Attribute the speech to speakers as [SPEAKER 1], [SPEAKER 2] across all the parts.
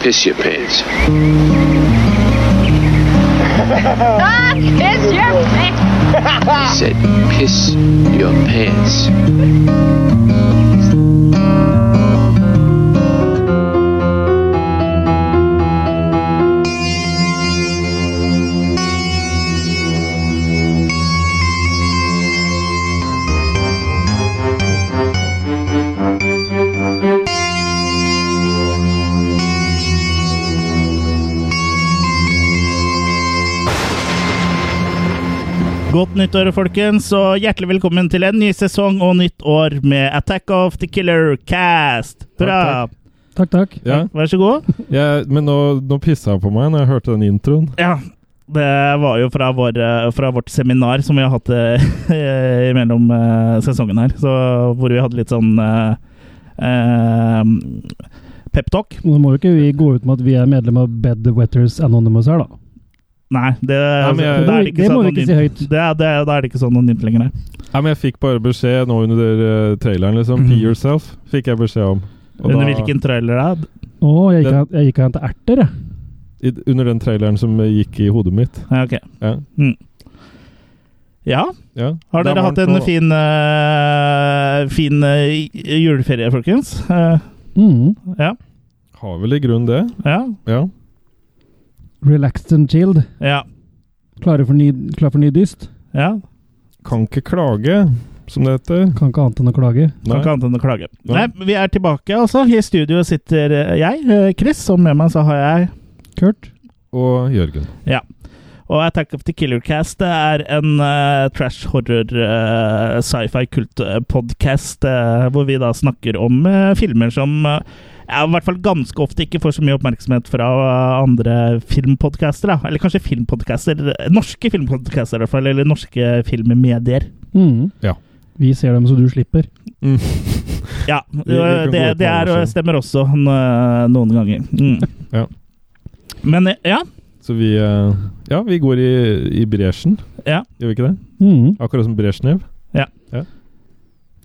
[SPEAKER 1] piss your pants.
[SPEAKER 2] Ah, piss your pants.
[SPEAKER 1] He said, piss your pants.
[SPEAKER 3] Godt nyttår, folkens, og hjertelig velkommen til en ny sesong og nytt år med Attack of the Killer Cast. Bra!
[SPEAKER 4] Takk, takk.
[SPEAKER 5] Ja,
[SPEAKER 3] Vær så god.
[SPEAKER 5] jeg, men nå, nå pissa jeg på meg når jeg hørte den introen.
[SPEAKER 3] Ja, det var jo fra, vår, fra vårt seminar som vi har hatt eh, mellom eh, sesongen her, så, hvor vi hadde litt sånn eh, eh, pep-talk.
[SPEAKER 4] Nå må jo ikke vi gå ut med at vi er medlem av Bedwetters Anonymous her, da.
[SPEAKER 3] Nei, Eh, det,
[SPEAKER 5] men jeg-
[SPEAKER 3] da er
[SPEAKER 4] Det må vi ikke si
[SPEAKER 3] anonymt.
[SPEAKER 4] høyt.
[SPEAKER 3] Det, er- det, er- da er det ikke så anonymt lenger. nei.
[SPEAKER 5] Nei, men Jeg fikk bare beskjed nå under eh, traileren, liksom.
[SPEAKER 3] Mhm.
[SPEAKER 5] Pee yourself, fikk jeg beskjed om. Og
[SPEAKER 3] Under
[SPEAKER 5] da-
[SPEAKER 3] hvilken trailer det er?
[SPEAKER 4] Å, jeg gikk, og- jeg gikk og hentet erter, jeg.
[SPEAKER 5] I, under den traileren som eh, gikk i hodet mitt.
[SPEAKER 3] Ja, ok.
[SPEAKER 5] Ja.
[SPEAKER 3] Mm. ja.
[SPEAKER 5] ja.
[SPEAKER 3] Har
[SPEAKER 5] Det er
[SPEAKER 3] dere hatt
[SPEAKER 5] varmt
[SPEAKER 3] en
[SPEAKER 5] nå.
[SPEAKER 3] fin, eh, fin eh, juleferie, folkens? Eh,
[SPEAKER 4] Mm.
[SPEAKER 3] ja.
[SPEAKER 5] Har vel i grunnen det.
[SPEAKER 3] Ja.
[SPEAKER 5] Ja.
[SPEAKER 4] Relaxed and chilled.
[SPEAKER 3] Ja.
[SPEAKER 4] Klare for ny, klar for ny dyst.
[SPEAKER 3] ja.
[SPEAKER 5] Kan ikke klage, som det heter.
[SPEAKER 4] Kan ikke annet enn å klage.
[SPEAKER 3] Kan
[SPEAKER 5] Nei.
[SPEAKER 3] ikke annet enn å klage. Nei,
[SPEAKER 5] Nei.
[SPEAKER 3] Vi er tilbake, altså. I studio sitter eh, jeg, eh, Chris, og med meg så har jeg
[SPEAKER 4] Kurt.
[SPEAKER 5] Og Jørgen.
[SPEAKER 3] Og Attack of the Killer Cast det er en eh, trash horror eh, sci-fi kult-podkast hvor vi da snakker om eh, filmer som eh, ja, i hvert fall ganske ofte ikke får så mye oppmerksomhet fra eh, andre filmpodcaster. Da. Eller kanskje filmpodcaster Norske filmpodcaster, i hvert fall. Eller norske filmmedier.
[SPEAKER 4] Mm.
[SPEAKER 5] Ja.
[SPEAKER 4] Vi ser dem så du slipper.
[SPEAKER 5] Mm.
[SPEAKER 3] Ja, eh,
[SPEAKER 5] vi
[SPEAKER 3] det,
[SPEAKER 5] kan gå ut
[SPEAKER 3] det
[SPEAKER 5] med
[SPEAKER 3] er,
[SPEAKER 5] alle selv.
[SPEAKER 3] stemmer også eh, noen ganger. Mm.
[SPEAKER 5] Ja.
[SPEAKER 3] Men eh, ja,
[SPEAKER 5] Så vi eh, Ja, vi går i, i bresjen.
[SPEAKER 3] Ja.
[SPEAKER 5] Gjør vi ikke det?
[SPEAKER 4] Mm.
[SPEAKER 5] Akkurat som Bresjnev.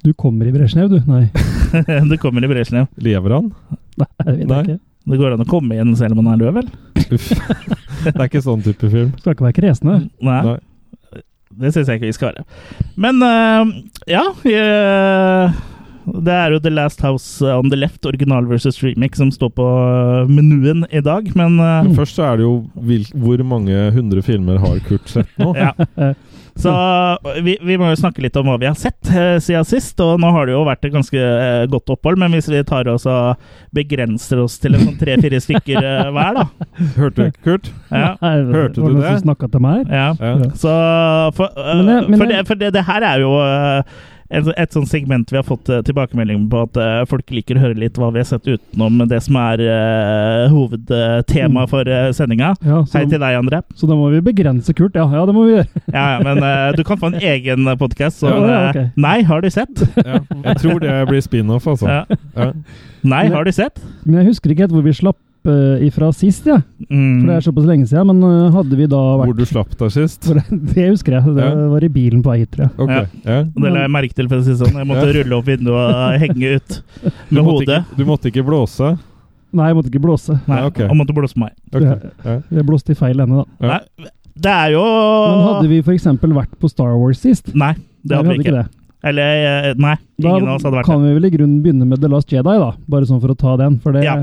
[SPEAKER 4] Du kommer i Bresjnev, du? Nei.
[SPEAKER 3] det kommer i Bresjnev.
[SPEAKER 5] Lever han?
[SPEAKER 4] Nei, jeg vet
[SPEAKER 5] Nei.
[SPEAKER 4] ikke.
[SPEAKER 3] Det går an å komme igjen selv om man er død, vel?
[SPEAKER 5] Uff. det er ikke sånn type film.
[SPEAKER 4] Skal ikke være kresne.
[SPEAKER 3] Nei.
[SPEAKER 5] Nei.
[SPEAKER 3] Det syns jeg ikke vi skal være. Men eh, ja eh, Det er jo The Last House on the Left, original versus remake, som står på eh, menuen i dag, men eh,
[SPEAKER 5] Men først så er det jo hvil, hvor mange hundre filmer har Kurt sett nå?
[SPEAKER 3] ja. Så vi, vi må jo snakke litt om hva vi har sett eh, siden sist. Og nå har det jo vært et ganske eh, godt opphold, men hvis vi tar oss og begrenser oss til en sånn tre-fire stykker eh, hver, da
[SPEAKER 5] Hørte du ikke, Kurt?
[SPEAKER 3] ja,
[SPEAKER 4] Nei,
[SPEAKER 5] Hørte
[SPEAKER 4] var
[SPEAKER 5] du
[SPEAKER 4] noen
[SPEAKER 5] det?
[SPEAKER 4] som snakka til meg her?
[SPEAKER 3] ja.
[SPEAKER 5] Ja.
[SPEAKER 4] Ja.
[SPEAKER 3] Så for, øh,
[SPEAKER 4] Men det- men
[SPEAKER 3] for,
[SPEAKER 4] det-
[SPEAKER 3] det, for det, det her er jo øh, et, et sånt segment vi har fått øh, tilbakemelding på at øh, folk liker å høre litt hva vi har sett utenom det som er øh, hovedtema
[SPEAKER 4] Mm.
[SPEAKER 3] for øh, sendinga.
[SPEAKER 4] Ja,
[SPEAKER 3] Hei
[SPEAKER 4] så,
[SPEAKER 3] til deg, André.
[SPEAKER 4] så da må vi begrense Kurt. Ja, ja det må vi gjøre.
[SPEAKER 3] Ja, ja, men øh, du kan få en egen podkast som
[SPEAKER 4] Ja, ja, ok.
[SPEAKER 3] øh, Nei, har du sett?
[SPEAKER 5] Ja. Jeg tror det blir spin-off, altså.
[SPEAKER 3] Ja.
[SPEAKER 5] Ja.
[SPEAKER 3] Nei, har du sett?
[SPEAKER 4] Men jeg husker ikke helt hvor vi slapp eh, ifra sist, jeg. Ja. For det
[SPEAKER 3] Mm.
[SPEAKER 4] er såpass lenge siden, men øh, hadde vi da
[SPEAKER 5] Hvor
[SPEAKER 4] vært
[SPEAKER 5] du slapp deg sist.
[SPEAKER 4] For det, det husker jeg. Det
[SPEAKER 5] Ja.
[SPEAKER 4] var i bilen på vei hit, tror jeg.
[SPEAKER 5] Ok.
[SPEAKER 3] Ja.
[SPEAKER 5] Ja.
[SPEAKER 3] Det la jeg merke til. for å si det sånn. Jeg måtte rulle opp vinduet og eh, henge ut
[SPEAKER 5] Du,
[SPEAKER 3] med
[SPEAKER 5] måtte
[SPEAKER 3] hodet.
[SPEAKER 5] ikke, du måtte ikke blåse?
[SPEAKER 4] Nei, jeg måtte ikke blåse.
[SPEAKER 3] Nei,
[SPEAKER 5] Ja, ok.
[SPEAKER 3] Og måtte blåse på meg.
[SPEAKER 5] Ok. Ja.
[SPEAKER 4] Jeg blåste i feil ende, da.
[SPEAKER 5] Ja.
[SPEAKER 3] Nei, det er jo
[SPEAKER 4] Men hadde vi f.eks. vært på Star Wars sist?
[SPEAKER 3] Nei, det hadde vi ikke.
[SPEAKER 4] det.
[SPEAKER 3] Eller eh, Nei,
[SPEAKER 4] Da
[SPEAKER 3] ingen av oss hadde vært det.
[SPEAKER 4] kan vi vel i grunnen begynne med The Last Jedi, da. Bare sånn for å ta den, for det,
[SPEAKER 3] Ja.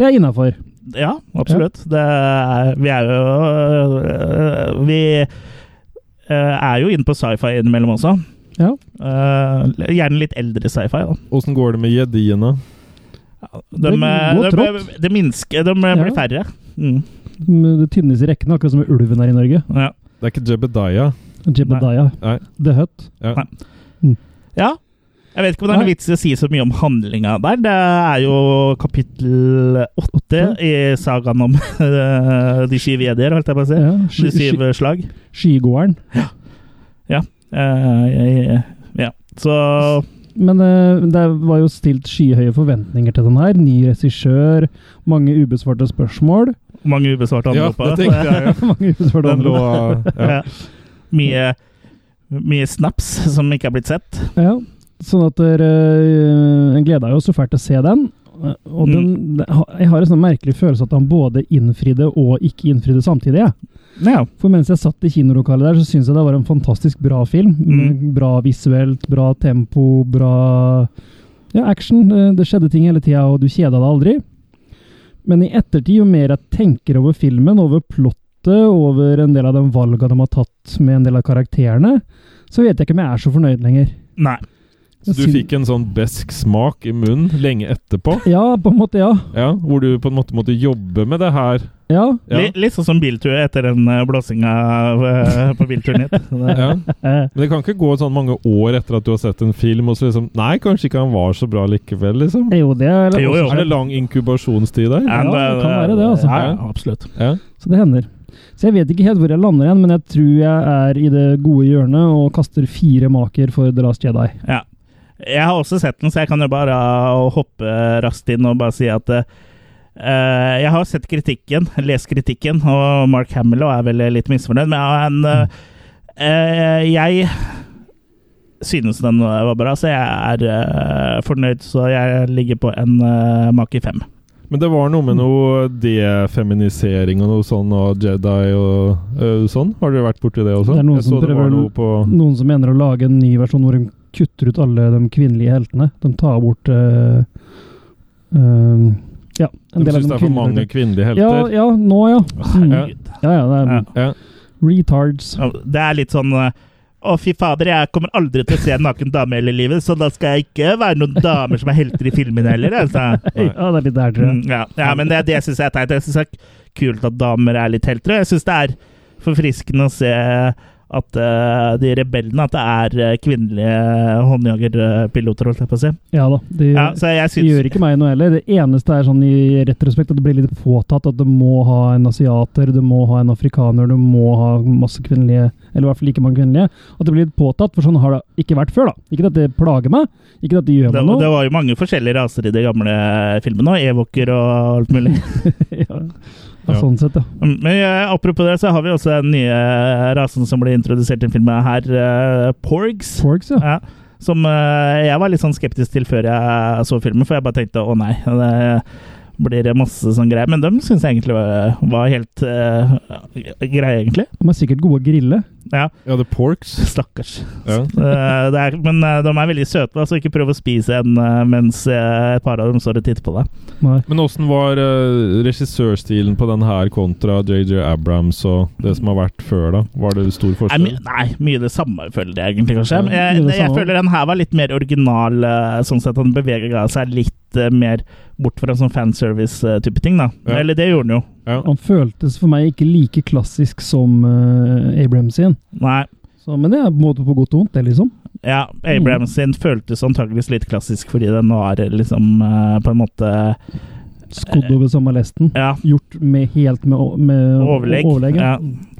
[SPEAKER 4] det er innafor.
[SPEAKER 3] Ja, absolutt. Det er, vi er jo øh, Vi øh, er jo inne på sci-fi innimellom også.
[SPEAKER 4] Ja.
[SPEAKER 3] Øh, gjerne litt eldre sci-fi. da.
[SPEAKER 5] Åssen går det med jediene?
[SPEAKER 3] De,
[SPEAKER 4] Det går
[SPEAKER 3] øh, de,
[SPEAKER 4] trått.
[SPEAKER 3] de minsker De eh, blir
[SPEAKER 4] Ja.
[SPEAKER 3] færre. Mm,
[SPEAKER 4] Det tynnes i rekkene, akkurat som med ulven her i Norge.
[SPEAKER 3] ja.
[SPEAKER 5] Det er ikke Jebediah.
[SPEAKER 4] Jebediah.
[SPEAKER 5] Nei.
[SPEAKER 4] The Hut.
[SPEAKER 3] ja. Jeg vet ikke om det er noen
[SPEAKER 4] Nei.
[SPEAKER 3] vits i å si så mye om handlinga der. Det er jo kapittel åtte i sagaen om øh, de syv jedier, holdt jeg på å si.
[SPEAKER 4] Ja.
[SPEAKER 3] De
[SPEAKER 4] Ski, ski,
[SPEAKER 3] syv slag.
[SPEAKER 4] skigåeren.
[SPEAKER 3] Eh, jeg- ja. Så
[SPEAKER 4] Men eh, det var jo stilt skyhøye forventninger til den her. Ny regissør, mange ubesvarte spørsmål.
[SPEAKER 3] mange ubesvarte
[SPEAKER 5] Ja,
[SPEAKER 3] anrop.
[SPEAKER 5] det tenkte jeg. ja.
[SPEAKER 4] mange ubesvarte
[SPEAKER 5] Den lå
[SPEAKER 4] anrop.
[SPEAKER 5] ja.
[SPEAKER 3] Ja. Mye, mye snaps som ikke er blitt sett.
[SPEAKER 4] eh, Ja, sånn at dere øh, gleda jo så fælt til å se den. Og
[SPEAKER 5] Mm.
[SPEAKER 4] den, det- jeg har en sånn merkelig følelse at han både innfridde og ikke innfridde samtidig. jeg.
[SPEAKER 3] Ja.
[SPEAKER 4] For mens jeg satt i kinolokalet der, så syns jeg det var en fantastisk bra film.
[SPEAKER 3] Mm.
[SPEAKER 4] Bra visuelt, bra tempo, bra ja, action. Eh, Det skjedde ting hele tida, og du kjeda deg aldri. Men i ettertid, jo mer jeg tenker over filmen, over plottet, over en del av de valga de har tatt med en del av karakterene, så vet jeg ikke om jeg er så fornøyd lenger.
[SPEAKER 3] Nei.
[SPEAKER 5] Så
[SPEAKER 4] Jeg
[SPEAKER 5] du
[SPEAKER 4] syn-
[SPEAKER 5] fikk en sånn besk smak i munnen lenge etterpå?
[SPEAKER 4] Ja, på en måte, ja.
[SPEAKER 5] Ja, Hvor du på en måte måtte jobbe med det her?
[SPEAKER 4] Ja,
[SPEAKER 5] Ja.
[SPEAKER 3] Li- Litt sånn som biltur etter den eh, blåsinga eh, på bilturen hit. Det-
[SPEAKER 5] ja.
[SPEAKER 4] eh,
[SPEAKER 5] Men det kan ikke gå sånn mange år etter at du har sett en film, og så liksom Nei, kanskje ikke han var så bra likevel, liksom.
[SPEAKER 4] jo, det er
[SPEAKER 3] Jo, jo.
[SPEAKER 5] Er det lang inkubasjonstid der?
[SPEAKER 3] Ja,
[SPEAKER 4] det kan være det, altså.
[SPEAKER 3] Ja, ja, absolutt.
[SPEAKER 5] Ja.
[SPEAKER 4] Så det hender. Så jeg vet ikke helt hvor jeg lander igjen, men jeg tror jeg er i det gode hjørnet og kaster fire maker for The Last Jedi.
[SPEAKER 3] Ja. Jeg har også sett den, så jeg kan jo bare eh, hoppe raskt inn og bare si at eh, eh, jeg har sett kritikken, lest kritikken, og Mark Hamill er vel litt misfornøyd, men han, eh, eh, jeg synes den var bra, så jeg er eh, fornøyd, så jeg ligger på en eh, make fem.
[SPEAKER 5] Men det var noe med noe defeminisering og noe sånn, og Jedi og øh, sånn. Har dere vært borti det også?
[SPEAKER 4] Det er noen
[SPEAKER 5] Jeg
[SPEAKER 4] som
[SPEAKER 5] så det
[SPEAKER 4] prøver-
[SPEAKER 5] var noe på
[SPEAKER 4] Noen som mener å lage en ny versjon hvor de kutter ut alle de kvinnelige heltene. De tar bort eh, eh, Ja,
[SPEAKER 5] De syns det er for mange kvinnelige
[SPEAKER 4] Ja,
[SPEAKER 5] helter.
[SPEAKER 4] ja, nå, ja. Mm.
[SPEAKER 5] Ja.
[SPEAKER 4] Ja, ja, det er
[SPEAKER 3] Ja.
[SPEAKER 5] Ja.
[SPEAKER 4] retards.
[SPEAKER 3] Ja, Det er litt sånn eh, å, fy fader, jeg kommer aldri til å se en naken dame i hele livet, så da skal jeg ikke være noen damer som er helter i filmen heller. Altså.
[SPEAKER 5] Nei.
[SPEAKER 4] Ja, det er litt der, tror jeg.
[SPEAKER 3] Mm, ja. ja, men det, det syns jeg er teit. Jeg syns det er kult at damer er litt heltere. Jeg syns det er forfriskende å se at eh, de rebellene At det er eh, kvinnelige håndjagerpiloter, holdt jeg på å si.
[SPEAKER 4] Ja da. De,
[SPEAKER 3] Ja, så jeg
[SPEAKER 4] det
[SPEAKER 3] syns
[SPEAKER 4] gjør ikke meg noe heller. Det eneste er sånn i retrospekt at det blir litt påtatt at du må ha en asiater, du må ha en afrikaner, du må ha masse kvinnelige Eller i hvert fall like mange kvinnelige. At det blir litt påtatt, for sånn har det ikke vært før, da. Ikke at det plager meg, ikke at det gjør
[SPEAKER 3] det,
[SPEAKER 4] meg
[SPEAKER 3] det
[SPEAKER 4] noe.
[SPEAKER 3] var jo mange forskjellige raser i de gamle filmene, og evoker og alt mulig.
[SPEAKER 4] ja. Ja, sånn sett, ja.
[SPEAKER 3] Mm, Men eh, apropos det, så har vi også den nye rasen som blir introdusert i filmen her, eh, Porgs.
[SPEAKER 4] Forks, ja.
[SPEAKER 3] Ja, som eh, jeg var litt sånn skeptisk til før jeg eh, så filmen, for jeg bare tenkte å nei, det blir masse sånn greier. Men dem syns jeg egentlig var, var helt eh, greie, egentlig.
[SPEAKER 4] De er sikkert gode å grille.
[SPEAKER 3] Ja,
[SPEAKER 5] Ja, The Porks.
[SPEAKER 3] stakkars.
[SPEAKER 5] Ja.
[SPEAKER 3] Eh, det er, men eh, de er veldig søte, da, så ikke prøv å spise en eh, mens eh, et par av dem står og titter på deg.
[SPEAKER 4] Nei.
[SPEAKER 5] Men åssen var eh, regissørstilen på den her kontra JJ Abrams og det som har vært før, da? Var det stor
[SPEAKER 3] Nei,
[SPEAKER 5] forskjell?
[SPEAKER 3] my, nei, mye det samme, føler jeg egentlig, kanskje. Men
[SPEAKER 4] Ja, mye
[SPEAKER 3] jeg,
[SPEAKER 4] det
[SPEAKER 3] jeg
[SPEAKER 4] samme.
[SPEAKER 3] føler den her var litt mer original, eh, sånn sett. Han bevega seg litt eh, mer bort fra sånn fanservice-type ting, da.
[SPEAKER 5] Ja.
[SPEAKER 3] Eller det gjorde han jo.
[SPEAKER 5] Ja.
[SPEAKER 4] Han føltes for meg ikke like klassisk som eh, Abrams sin.
[SPEAKER 3] Nei.
[SPEAKER 4] Så, men det er på en måte på godt og vondt, det, liksom.
[SPEAKER 3] Ja,
[SPEAKER 4] Mm.
[SPEAKER 3] Abraham sin føltes antageligvis litt klassisk fordi den var liksom eh, på en måte
[SPEAKER 4] Skodd over samme lesten.
[SPEAKER 3] Ja,
[SPEAKER 4] Gjort med, helt med, o- med
[SPEAKER 3] overlegg.
[SPEAKER 4] overlegg, ja.
[SPEAKER 3] Ja.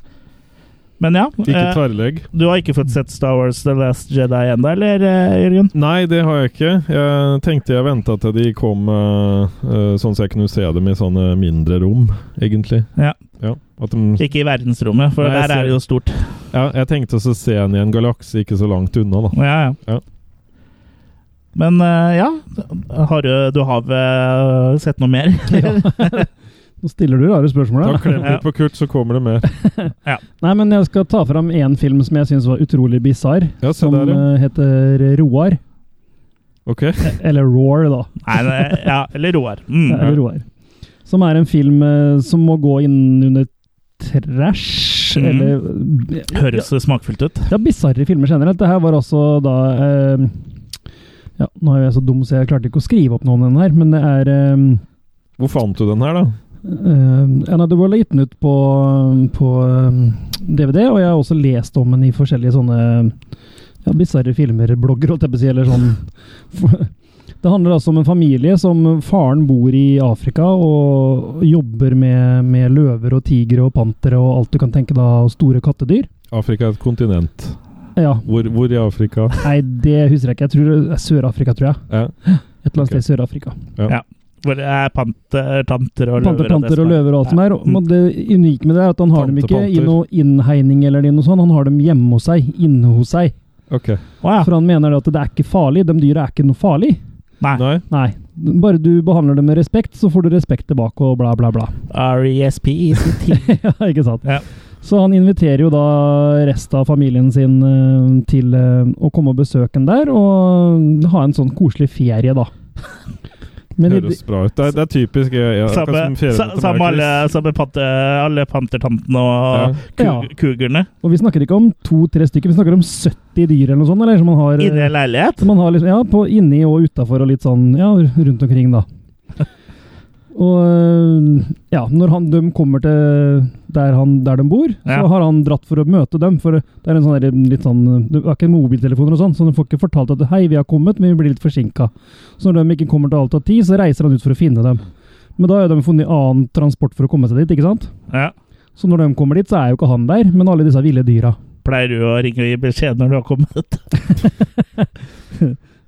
[SPEAKER 3] Men ja,
[SPEAKER 5] Ikke
[SPEAKER 3] eh,
[SPEAKER 5] tverrlegg?
[SPEAKER 3] du har ikke fått sett Star Wars The Last Jedi ennå, eller eh, Jørgen?
[SPEAKER 5] Nei, det har jeg ikke. Jeg tenkte jeg venta til de kom eh, eh, sånn så jeg kunne se dem i sånne mindre rom, egentlig.
[SPEAKER 3] Ja.
[SPEAKER 5] at de,
[SPEAKER 3] Ikke i verdensrommet, for
[SPEAKER 5] Nei, jeg
[SPEAKER 3] der
[SPEAKER 5] ser-
[SPEAKER 3] er det jo stort.
[SPEAKER 5] ja jeg tenkte også å se henne i en galakse ikke så langt unna, da.
[SPEAKER 3] Ja, ja.
[SPEAKER 5] Ja.
[SPEAKER 3] Men eh, ja, har du, du har vel sett noe mer?
[SPEAKER 4] Nå stiller du rare spørsmål.
[SPEAKER 5] Da
[SPEAKER 4] her,
[SPEAKER 5] klemmer
[SPEAKER 3] Ja.
[SPEAKER 5] du på Kurt, så kommer det mer.
[SPEAKER 4] Nei, men jeg skal ta fram én film som jeg syns var utrolig bisarr.
[SPEAKER 5] Ja, se
[SPEAKER 4] Som
[SPEAKER 5] der, ja.
[SPEAKER 4] eh, heter Roar.
[SPEAKER 5] Ok.
[SPEAKER 4] Eller Roar, da.
[SPEAKER 3] Nei, nei, ja, eller Roar.
[SPEAKER 5] Mhm.
[SPEAKER 4] Eller
[SPEAKER 3] Mm.
[SPEAKER 4] Roar. Som er en film eh, som må gå inn under trash,
[SPEAKER 3] Mhm.
[SPEAKER 4] eller
[SPEAKER 3] Høres smakfullt ut.
[SPEAKER 4] Ja, bisarre filmer generelt. Det her var også da eh, Ja, nå er jo jeg så dum, så jeg klarte ikke å skrive opp noe om den her, men det er eh,
[SPEAKER 5] Hvor fant du den her, da?
[SPEAKER 4] Eh, Another World er gitt den ut på, på eh, DVD, og jeg har også lest om den i forskjellige sånne ja, bisarre filmer-blogger, holdt jeg på å si, eller sånn Det handler altså om en familie som faren bor i Afrika og jobber med, med løver og tigre og pantere og alt du kan tenke deg av store kattedyr.
[SPEAKER 5] Afrika er et kontinent.
[SPEAKER 4] Ja,
[SPEAKER 5] Hvor, hvor i Afrika?
[SPEAKER 4] nei, det husker jeg ikke. Jeg tror det er Sør-Afrika, tror jeg.
[SPEAKER 5] Ja.
[SPEAKER 4] Et eller annet
[SPEAKER 5] Ok.
[SPEAKER 4] sted i Sør-Afrika.
[SPEAKER 3] Hvor det er panter, tanter og løver.
[SPEAKER 4] Panter, panter og
[SPEAKER 3] det som er.
[SPEAKER 4] løver og alt som er.
[SPEAKER 3] Mm.
[SPEAKER 4] Og det unike med det er at han har dem ikke i
[SPEAKER 5] Tantepanter.
[SPEAKER 4] noe innhegning eller i noe sånt. Han har dem hjemme hos seg, inne hos seg.
[SPEAKER 5] Ok.
[SPEAKER 3] Å ja.
[SPEAKER 4] For han mener at det er ikke farlig. De dyra er ikke noe farlig.
[SPEAKER 3] Nei.
[SPEAKER 5] Nei?
[SPEAKER 4] Nei. Bare du behandler det med respekt, så får du respekt tilbake, og bla, bla, bla.
[SPEAKER 3] RESP is the team.
[SPEAKER 4] ja, ikke sant?
[SPEAKER 3] Ja.
[SPEAKER 4] Så han inviterer jo da resten av familien sin eh, til eh, å komme og besøke ham der, og ha en sånn koselig ferie, da. Men i,
[SPEAKER 5] Høres bra ut. Det er, det er typisk. Jeg, jeg, akkurat
[SPEAKER 3] Samme,
[SPEAKER 5] som fjerde
[SPEAKER 3] sa-
[SPEAKER 5] til
[SPEAKER 3] samme
[SPEAKER 5] Marcus.
[SPEAKER 3] alle, samme pante, alle pantertantene
[SPEAKER 5] Ja.
[SPEAKER 3] og ku,
[SPEAKER 4] Ja.
[SPEAKER 3] kugerne
[SPEAKER 4] og vi snakker ikke om to-tre stykker, vi snakker om 70 dyr eller noe sånt. Eller, som man har,
[SPEAKER 3] inni en leilighet.
[SPEAKER 4] som man har liksom, ja, på, inni og utafor og litt sånn ja, rundt omkring, da. Og eh, ja, når han, de kommer til der, han, der de bor,
[SPEAKER 3] Ja.
[SPEAKER 4] så har han dratt for å møte dem. For det er en sånn der, litt sånn Det er ikke mobiltelefoner og sånn, så de får ikke fortalt at 'hei, vi har kommet, men vi blir litt forsinka'. Så når de ikke kommer til alt av tid, så reiser han ut for å finne dem. Men da har de funnet annen transport for å komme seg dit, ikke sant?
[SPEAKER 3] Ja.
[SPEAKER 4] Så når de kommer dit, så er jo ikke han der, men alle disse ville dyra.
[SPEAKER 3] Pleier du å ringe og gi beskjed når du har kommet?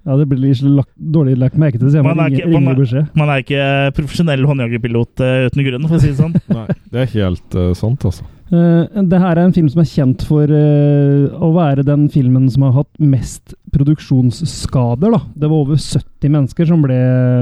[SPEAKER 4] Ja, det blir litt lagt, dårlig lagt merke til, så jeg må
[SPEAKER 3] Man er
[SPEAKER 4] ringe,
[SPEAKER 3] ikke- man
[SPEAKER 4] ringe
[SPEAKER 3] er-
[SPEAKER 4] beskjed.
[SPEAKER 3] Man er ikke profesjonell håndjagerpilot eh, uten grunn, for å si det sånn.
[SPEAKER 5] Nei, det er helt eh, sant, altså.
[SPEAKER 4] Eh, det her er en film som er kjent for eh, å være den filmen som har hatt mest produksjonsskader. da. Det var over 70 mennesker som ble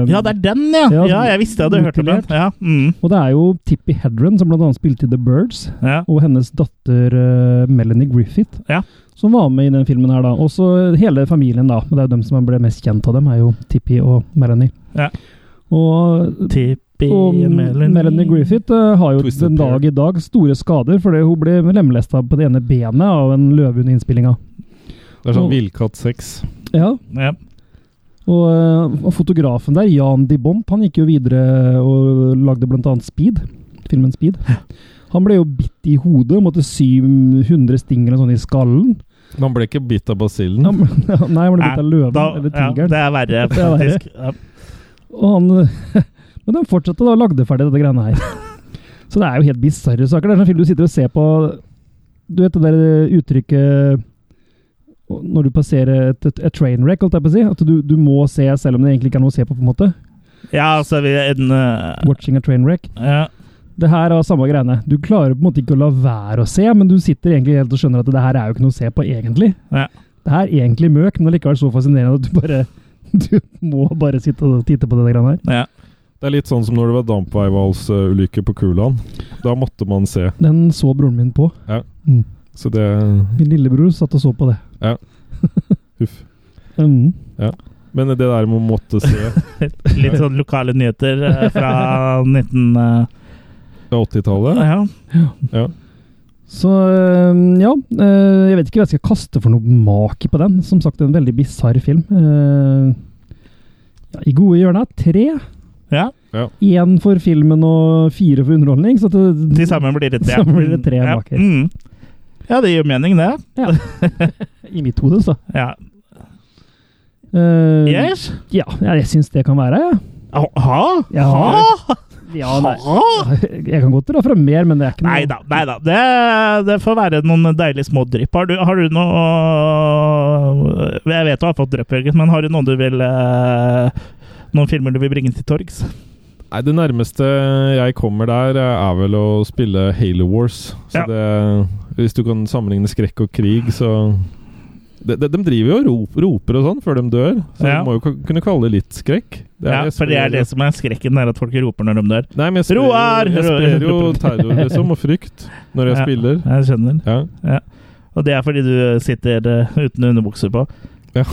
[SPEAKER 3] Ja, det er den, ja!
[SPEAKER 4] Ja,
[SPEAKER 3] Ja, jeg visste jeg hadde hørt om den. Ja, mm,
[SPEAKER 4] Og det er jo Tippi Hedren, som bl.a. spilte i The Birds,
[SPEAKER 3] ja.
[SPEAKER 4] og hennes datter eh, Melanie Griffith,
[SPEAKER 3] Ja.
[SPEAKER 4] som var med i den filmen her. da. Også hele familien, da. Men det er jo dem som ble mest kjent av dem, er jo Tippi og Melanie.
[SPEAKER 3] Ja.
[SPEAKER 4] Og
[SPEAKER 3] Tippi
[SPEAKER 4] Og Melanie, Griffith eh, har jo
[SPEAKER 5] Twisted
[SPEAKER 4] den
[SPEAKER 5] Pair.
[SPEAKER 4] dag i dag store skader fordi hun ble lemlesta på det ene benet av en løve under innspillinga.
[SPEAKER 5] Det er
[SPEAKER 4] Og-
[SPEAKER 5] sånn villkatt 6.
[SPEAKER 4] Ja.
[SPEAKER 3] Ja.
[SPEAKER 4] Og, eh, og fotografen der, Jan Di Bomp, han gikk jo videre og lagde bl.a. Speed. Filmen Speed. Han ble jo bitt i hodet og måtte sy 100 sting eller sånn i skallen.
[SPEAKER 5] Men han ble ikke bitt av basillen.
[SPEAKER 4] Han, ble- nei, han ble bitt av løven
[SPEAKER 3] Da,
[SPEAKER 4] eller
[SPEAKER 3] ja,
[SPEAKER 4] tigeren.
[SPEAKER 3] det er verre,
[SPEAKER 4] Det er verre.
[SPEAKER 3] faktisk. Ja.
[SPEAKER 4] Og han Men de fortsatte da og lagde ferdig dette greiene her. Så det er jo helt bisarre saker. Det er sånn film du sitter og ser på Du vet det der uttrykket når du passerer et, et, et train wreck, holdt jeg på å si. At du, du må se selv om det egentlig ikke er noe å se på, på en måte.
[SPEAKER 3] ja, altså vi en, eh,
[SPEAKER 4] Watching a train wreck.
[SPEAKER 3] ja.
[SPEAKER 4] Det her er samme greiene. Du klarer på en måte ikke å la være å se, men du sitter egentlig helt og skjønner at det her er jo ikke noe å se på, egentlig.
[SPEAKER 3] Ja.
[SPEAKER 4] Det her er egentlig møk, men allikevel så fascinerende at du bare Du må bare sitte og titte på det greiene her.
[SPEAKER 3] Ja.
[SPEAKER 5] Det er litt sånn som når det var dampveivalsulykke på Kulan. Da måtte man se.
[SPEAKER 4] Den så broren min på.
[SPEAKER 5] Så det
[SPEAKER 4] Min lillebror satt og så på det. Mm.
[SPEAKER 5] Huff. Men det der med å måtte se Det
[SPEAKER 3] Litt sånn lokale nyheter eh, fra 19... eh,
[SPEAKER 5] er 80-tallet.
[SPEAKER 3] ja.
[SPEAKER 4] Så øhm, ja, øh, jeg vet ikke hva jeg skal kaste for noe maki på den. Som sagt, en veldig bisarr film. Eh, ja, I gode hjørnet tre.
[SPEAKER 3] ja.
[SPEAKER 4] Én for filmen og fire for underholdning. Så det,
[SPEAKER 3] Til sammen blir det tre.
[SPEAKER 4] Sammen blir det tre
[SPEAKER 3] ja.
[SPEAKER 4] bak her.
[SPEAKER 3] Mm. ja, det gir mening, det.
[SPEAKER 4] I mitt hode, så.
[SPEAKER 3] Ja.
[SPEAKER 4] Eh,
[SPEAKER 3] Yes?
[SPEAKER 4] Ja, jeg syns det kan være, jeg.
[SPEAKER 3] Ha? Ha?
[SPEAKER 4] Ja. Ja, nei. Jeg kan godt dra fram mer, men det er ikke noe
[SPEAKER 3] Nei da, nei da. Det, det får være noen deilige små drypp. Har du, har du noe Jeg vet du har fått drypp, Jørgen, men har du noen du vil eh, Noen filmer du vil bringe til torgs?
[SPEAKER 5] Nei, det nærmeste jeg kommer der, eh, er vel å spille Halo Wars. Så
[SPEAKER 3] Ja.
[SPEAKER 5] det Hvis du kan sammenligne skrekk og krig, så de, de, de driver jo og rop, roper og sånn før de dør, så
[SPEAKER 3] Ja.
[SPEAKER 5] du må jo ka- kunne kalle det litt skrekk. Det
[SPEAKER 3] Ja,
[SPEAKER 5] jeg
[SPEAKER 3] for det er
[SPEAKER 5] spiller-
[SPEAKER 3] det som er skrekken, er at folk roper når de dør.
[SPEAKER 5] Nei, men jeg spiller,
[SPEAKER 3] Roar!
[SPEAKER 5] jo, jeg spiller jo terror liksom, og frykt når jeg
[SPEAKER 3] Ja.
[SPEAKER 5] spiller.
[SPEAKER 3] Jeg skjønner.
[SPEAKER 5] Ja.
[SPEAKER 3] Og det er fordi du sitter eh, uten underbukser på.
[SPEAKER 5] Ja.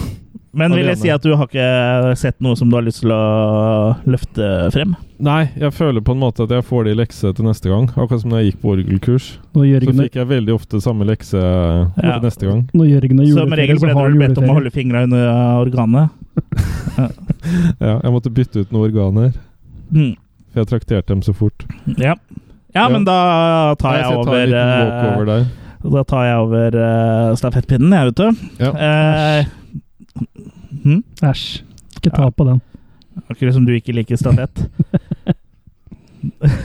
[SPEAKER 3] Men vil jeg
[SPEAKER 5] Alene.
[SPEAKER 3] si at du har ikke sett noe som du har lyst til å løfte frem?
[SPEAKER 5] Nei, jeg føler på en måte at jeg får de lekse til neste gang. Akkurat som da jeg gikk på orgelkurs.
[SPEAKER 4] Når
[SPEAKER 5] Så
[SPEAKER 4] Jørgen,
[SPEAKER 5] fikk jeg veldig ofte samme lekse
[SPEAKER 3] Ja.
[SPEAKER 5] til neste gang.
[SPEAKER 4] når Jørgen har
[SPEAKER 3] Som regel
[SPEAKER 4] juleferie, så
[SPEAKER 3] ble
[SPEAKER 4] har
[SPEAKER 3] du
[SPEAKER 4] han
[SPEAKER 3] bedt om å
[SPEAKER 4] juleferie.
[SPEAKER 3] holde fingra under eh, organet.
[SPEAKER 5] Ja, jeg måtte bytte ut noen organer,
[SPEAKER 3] Mm.
[SPEAKER 5] for jeg trakterte dem så fort.
[SPEAKER 3] Ja. Ja,
[SPEAKER 5] Ja.
[SPEAKER 3] men da tar
[SPEAKER 5] Nei,
[SPEAKER 3] jeg,
[SPEAKER 5] så tar en
[SPEAKER 3] over,
[SPEAKER 5] liten walkover der.
[SPEAKER 3] eh, Da tar jeg over eh, stafettpinnen, jeg, vet du.
[SPEAKER 5] Ja.
[SPEAKER 3] Eh, hm?
[SPEAKER 4] Æsj. Ikke ta på den.
[SPEAKER 3] Akkurat som du ikke liker stafett.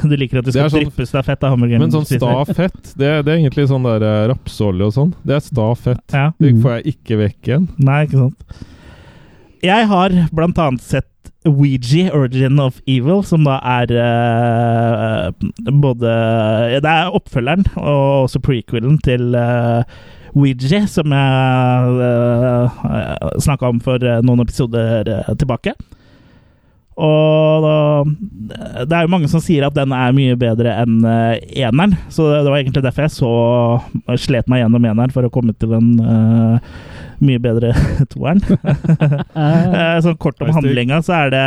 [SPEAKER 3] du liker at du
[SPEAKER 5] Det er
[SPEAKER 3] skal
[SPEAKER 5] sånn-
[SPEAKER 3] dryppe stafett av hamburgeren.
[SPEAKER 5] Men sånn
[SPEAKER 3] du spiser.
[SPEAKER 5] sta fett, det, det er egentlig sånn der eh, rapsolje og sånn. Det er sta fett.
[SPEAKER 3] Ja.
[SPEAKER 5] Det får jeg ikke vekk igjen.
[SPEAKER 3] Nei, ikke sant. Jeg har blant annet sett Ouija, Origin of Evil, som da er eh, både Det er oppfølgeren og også prequelen til eh, Ouija, som jeg uh, snakka om for eh, noen episoder eh, tilbake. eh, Og da, det er jo mange som sier at den er mye bedre enn eh, eneren, så det, det var egentlig derfor jeg så slet meg gjennom eneren for å komme til en eh, mye bedre toeren.
[SPEAKER 4] Eh,
[SPEAKER 3] Eh, Sånn kort om
[SPEAKER 5] Hei, Stig.
[SPEAKER 3] handlinga, så er det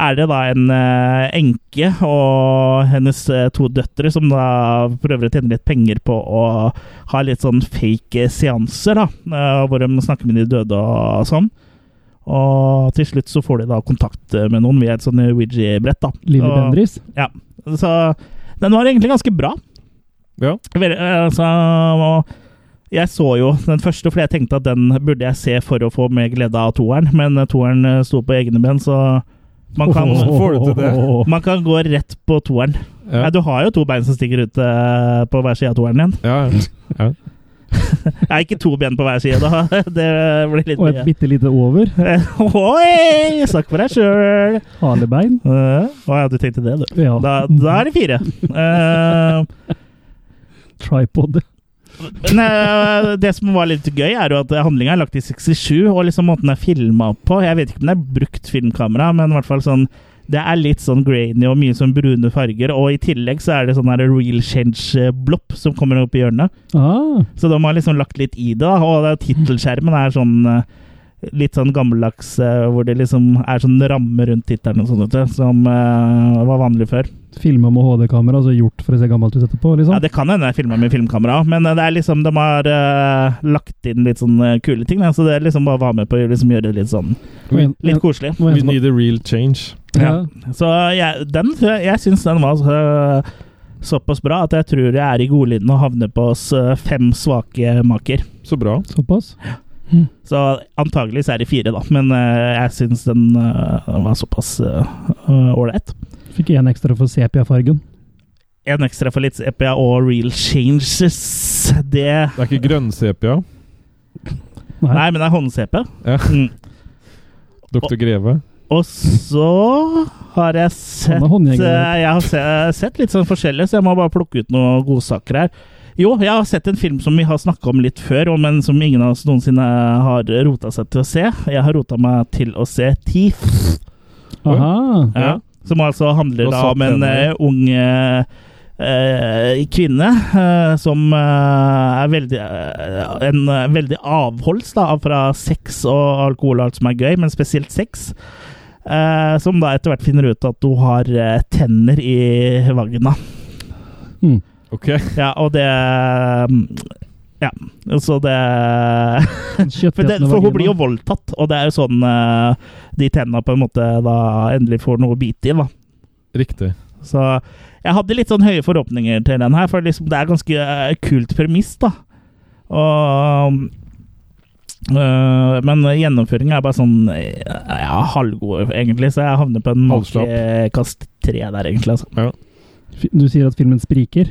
[SPEAKER 3] er det da en eh, enke og hennes eh, to døtre som da prøver å tjene litt penger på å ha litt sånn fake seanser, da, eh, hvor de snakker med de døde og sånn. Og til slutt så får de da kontakt med noen via et sånn Ouija-brett, da.
[SPEAKER 4] Lilly
[SPEAKER 3] Og-
[SPEAKER 4] Bendriss.
[SPEAKER 3] Så den var egentlig ganske bra.
[SPEAKER 5] Ja.
[SPEAKER 3] Vel, eh, altså, og jeg så jo den første, fordi jeg tenkte at den burde jeg se for å få mer glede av toeren, men eh, toeren eh, sto på egne ben, så man kan,
[SPEAKER 5] Åh. får du til det.
[SPEAKER 3] man kan gå rett på toeren.
[SPEAKER 5] Ja.
[SPEAKER 3] Nei, du har jo to bein som stikker ut eh, på hver side av toeren igjen.
[SPEAKER 5] Ja, ja.
[SPEAKER 3] Nei, ikke to ben på hver side, da. Det blir litt
[SPEAKER 4] Og et
[SPEAKER 3] mye.
[SPEAKER 4] bitte lite over.
[SPEAKER 3] Oi! Snakk for deg sjøl!
[SPEAKER 4] Halebein.
[SPEAKER 3] Å ja, du tenkte det, du.
[SPEAKER 4] Ja.
[SPEAKER 3] Da, da er det fire. Eh,
[SPEAKER 4] Mm. Tripod.
[SPEAKER 3] Men eh, det som var litt gøy, er jo at handlinga er lagt i 67, og liksom måten den er filma på Jeg vet ikke om det er brukt filmkamera, men i hvert fall sånn det er litt sånn grainy og mye sånn brune farger, og i tillegg så er det sånn her real change-blopp som kommer opp i hjørnet.
[SPEAKER 4] Ah,
[SPEAKER 3] Så de har liksom lagt litt i det, da. Og det er- tittelskjermen er sånn eh, litt sånn gammeldags, eh, hvor det liksom er sånn ramme rundt tittelen og sånn, vet du, som eh, var vanlig før.
[SPEAKER 4] Filma med HD-kamera, altså gjort for å se gammelt ut etterpå, liksom.
[SPEAKER 3] Ja, det kan hende jeg filma med filmkamera, men eh, det er liksom, de har eh, lagt inn litt sånn eh, kule ting. Da, så det er liksom bare å være med på å liksom, gjøre det litt sånn
[SPEAKER 4] Og en-
[SPEAKER 3] litt koselig.
[SPEAKER 4] og en
[SPEAKER 5] We
[SPEAKER 4] som-
[SPEAKER 5] need a real change.
[SPEAKER 4] ja.
[SPEAKER 3] Så jeg, den, tror jeg- jeg syns den var eh, såpass bra at jeg tror jeg er i godlyden og havner på oss eh, fem svake maker.
[SPEAKER 5] Så bra.
[SPEAKER 4] Såpass.
[SPEAKER 3] Så antagelig så er det fire, da, men eh, jeg syns den eh, var såpass eh, eh, ålreit.
[SPEAKER 4] Fikk én ekstra for sepia-fargen.
[SPEAKER 3] en ekstra for litt sepia og real changes. Det
[SPEAKER 5] Det er ikke grønnsepia.
[SPEAKER 4] Nei.
[SPEAKER 3] Nei, men det er hånd-CP.
[SPEAKER 5] Ja.
[SPEAKER 3] Mm.
[SPEAKER 5] Doktor Greve.
[SPEAKER 3] Og så har jeg sett
[SPEAKER 4] Han er håndjeger.
[SPEAKER 3] eh, Jeg har se, sett litt sånn forskjellig, så jeg må bare plukke ut noen godsaker her. Jo, jeg har sett en film som vi har snakka om litt før, og men som ingen av oss noensinne har rota seg til å se. Jeg har rota meg til å se Teeth,
[SPEAKER 4] Aha.
[SPEAKER 3] ja. som altså handler
[SPEAKER 5] Og
[SPEAKER 3] da
[SPEAKER 5] satt
[SPEAKER 3] om en
[SPEAKER 5] henne.
[SPEAKER 3] eh, ung eh, eh, kvinne eh, som eh, er veldig eh, En eh, veldig avholds da, fra sex og alkohol og alt som er gøy, men spesielt sex. Eh, som da etter hvert finner ut at hun har eh, tenner i vagina.
[SPEAKER 4] Mm.
[SPEAKER 5] Ok.
[SPEAKER 3] Ja, og det Ja, så det For, det,
[SPEAKER 4] Kjøttfjesende
[SPEAKER 3] for hun
[SPEAKER 4] vagina.
[SPEAKER 3] blir jo voldtatt, og det er jo sånn eh, de tenna på en måte da endelig får noe å bite i, da.
[SPEAKER 5] Riktig.
[SPEAKER 3] Så jeg hadde litt sånn høye forhåpninger til den her, for liksom, det er ganske eh, kult premiss, da. Og øh, Men gjennomføringen er bare sånn eh, ja, halvgod, egentlig, så jeg havner på en
[SPEAKER 5] Halvslapp.
[SPEAKER 3] makekast tre der, egentlig. Altså.
[SPEAKER 4] Fi- Du sier at filmen spriker.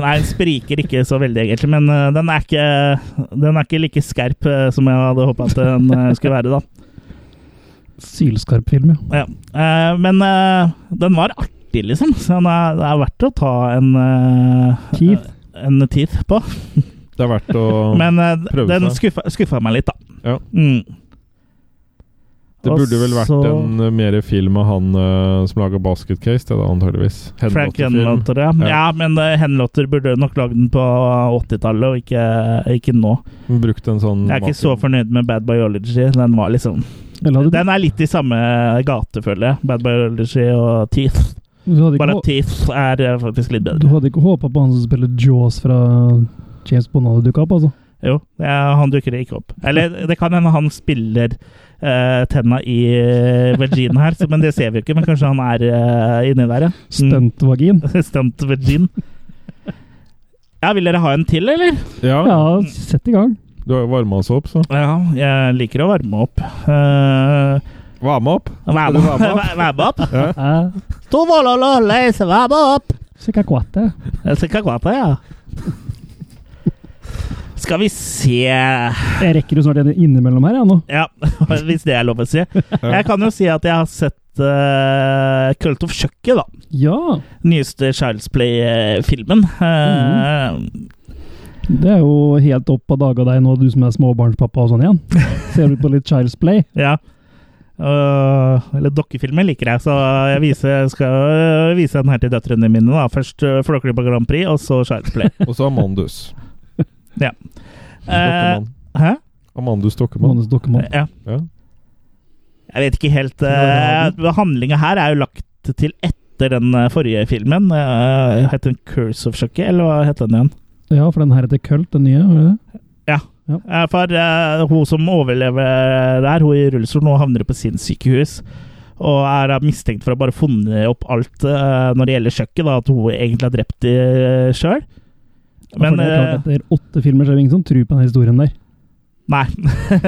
[SPEAKER 3] Nei, den spriker ikke så veldig, egentlig, men øh, den, er ikke, den er ikke like skerp øh, som jeg hadde håpa at den øh, skulle være, da.
[SPEAKER 4] Sylskarp film, ja.
[SPEAKER 3] Ja. Eh, men eh, den var artig, liksom. Så den er, det er verdt å ta en eh,
[SPEAKER 4] Teeth.
[SPEAKER 3] En teeth på.
[SPEAKER 5] Det er verdt å
[SPEAKER 3] Men eh,
[SPEAKER 5] prøve
[SPEAKER 3] den
[SPEAKER 5] seg.
[SPEAKER 3] skuffa, skuffa meg litt, da.
[SPEAKER 5] Ja.
[SPEAKER 3] Mm.
[SPEAKER 5] Det
[SPEAKER 3] og
[SPEAKER 5] burde vel vært
[SPEAKER 3] så-
[SPEAKER 5] en eh, mer film av han eh, som laga Basketcase, det da, antageligvis.
[SPEAKER 3] Frank
[SPEAKER 5] Henlotter-film.
[SPEAKER 3] Henlotter, ja.
[SPEAKER 5] Ja.
[SPEAKER 3] ja. men uh, Henlotter burde nok lagd den på 80-tallet, og ikke, ikke nå.
[SPEAKER 5] Brukt en sånn
[SPEAKER 3] Jeg er ikke
[SPEAKER 5] maker.
[SPEAKER 3] så fornøyd med Bad Biology. Den var liksom
[SPEAKER 4] Eller hadde
[SPEAKER 3] Den er litt i samme gate, føler jeg. Bad Biology og Teeth.
[SPEAKER 4] du, du hadde
[SPEAKER 3] Bare
[SPEAKER 4] ikke,
[SPEAKER 3] at Teeth er eh, faktisk litt
[SPEAKER 4] hå- du
[SPEAKER 3] bedre.
[SPEAKER 4] hadde ikke håpa på han som spiller Jaws fra James Bond hadde dukka opp, altså?
[SPEAKER 3] Jo, ja, han dukker ikke opp. Eller det kan hende han spiller eh, tenna i vagina her, så, men det ser vi jo ikke. Men kanskje han er eh, inni der, ja. Mm.
[SPEAKER 4] Stuntvagin.
[SPEAKER 3] Stunt virgin. Ja, vil dere ha en til, eller?
[SPEAKER 5] Ja,
[SPEAKER 4] Ja, sett i gang.
[SPEAKER 5] Du har jo varma oss opp, så.
[SPEAKER 3] Ja, jeg liker å varme opp. Uh,
[SPEAKER 5] Varma opp?
[SPEAKER 3] varme,
[SPEAKER 5] Skal du varme opp?
[SPEAKER 3] varme opp?
[SPEAKER 4] Eh,
[SPEAKER 3] To vololo, leise, varme opp!
[SPEAKER 4] Sjekka kvate.
[SPEAKER 3] Jeg skal ikke ha på, ja. Skal vi se
[SPEAKER 4] Jeg rekker jo snart en innimellom her, jeg nå.
[SPEAKER 3] Ja, hvis det er lov å si. Jeg kan jo si at jeg har sett uh, Cult of Chucky, da.
[SPEAKER 4] Ja.
[SPEAKER 3] Nyeste Child's Play-filmen. Eh,
[SPEAKER 4] Det er jo helt opp av daga deg nå, du som er småbarnspappa og sånn igjen. Ser du på litt Child's Play?
[SPEAKER 3] Ja. Øh, eller dokkefilmer liker jeg, så jeg viser, skal øh, vise den her til døtrene mine. da. Først øh, Flåklypa Grand Prix, og så Child's Play.
[SPEAKER 5] Og så Amandus.
[SPEAKER 3] Ja.
[SPEAKER 5] Stokkemann.
[SPEAKER 3] Hæ?
[SPEAKER 5] Amandus Stokkemann.
[SPEAKER 4] Manus Dokkemann.
[SPEAKER 3] Ja.
[SPEAKER 5] Ja.
[SPEAKER 3] Jeg vet ikke helt uh, Handlinga her er jo lagt til etter den øh, forrige filmen. Uh, het den Curse of Shocky, eller hva het den igjen?
[SPEAKER 4] Ja, for den her heter Kult, den nye. var det det?
[SPEAKER 3] Eh, For eh, hun som overlever der, hun i rullestol, nå havner på sinnssykehus. Og er da mistenkt for å ha bare funnet opp alt eh, når det gjelder kjøkkenet, da, at hun egentlig har drept det sjøl.
[SPEAKER 4] Ja, for
[SPEAKER 3] Men
[SPEAKER 4] det er klart,
[SPEAKER 3] eh,
[SPEAKER 4] Etter åtte filmer så er det ingen som tror på den historien der.
[SPEAKER 3] Nei.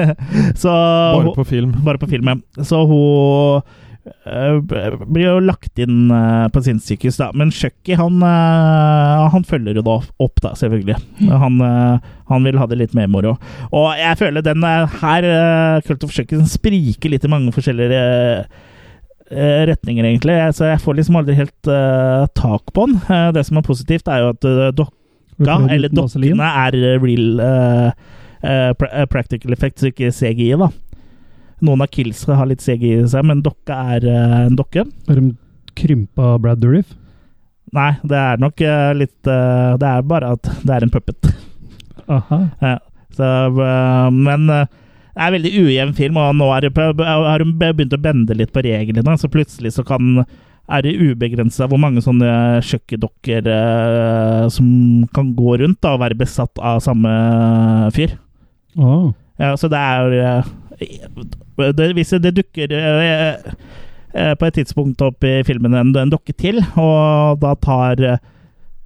[SPEAKER 3] Så
[SPEAKER 5] Bare
[SPEAKER 3] hun-
[SPEAKER 5] på film.
[SPEAKER 3] Bare på film, ja. Så hun øh, b- blir jo lagt inn øh, på sinnssykehus, da. Men Chucky, han, øh, han følger jo da opp, da, selvfølgelig. Han, øh, han vil ha det litt mer moro. Og jeg føler den er her, øh, Cult of Chucky, den spriker litt i mange forskjellige øh, retninger, egentlig. Så jeg får liksom aldri helt øh, tak på den. Eh, det som er positivt, er jo at øh, dokka,
[SPEAKER 4] Har du prøvd
[SPEAKER 3] eller
[SPEAKER 4] uten vaselin?
[SPEAKER 3] dokkene, er øh, real øh, eh, pra- eh, practical effects, og ikke CGI, da. Noen av killsa har litt CGI i seg, men dokka er eh, en dokke.
[SPEAKER 4] Har de krympa Brad Dourif?
[SPEAKER 3] Nei, det er nok eh, litt eh, Det er bare at det er en puppet.
[SPEAKER 4] Aha.
[SPEAKER 3] Så, eh, men eh, det er en veldig ujevn film, og nå er det på, har hun begynt å bende litt på reglene. Så plutselig så kan er det ubegrensa hvor mange sånne kjøkkendokker eh, som kan gå rundt da, og være besatt av samme eh, fyr.
[SPEAKER 4] Ah.
[SPEAKER 3] Ja, så det er eh, det, Hvis det dukker eh, eh, på et tidspunkt opp i filmen en, en dokke til, og da tar eh,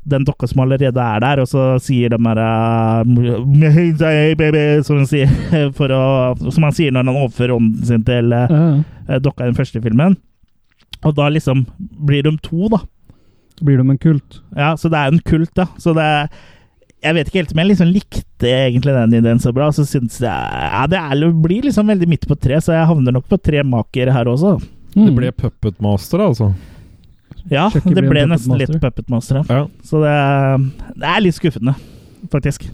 [SPEAKER 3] den dokka som allerede er der, og så sier de her eh, baby, Som han sier, for å, som han sier når han overfører ånden sin til eh,
[SPEAKER 4] Ja, ja.
[SPEAKER 3] dokka i den første filmen. Og da liksom blir de to, da.
[SPEAKER 4] Så blir de en kult.
[SPEAKER 3] Ja, så det er en kult, da. Så det er Jeg vet ikke helt om jeg liksom likte egentlig den ideen så bra. Så syns jeg Ja, det er, det blir liksom veldig midt på tre, så jeg havner nok på tre maker her også.
[SPEAKER 4] Hmm.
[SPEAKER 5] Det ble Puppet Master, altså.
[SPEAKER 3] Ja,
[SPEAKER 4] Chucky
[SPEAKER 3] det
[SPEAKER 4] blir
[SPEAKER 3] ble
[SPEAKER 4] en puppet
[SPEAKER 3] nesten litt
[SPEAKER 4] master.
[SPEAKER 3] Puppet Master, ja.
[SPEAKER 5] Ja.
[SPEAKER 3] Så det, det er litt skuffende, faktisk.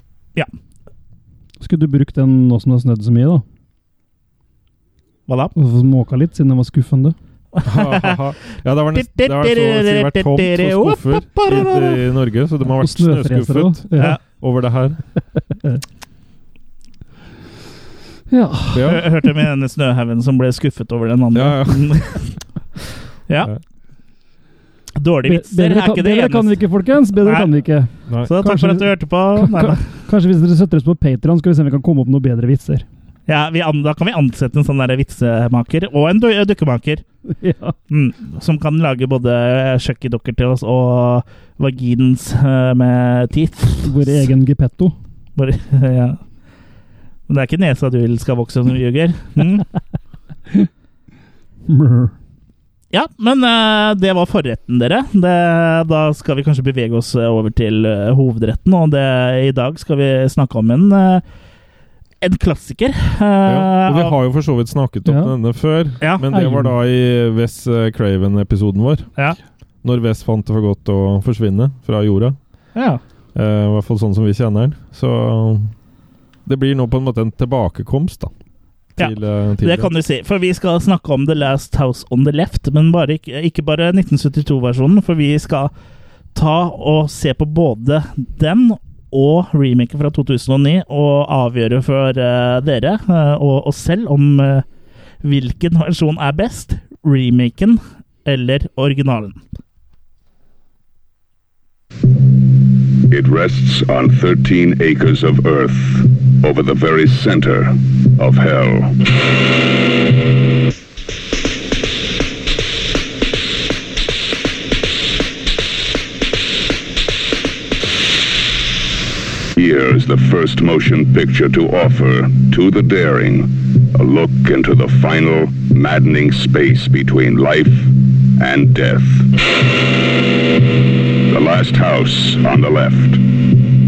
[SPEAKER 4] Skulle du brukt den nå som det har snødd så mye, da?
[SPEAKER 3] Hva da?
[SPEAKER 4] Og så måka litt, siden den var skuffende?
[SPEAKER 5] ja, det har nesten det har vært så å si vært tomt for skuffer i, i Norge, så de har
[SPEAKER 4] Og
[SPEAKER 5] vært snøskuffet
[SPEAKER 4] også. Ja.
[SPEAKER 5] over det her.
[SPEAKER 4] ja.
[SPEAKER 5] Ja.
[SPEAKER 3] Hør- Hørte om denne snøhaugen som ble skuffet over den andre.
[SPEAKER 5] Ja,
[SPEAKER 3] Ja.
[SPEAKER 5] Ja.
[SPEAKER 4] Be-
[SPEAKER 3] Dårlige vitser
[SPEAKER 4] Bedre,
[SPEAKER 3] er
[SPEAKER 4] kan,
[SPEAKER 3] ikke det
[SPEAKER 4] bedre kan vi
[SPEAKER 3] eneste.
[SPEAKER 4] ikke, folkens! Bedre
[SPEAKER 3] Nei.
[SPEAKER 4] kan vi ikke.
[SPEAKER 5] Nei.
[SPEAKER 3] Så takk
[SPEAKER 4] Kanskje-
[SPEAKER 3] for at du hørte på. Nei, da.
[SPEAKER 4] Kanskje hvis dere støtter oss på Patreon skal vi se om vi kan komme opp med noen bedre vitser.
[SPEAKER 3] Ja, vi an, da kan vi ansette en sånn der vitsemaker og en du- dukkemaker.
[SPEAKER 4] Ja.
[SPEAKER 3] Mm, som kan lage både kjøkkendokker til oss og vagins eh, med teeth.
[SPEAKER 4] Vår egen Geppetto.
[SPEAKER 3] Bare, ja. Men det er ikke nesa du vil skal vokse når du ljuger. Mm.
[SPEAKER 4] Mrr.
[SPEAKER 3] Ja, men eh, det var forretten, dere. Det, da skal vi kanskje bevege oss eh, over til eh, hovedretten, og det, i dag skal vi snakke om en eh, en klassiker. eh,
[SPEAKER 5] Ja, og vi
[SPEAKER 3] av-
[SPEAKER 5] har jo for så vidt snakket om
[SPEAKER 4] Ja.
[SPEAKER 5] denne før,
[SPEAKER 3] Ja.
[SPEAKER 5] men det var da i Wes eh, Craven-episoden vår.
[SPEAKER 3] Ja.
[SPEAKER 5] Når Wes fant det for godt å forsvinne fra jorda.
[SPEAKER 3] ja.
[SPEAKER 5] Eh, I hvert fall sånn som vi kjenner den. Så det blir nå på en måte en tilbakekomst, da.
[SPEAKER 3] Ja.
[SPEAKER 5] Til, eh, til
[SPEAKER 3] Det kan du si, for vi skal snakke om The Last House on the Left, men bare, ikke- ikke bare 1972-versjonen, for vi skal ta og se på både den og remaken fra 2009, og avgjøre for eh, dere eh, og oss selv om eh, hvilken versjon er best, remaken eller originalen.
[SPEAKER 6] It rests on 13 acres of earth over the very center of hell. Here is the first motion picture to offer to the daring a look into the final maddening space between life and death the last house on the left.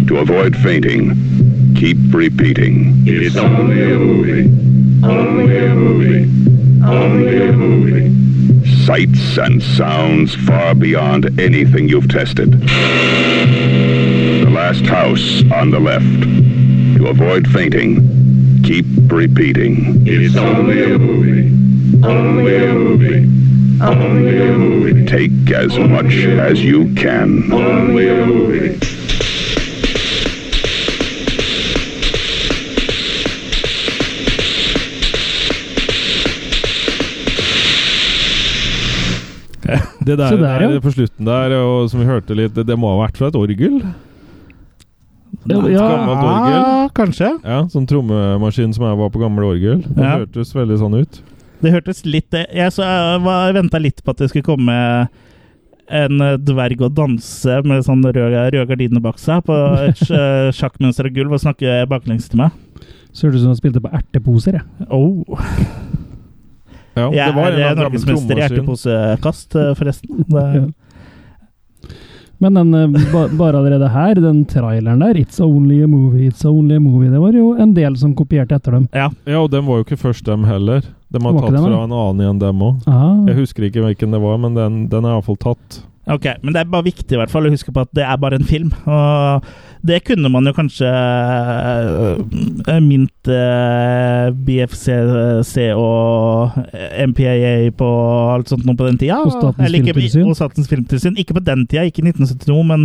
[SPEAKER 6] To avoid fainting, keep repeating. It's only a movie. Only a movie. Only a movie. Sights and sounds far beyond anything you've tested. The last house on the left. To avoid fainting, Keep repeating. It's only a movie. Only a movie. Only a movie. Take as much as you can. Only a movie.
[SPEAKER 5] Det der,
[SPEAKER 4] Se der,
[SPEAKER 5] der
[SPEAKER 4] ja.
[SPEAKER 5] på slutten der, og som vi hørte litt, det, det må ha vært fra et orgel? gammelt orgel.
[SPEAKER 3] ah, kanskje.
[SPEAKER 5] Ja, sånn trommemaskin som jeg var på gamle orgel. Det
[SPEAKER 3] Ja.
[SPEAKER 5] hørtes veldig sånn ut.
[SPEAKER 3] Det hørtes litt det- Jeg så, venta litt på at det skulle komme en eh, dverg og danse med sånn røde, røde gardiner bak seg på et sj- eh, sjakkmønster og gulv og snakke baklengs til meg.
[SPEAKER 4] Så hørtes det ut som han spilte på erteposer, jeg.
[SPEAKER 3] Oh.
[SPEAKER 5] Ja,
[SPEAKER 3] Jeg
[SPEAKER 5] det var en
[SPEAKER 3] er
[SPEAKER 5] eller
[SPEAKER 3] eh,
[SPEAKER 5] annen gammel
[SPEAKER 3] norgesmester i
[SPEAKER 5] trommemaskin.
[SPEAKER 3] erteposekast, eh, forresten. Det,
[SPEAKER 4] Ja. Men den, eh, ba, bare allerede her, den traileren der, It's Only a Movie, It's Only a Movie, det var jo en del som kopierte etter dem.
[SPEAKER 3] ja.
[SPEAKER 5] Ja, og den var jo ikke først, dem heller. De har
[SPEAKER 4] Var ikke
[SPEAKER 5] tatt
[SPEAKER 4] dem,
[SPEAKER 5] fra
[SPEAKER 4] da?
[SPEAKER 5] en annen igjen, dem òg. Jeg
[SPEAKER 4] Ah,
[SPEAKER 5] husker ikke hvilken det var, men den, den er iallfall tatt.
[SPEAKER 3] Ok, men det er bare viktig i hvert fall å huske på at det er bare en film. Og det kunne man jo kanskje øh, mint øh, BFCC og MPAA på alt sånt noe på den tida.
[SPEAKER 4] Og Statens
[SPEAKER 3] Eller ikke-
[SPEAKER 4] filmtilsyn.
[SPEAKER 3] Og Statens filmtilsyn. Ikke på den tida, ikke i 1972, men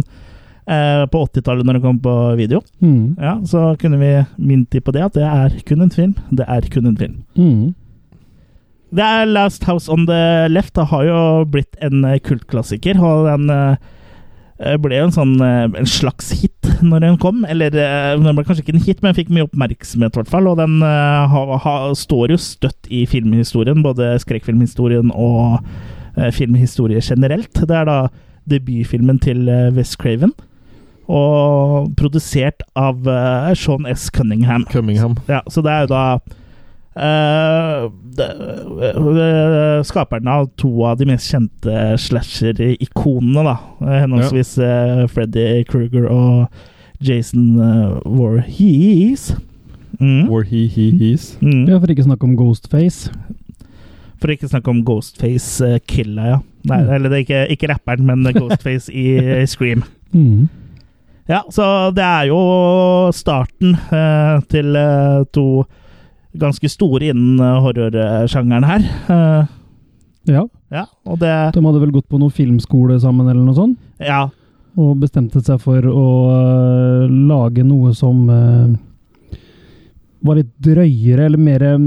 [SPEAKER 3] øh, på 80-tallet når det kom på video.
[SPEAKER 4] mm,
[SPEAKER 3] Ja, Så kunne vi mint de på det, at det er kun en film. Det er kun en film.
[SPEAKER 4] mm.
[SPEAKER 3] Det er Last House on the Left. Det har jo blitt en eh, kultklassiker. Og den eh, ble jo en sånn eh, en slags hit når den kom. Eller eh, den ble kanskje ikke en hit, men fikk mye oppmerksomhet, i hvert fall. Og den eh, ha, ha, står jo støtt i filmhistorien, både skrekkfilmhistorien og eh, filmhistorie generelt. Det er da debutfilmen til eh, Wes Craven. Og produsert av eh, Sean S. Cunningham.
[SPEAKER 5] Cummingham.
[SPEAKER 3] Ja, så det er jo da eh, det, eh, Skaperen av to av de mest kjente slasher-ikonene, da. Eh, Henholdsvis eh, Freddy Kruger og Jason uh, Warhees. Mm.
[SPEAKER 5] Where he he he's.
[SPEAKER 3] Mm.
[SPEAKER 4] Ja, for ikke å snakke om Ghostface.
[SPEAKER 3] For ikke å snakke om Ghostface eh, Killa, ja. Nei,
[SPEAKER 4] Mm.
[SPEAKER 3] eller det er ikke, ikke rapperen, men Ghostface i eh, Scream.
[SPEAKER 4] Mm.
[SPEAKER 3] Ja, så det er jo starten eh, til eh, to ganske store innen eh, horrorsjangeren her. Eh,
[SPEAKER 4] Ja,
[SPEAKER 3] ja, og det
[SPEAKER 4] de hadde vel gått på noen filmskole sammen eller noe sånt,
[SPEAKER 3] Ja,
[SPEAKER 4] og bestemte seg for å øh, lage noe som øh, var litt drøyere eller mer øh,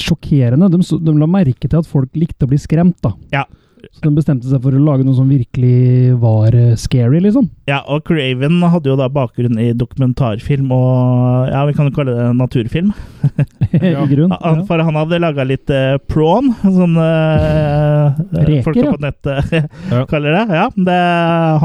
[SPEAKER 4] sjokkerende. De, så- de la merke til at folk likte å bli skremt, da.
[SPEAKER 3] Ja.
[SPEAKER 4] Så de bestemte seg for å lage noe som virkelig var øh, scary, liksom.
[SPEAKER 3] ja, og Craven hadde jo da bakgrunn i dokumentarfilm og Ja, vi kan jo kalle det naturfilm.
[SPEAKER 5] Ja.
[SPEAKER 4] I grunn.
[SPEAKER 3] Han, for han hadde laga litt eh, prawn, som
[SPEAKER 4] Reker,
[SPEAKER 3] folk
[SPEAKER 4] ja.
[SPEAKER 3] på nettet
[SPEAKER 5] Ja.
[SPEAKER 3] kaller det. Ja, det.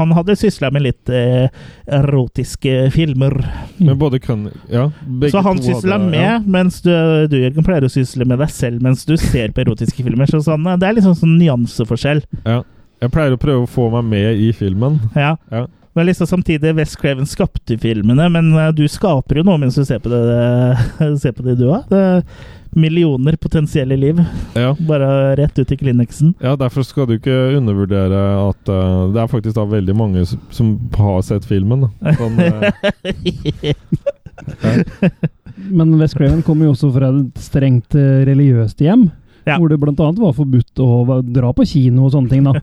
[SPEAKER 3] Han hadde sysla med litt eh, erotiske filmer.
[SPEAKER 5] Men både kan Ja, begge
[SPEAKER 3] så han
[SPEAKER 5] to hadde-
[SPEAKER 3] sysler med,
[SPEAKER 5] ja.
[SPEAKER 3] mens du, du Jørgen, pleier å sysle med deg selv mens du ser på erotiske filmer. Så sånn, det er liksom sånn nyanseforskjell.
[SPEAKER 5] Jeg pleier å prøve å få meg med i filmen.
[SPEAKER 3] Ja.
[SPEAKER 5] Ja.
[SPEAKER 3] Men liksom samtidig, West Craven skapte filmene, men eh, du skaper jo noe mens du ser på det, ser på det du har. Det er Millioner potensielle liv,
[SPEAKER 5] Ja.
[SPEAKER 3] bare rett ut i kliniksen.
[SPEAKER 5] Ja, Derfor skal du ikke undervurdere at eh, det er faktisk da veldig mange s- som har sett filmen. da. Sånn, eh,
[SPEAKER 4] Men West Craven kommer jo også fra et strengt eh, religiøst hjem.
[SPEAKER 3] Ja.
[SPEAKER 4] Hvor det bl.a. var forbudt å va- dra på kino og sånne ting, da.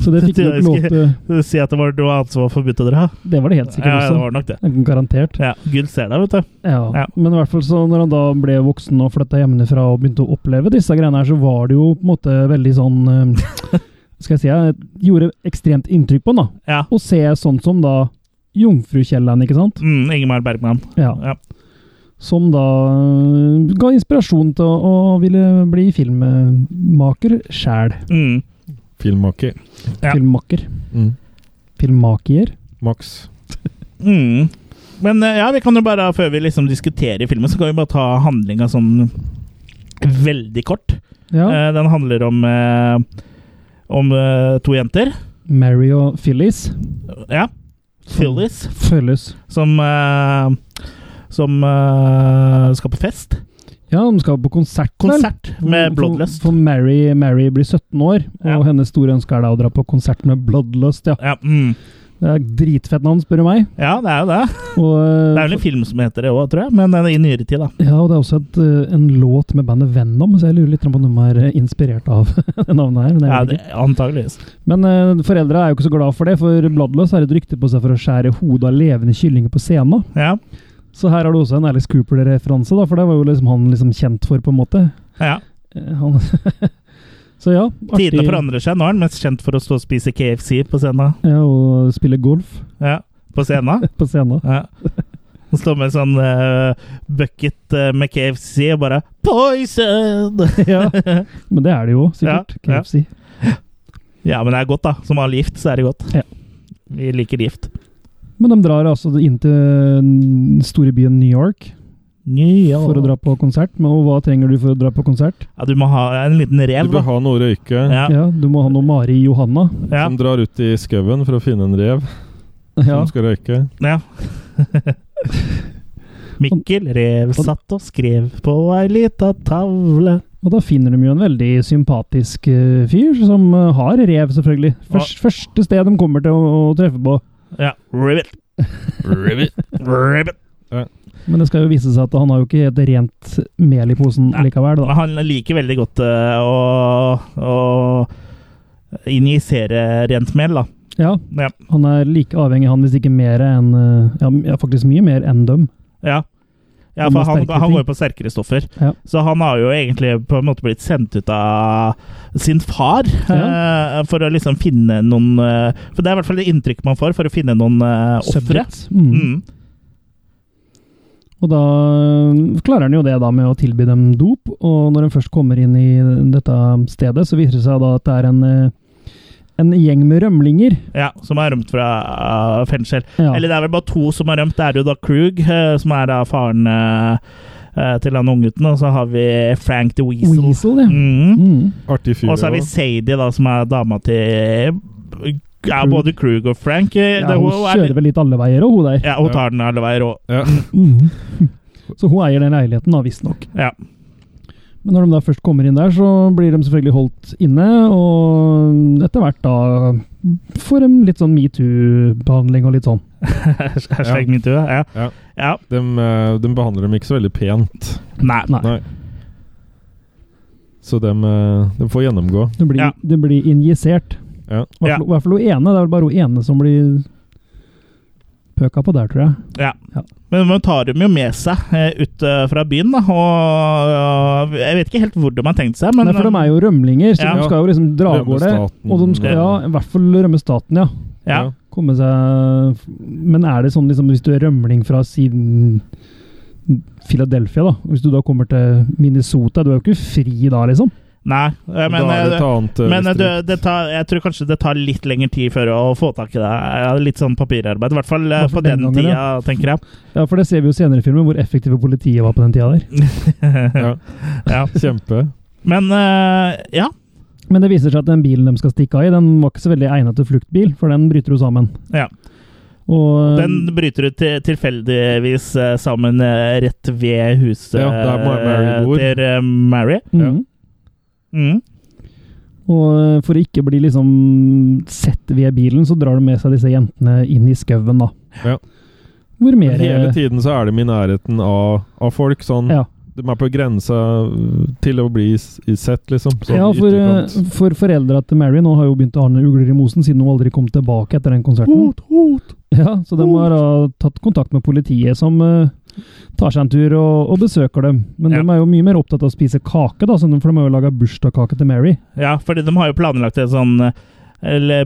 [SPEAKER 4] Så det fikk du ikke lov til.
[SPEAKER 3] Si at det var noe annet som var forbudt å dra.
[SPEAKER 4] Det var det helt
[SPEAKER 3] Ja,
[SPEAKER 4] sikkert
[SPEAKER 3] det
[SPEAKER 4] også.
[SPEAKER 3] var nok det.
[SPEAKER 4] Garantert.
[SPEAKER 3] Ja, Gud ser deg, vet du. Ja.
[SPEAKER 4] Ja. Men i hvert fall så når han da ble voksen og flytta hjemmefra og begynte å oppleve disse greiene her, så var det jo på en måte veldig sånn eh, Skal jeg si eh, Gjorde ekstremt inntrykk på han, da.
[SPEAKER 3] Ja.
[SPEAKER 4] Å se sånn som da Jomfrukjelleren, ikke sant?
[SPEAKER 3] Mm, Ingemar Bergman.
[SPEAKER 4] Ja.
[SPEAKER 3] Ja.
[SPEAKER 4] Som da eh, ga inspirasjon til å, å ville bli filmmaker sjæl.
[SPEAKER 3] Mm.
[SPEAKER 5] Filmmaker.
[SPEAKER 3] Ja.
[SPEAKER 4] Filmmaker.
[SPEAKER 5] Mm.
[SPEAKER 4] Filmmaker.
[SPEAKER 5] Max.
[SPEAKER 3] Mm. Men eh, ja, vi kan jo bare, før vi liksom diskuterer filmen, så kan vi bare ta handlinga sånn veldig kort.
[SPEAKER 4] Ja.
[SPEAKER 3] Eh, den handler om eh, om eh, to jenter.
[SPEAKER 4] Mary og Phyllis.
[SPEAKER 3] Ja. Phyllis,
[SPEAKER 4] Mm. Følges.
[SPEAKER 3] som eh, som eh, skal på fest.
[SPEAKER 4] Ja, de skal på konsert. vel?
[SPEAKER 3] Konsert med Bloodlust.
[SPEAKER 4] For, for Mary, Mary blir 17 år, og
[SPEAKER 3] Ja.
[SPEAKER 4] hennes store ønske er da å dra på konsert med Bloodlust, ja.
[SPEAKER 3] Ja, mm.
[SPEAKER 4] Det er et Dritfett navn, spør du meg.
[SPEAKER 3] Ja, det er jo det.
[SPEAKER 4] Og, eh,
[SPEAKER 3] Det er vel en film som heter det òg, tror jeg. Men eh, i nyere tid, da.
[SPEAKER 4] ja, og det er også et, eh, en låt med bandet Venom, så jeg lurer litt på om de er eh, inspirert av det navnet her. Men,
[SPEAKER 3] Ja,
[SPEAKER 4] jeg vet
[SPEAKER 3] det, antageligvis.
[SPEAKER 4] ikke. men eh, foreldre er jo ikke så glad for det, for Bloodless har et rykte på seg for å skjære hodet av levende kyllinger på scenen.
[SPEAKER 3] Ja.
[SPEAKER 4] Så her har du også en Alice Cooper-referanse, da, for det var jo liksom han liksom kjent for, på en måte.
[SPEAKER 3] ja.
[SPEAKER 4] Eh, Han så ja, artig.
[SPEAKER 3] Tidene forandrer seg. Nå er han mest kjent for å stå og spise KFC på scenen.
[SPEAKER 4] Ja, og spille golf
[SPEAKER 3] Ja. På scenen.
[SPEAKER 4] på scenen.
[SPEAKER 3] Ja. Han står med en sånn eh, bucket eh, med KFC og bare Poison!
[SPEAKER 4] ja, men det er det jo, sikkert.
[SPEAKER 3] Ja, ja.
[SPEAKER 4] KFC.
[SPEAKER 3] Ja, men det er godt, da. Som all gift, så er det godt.
[SPEAKER 4] Ja.
[SPEAKER 3] Vi liker gift.
[SPEAKER 4] Men de drar altså inn til den store byen New York
[SPEAKER 3] Ja.
[SPEAKER 4] for å dra på konsert. Men og hva trenger du for å dra på konsert?
[SPEAKER 3] Ja, du må ha en liten
[SPEAKER 5] Du
[SPEAKER 3] rev,
[SPEAKER 5] bør
[SPEAKER 3] da.
[SPEAKER 5] ha noe å røyke
[SPEAKER 3] Ja,
[SPEAKER 4] Ja, Du må ha noe Mari Johanna.
[SPEAKER 3] ja,
[SPEAKER 5] som drar ut i skauen for å finne en rev
[SPEAKER 4] Ja.
[SPEAKER 5] som skal røyke.
[SPEAKER 3] ja. Mikkel Rev satt og skrev på ei lita tavle.
[SPEAKER 4] Og da finner de jo en veldig sympatisk eh, fyr, som eh, har rev, selvfølgelig. Først, Første sted de kommer til å, å treffe på.
[SPEAKER 3] Ja, ribbit. Ribbit. ribbit.
[SPEAKER 4] Men det skal jo vise seg at han har jo ikke helt rent mel i posen
[SPEAKER 3] Nei.
[SPEAKER 4] likevel. da.
[SPEAKER 3] Han liker veldig godt eh, å, å injisere rent mel, da.
[SPEAKER 4] Ja,
[SPEAKER 3] Ja.
[SPEAKER 4] Han er like avhengig, han, hvis ikke mer enn eh, ja, ja, faktisk mye mer enn dem.
[SPEAKER 3] Ja. Ja,
[SPEAKER 4] Han
[SPEAKER 3] for
[SPEAKER 4] har
[SPEAKER 3] han,
[SPEAKER 4] sterkere
[SPEAKER 3] han
[SPEAKER 4] ting.
[SPEAKER 3] går jo på sterkere stoffer.
[SPEAKER 4] Ja.
[SPEAKER 3] Så han har jo egentlig på en måte blitt sendt ut av sin far eh, for å liksom finne noen eh, For det er i hvert fall det inntrykket man får for å finne noen eh, ofre.
[SPEAKER 4] Subjects. Mm.
[SPEAKER 3] Mm.
[SPEAKER 4] Og da eh, klarer han jo det da med å tilby dem dop, og når han først kommer inn i dette stedet, så viser det seg da at det er en, eh, en gjeng med rømlinger.
[SPEAKER 3] Ja, som har rømt fra eh, fengsel.
[SPEAKER 4] Ja.
[SPEAKER 3] Eller det er vel bare to som har rømt. Det er jo da Krug, eh, som er da faren eh, eh, til han unggutten, og så har vi Frank the Weasel.
[SPEAKER 4] Weasel, ja.
[SPEAKER 3] Mm.
[SPEAKER 4] Mm.
[SPEAKER 5] Artig fyr.
[SPEAKER 3] Og så har vi
[SPEAKER 5] også.
[SPEAKER 3] Sadie, da, som er dama til eh, ja,
[SPEAKER 4] Krug.
[SPEAKER 3] både Krug og Frank. eh,
[SPEAKER 4] Ja,
[SPEAKER 3] det-
[SPEAKER 4] hun
[SPEAKER 3] er-
[SPEAKER 4] kjører vel litt alle veier, og hun der.
[SPEAKER 3] Ja, hun tar den alle veier òg.
[SPEAKER 5] Ja.
[SPEAKER 4] Mm. Så hun eier den leiligheten, da, visstnok.
[SPEAKER 3] Ja.
[SPEAKER 4] Men når de da først kommer inn der, så blir de selvfølgelig holdt inne, og etter hvert da får de litt sånn metoo-behandling og litt sånn.
[SPEAKER 3] Hashtag metoo. Ja.
[SPEAKER 5] Ja.
[SPEAKER 3] ja.
[SPEAKER 5] De, eh, de behandler dem ikke så veldig pent.
[SPEAKER 3] Nei.
[SPEAKER 4] Nei.
[SPEAKER 5] Nei. Så de, eh, de får gjennomgå.
[SPEAKER 4] Det blir,
[SPEAKER 3] Ja.
[SPEAKER 4] det blir injisert.
[SPEAKER 5] Ja.
[SPEAKER 4] I hvert
[SPEAKER 3] Ja.
[SPEAKER 4] fall- i hvert fall hun ene. Det er vel bare hun ene som blir pøka på der, tror jeg.
[SPEAKER 3] Ja.
[SPEAKER 4] Ja.
[SPEAKER 3] Men man tar dem jo med seg eh, ut eh, fra byen, da. Og, og jeg vet ikke helt hvor de har tenkt seg, men um,
[SPEAKER 4] Nei, for de er jo rømlinger, så
[SPEAKER 3] Ja.
[SPEAKER 4] de skal jo liksom dra av
[SPEAKER 5] Rømme
[SPEAKER 4] gårde.
[SPEAKER 5] staten. eh,
[SPEAKER 4] Og de skal, ja, i hvert fall rømme staten, ja.
[SPEAKER 3] ja.
[SPEAKER 4] Komme seg Men er det sånn liksom hvis du er rømling fra siden Philadelphia, da. Hvis du da kommer til Minnesota, du er jo ikke fri da, liksom.
[SPEAKER 3] Nei, eh, men,
[SPEAKER 5] da er det
[SPEAKER 3] eh,
[SPEAKER 5] et annet eh,
[SPEAKER 3] men eh, du,
[SPEAKER 5] distrikt.
[SPEAKER 3] det tar, jeg tror kanskje det tar litt lengre tid før å få tak i det. Ja, Litt sånn papirarbeid. I hvert fall eh,
[SPEAKER 4] Hvertfall
[SPEAKER 3] på
[SPEAKER 4] den
[SPEAKER 3] den
[SPEAKER 4] gangen,
[SPEAKER 3] tida, tenker jeg.
[SPEAKER 4] Ja, for det ser vi jo senere i filmen, hvor effektive politiet var på den tida der.
[SPEAKER 5] Ja.
[SPEAKER 3] ja.
[SPEAKER 5] Kjempe.
[SPEAKER 3] Men eh, ja.
[SPEAKER 4] Men det viser seg at den bilen de skal stikke av i, den var ikke så veldig egnet til fluktbil, for den bryter jo sammen.
[SPEAKER 3] Ja.
[SPEAKER 4] Og
[SPEAKER 3] Den bryter ut til, tilfeldigvis eh, sammen eh, rett ved huset
[SPEAKER 5] Ja, der Mar- Mary
[SPEAKER 3] eh,
[SPEAKER 5] bor.
[SPEAKER 3] til eh, Mary.
[SPEAKER 4] mm,
[SPEAKER 3] Mm.
[SPEAKER 4] Og eh, for å ikke bli liksom sett ved bilen, så drar de med seg disse jentene inn i skauen, da.
[SPEAKER 5] Ja.
[SPEAKER 4] Hvor mer eh,
[SPEAKER 3] eh,
[SPEAKER 5] Hele tiden så er de i nærheten av, av folk. sånn
[SPEAKER 4] Ja.
[SPEAKER 5] De er på grensa øh, til å bli s- i sett, liksom. Sånn
[SPEAKER 4] ja, for, eh,
[SPEAKER 5] ytterkant.
[SPEAKER 4] for foreldra til Mary nå har jo begynt å ha noen ugler i mosen, siden hun aldri kom tilbake etter den konserten.
[SPEAKER 3] Mm.
[SPEAKER 4] Ja, Så de har da tatt kontakt med politiet, som eh, tar seg en tur og, og besøker dem. Men
[SPEAKER 3] Ja.
[SPEAKER 4] de er jo mye mer opptatt av å spise kake, da, så de- for de har jo laga bursdagskake til Mary.
[SPEAKER 3] Ja, fordi de har jo planlagt en sånn eh, eller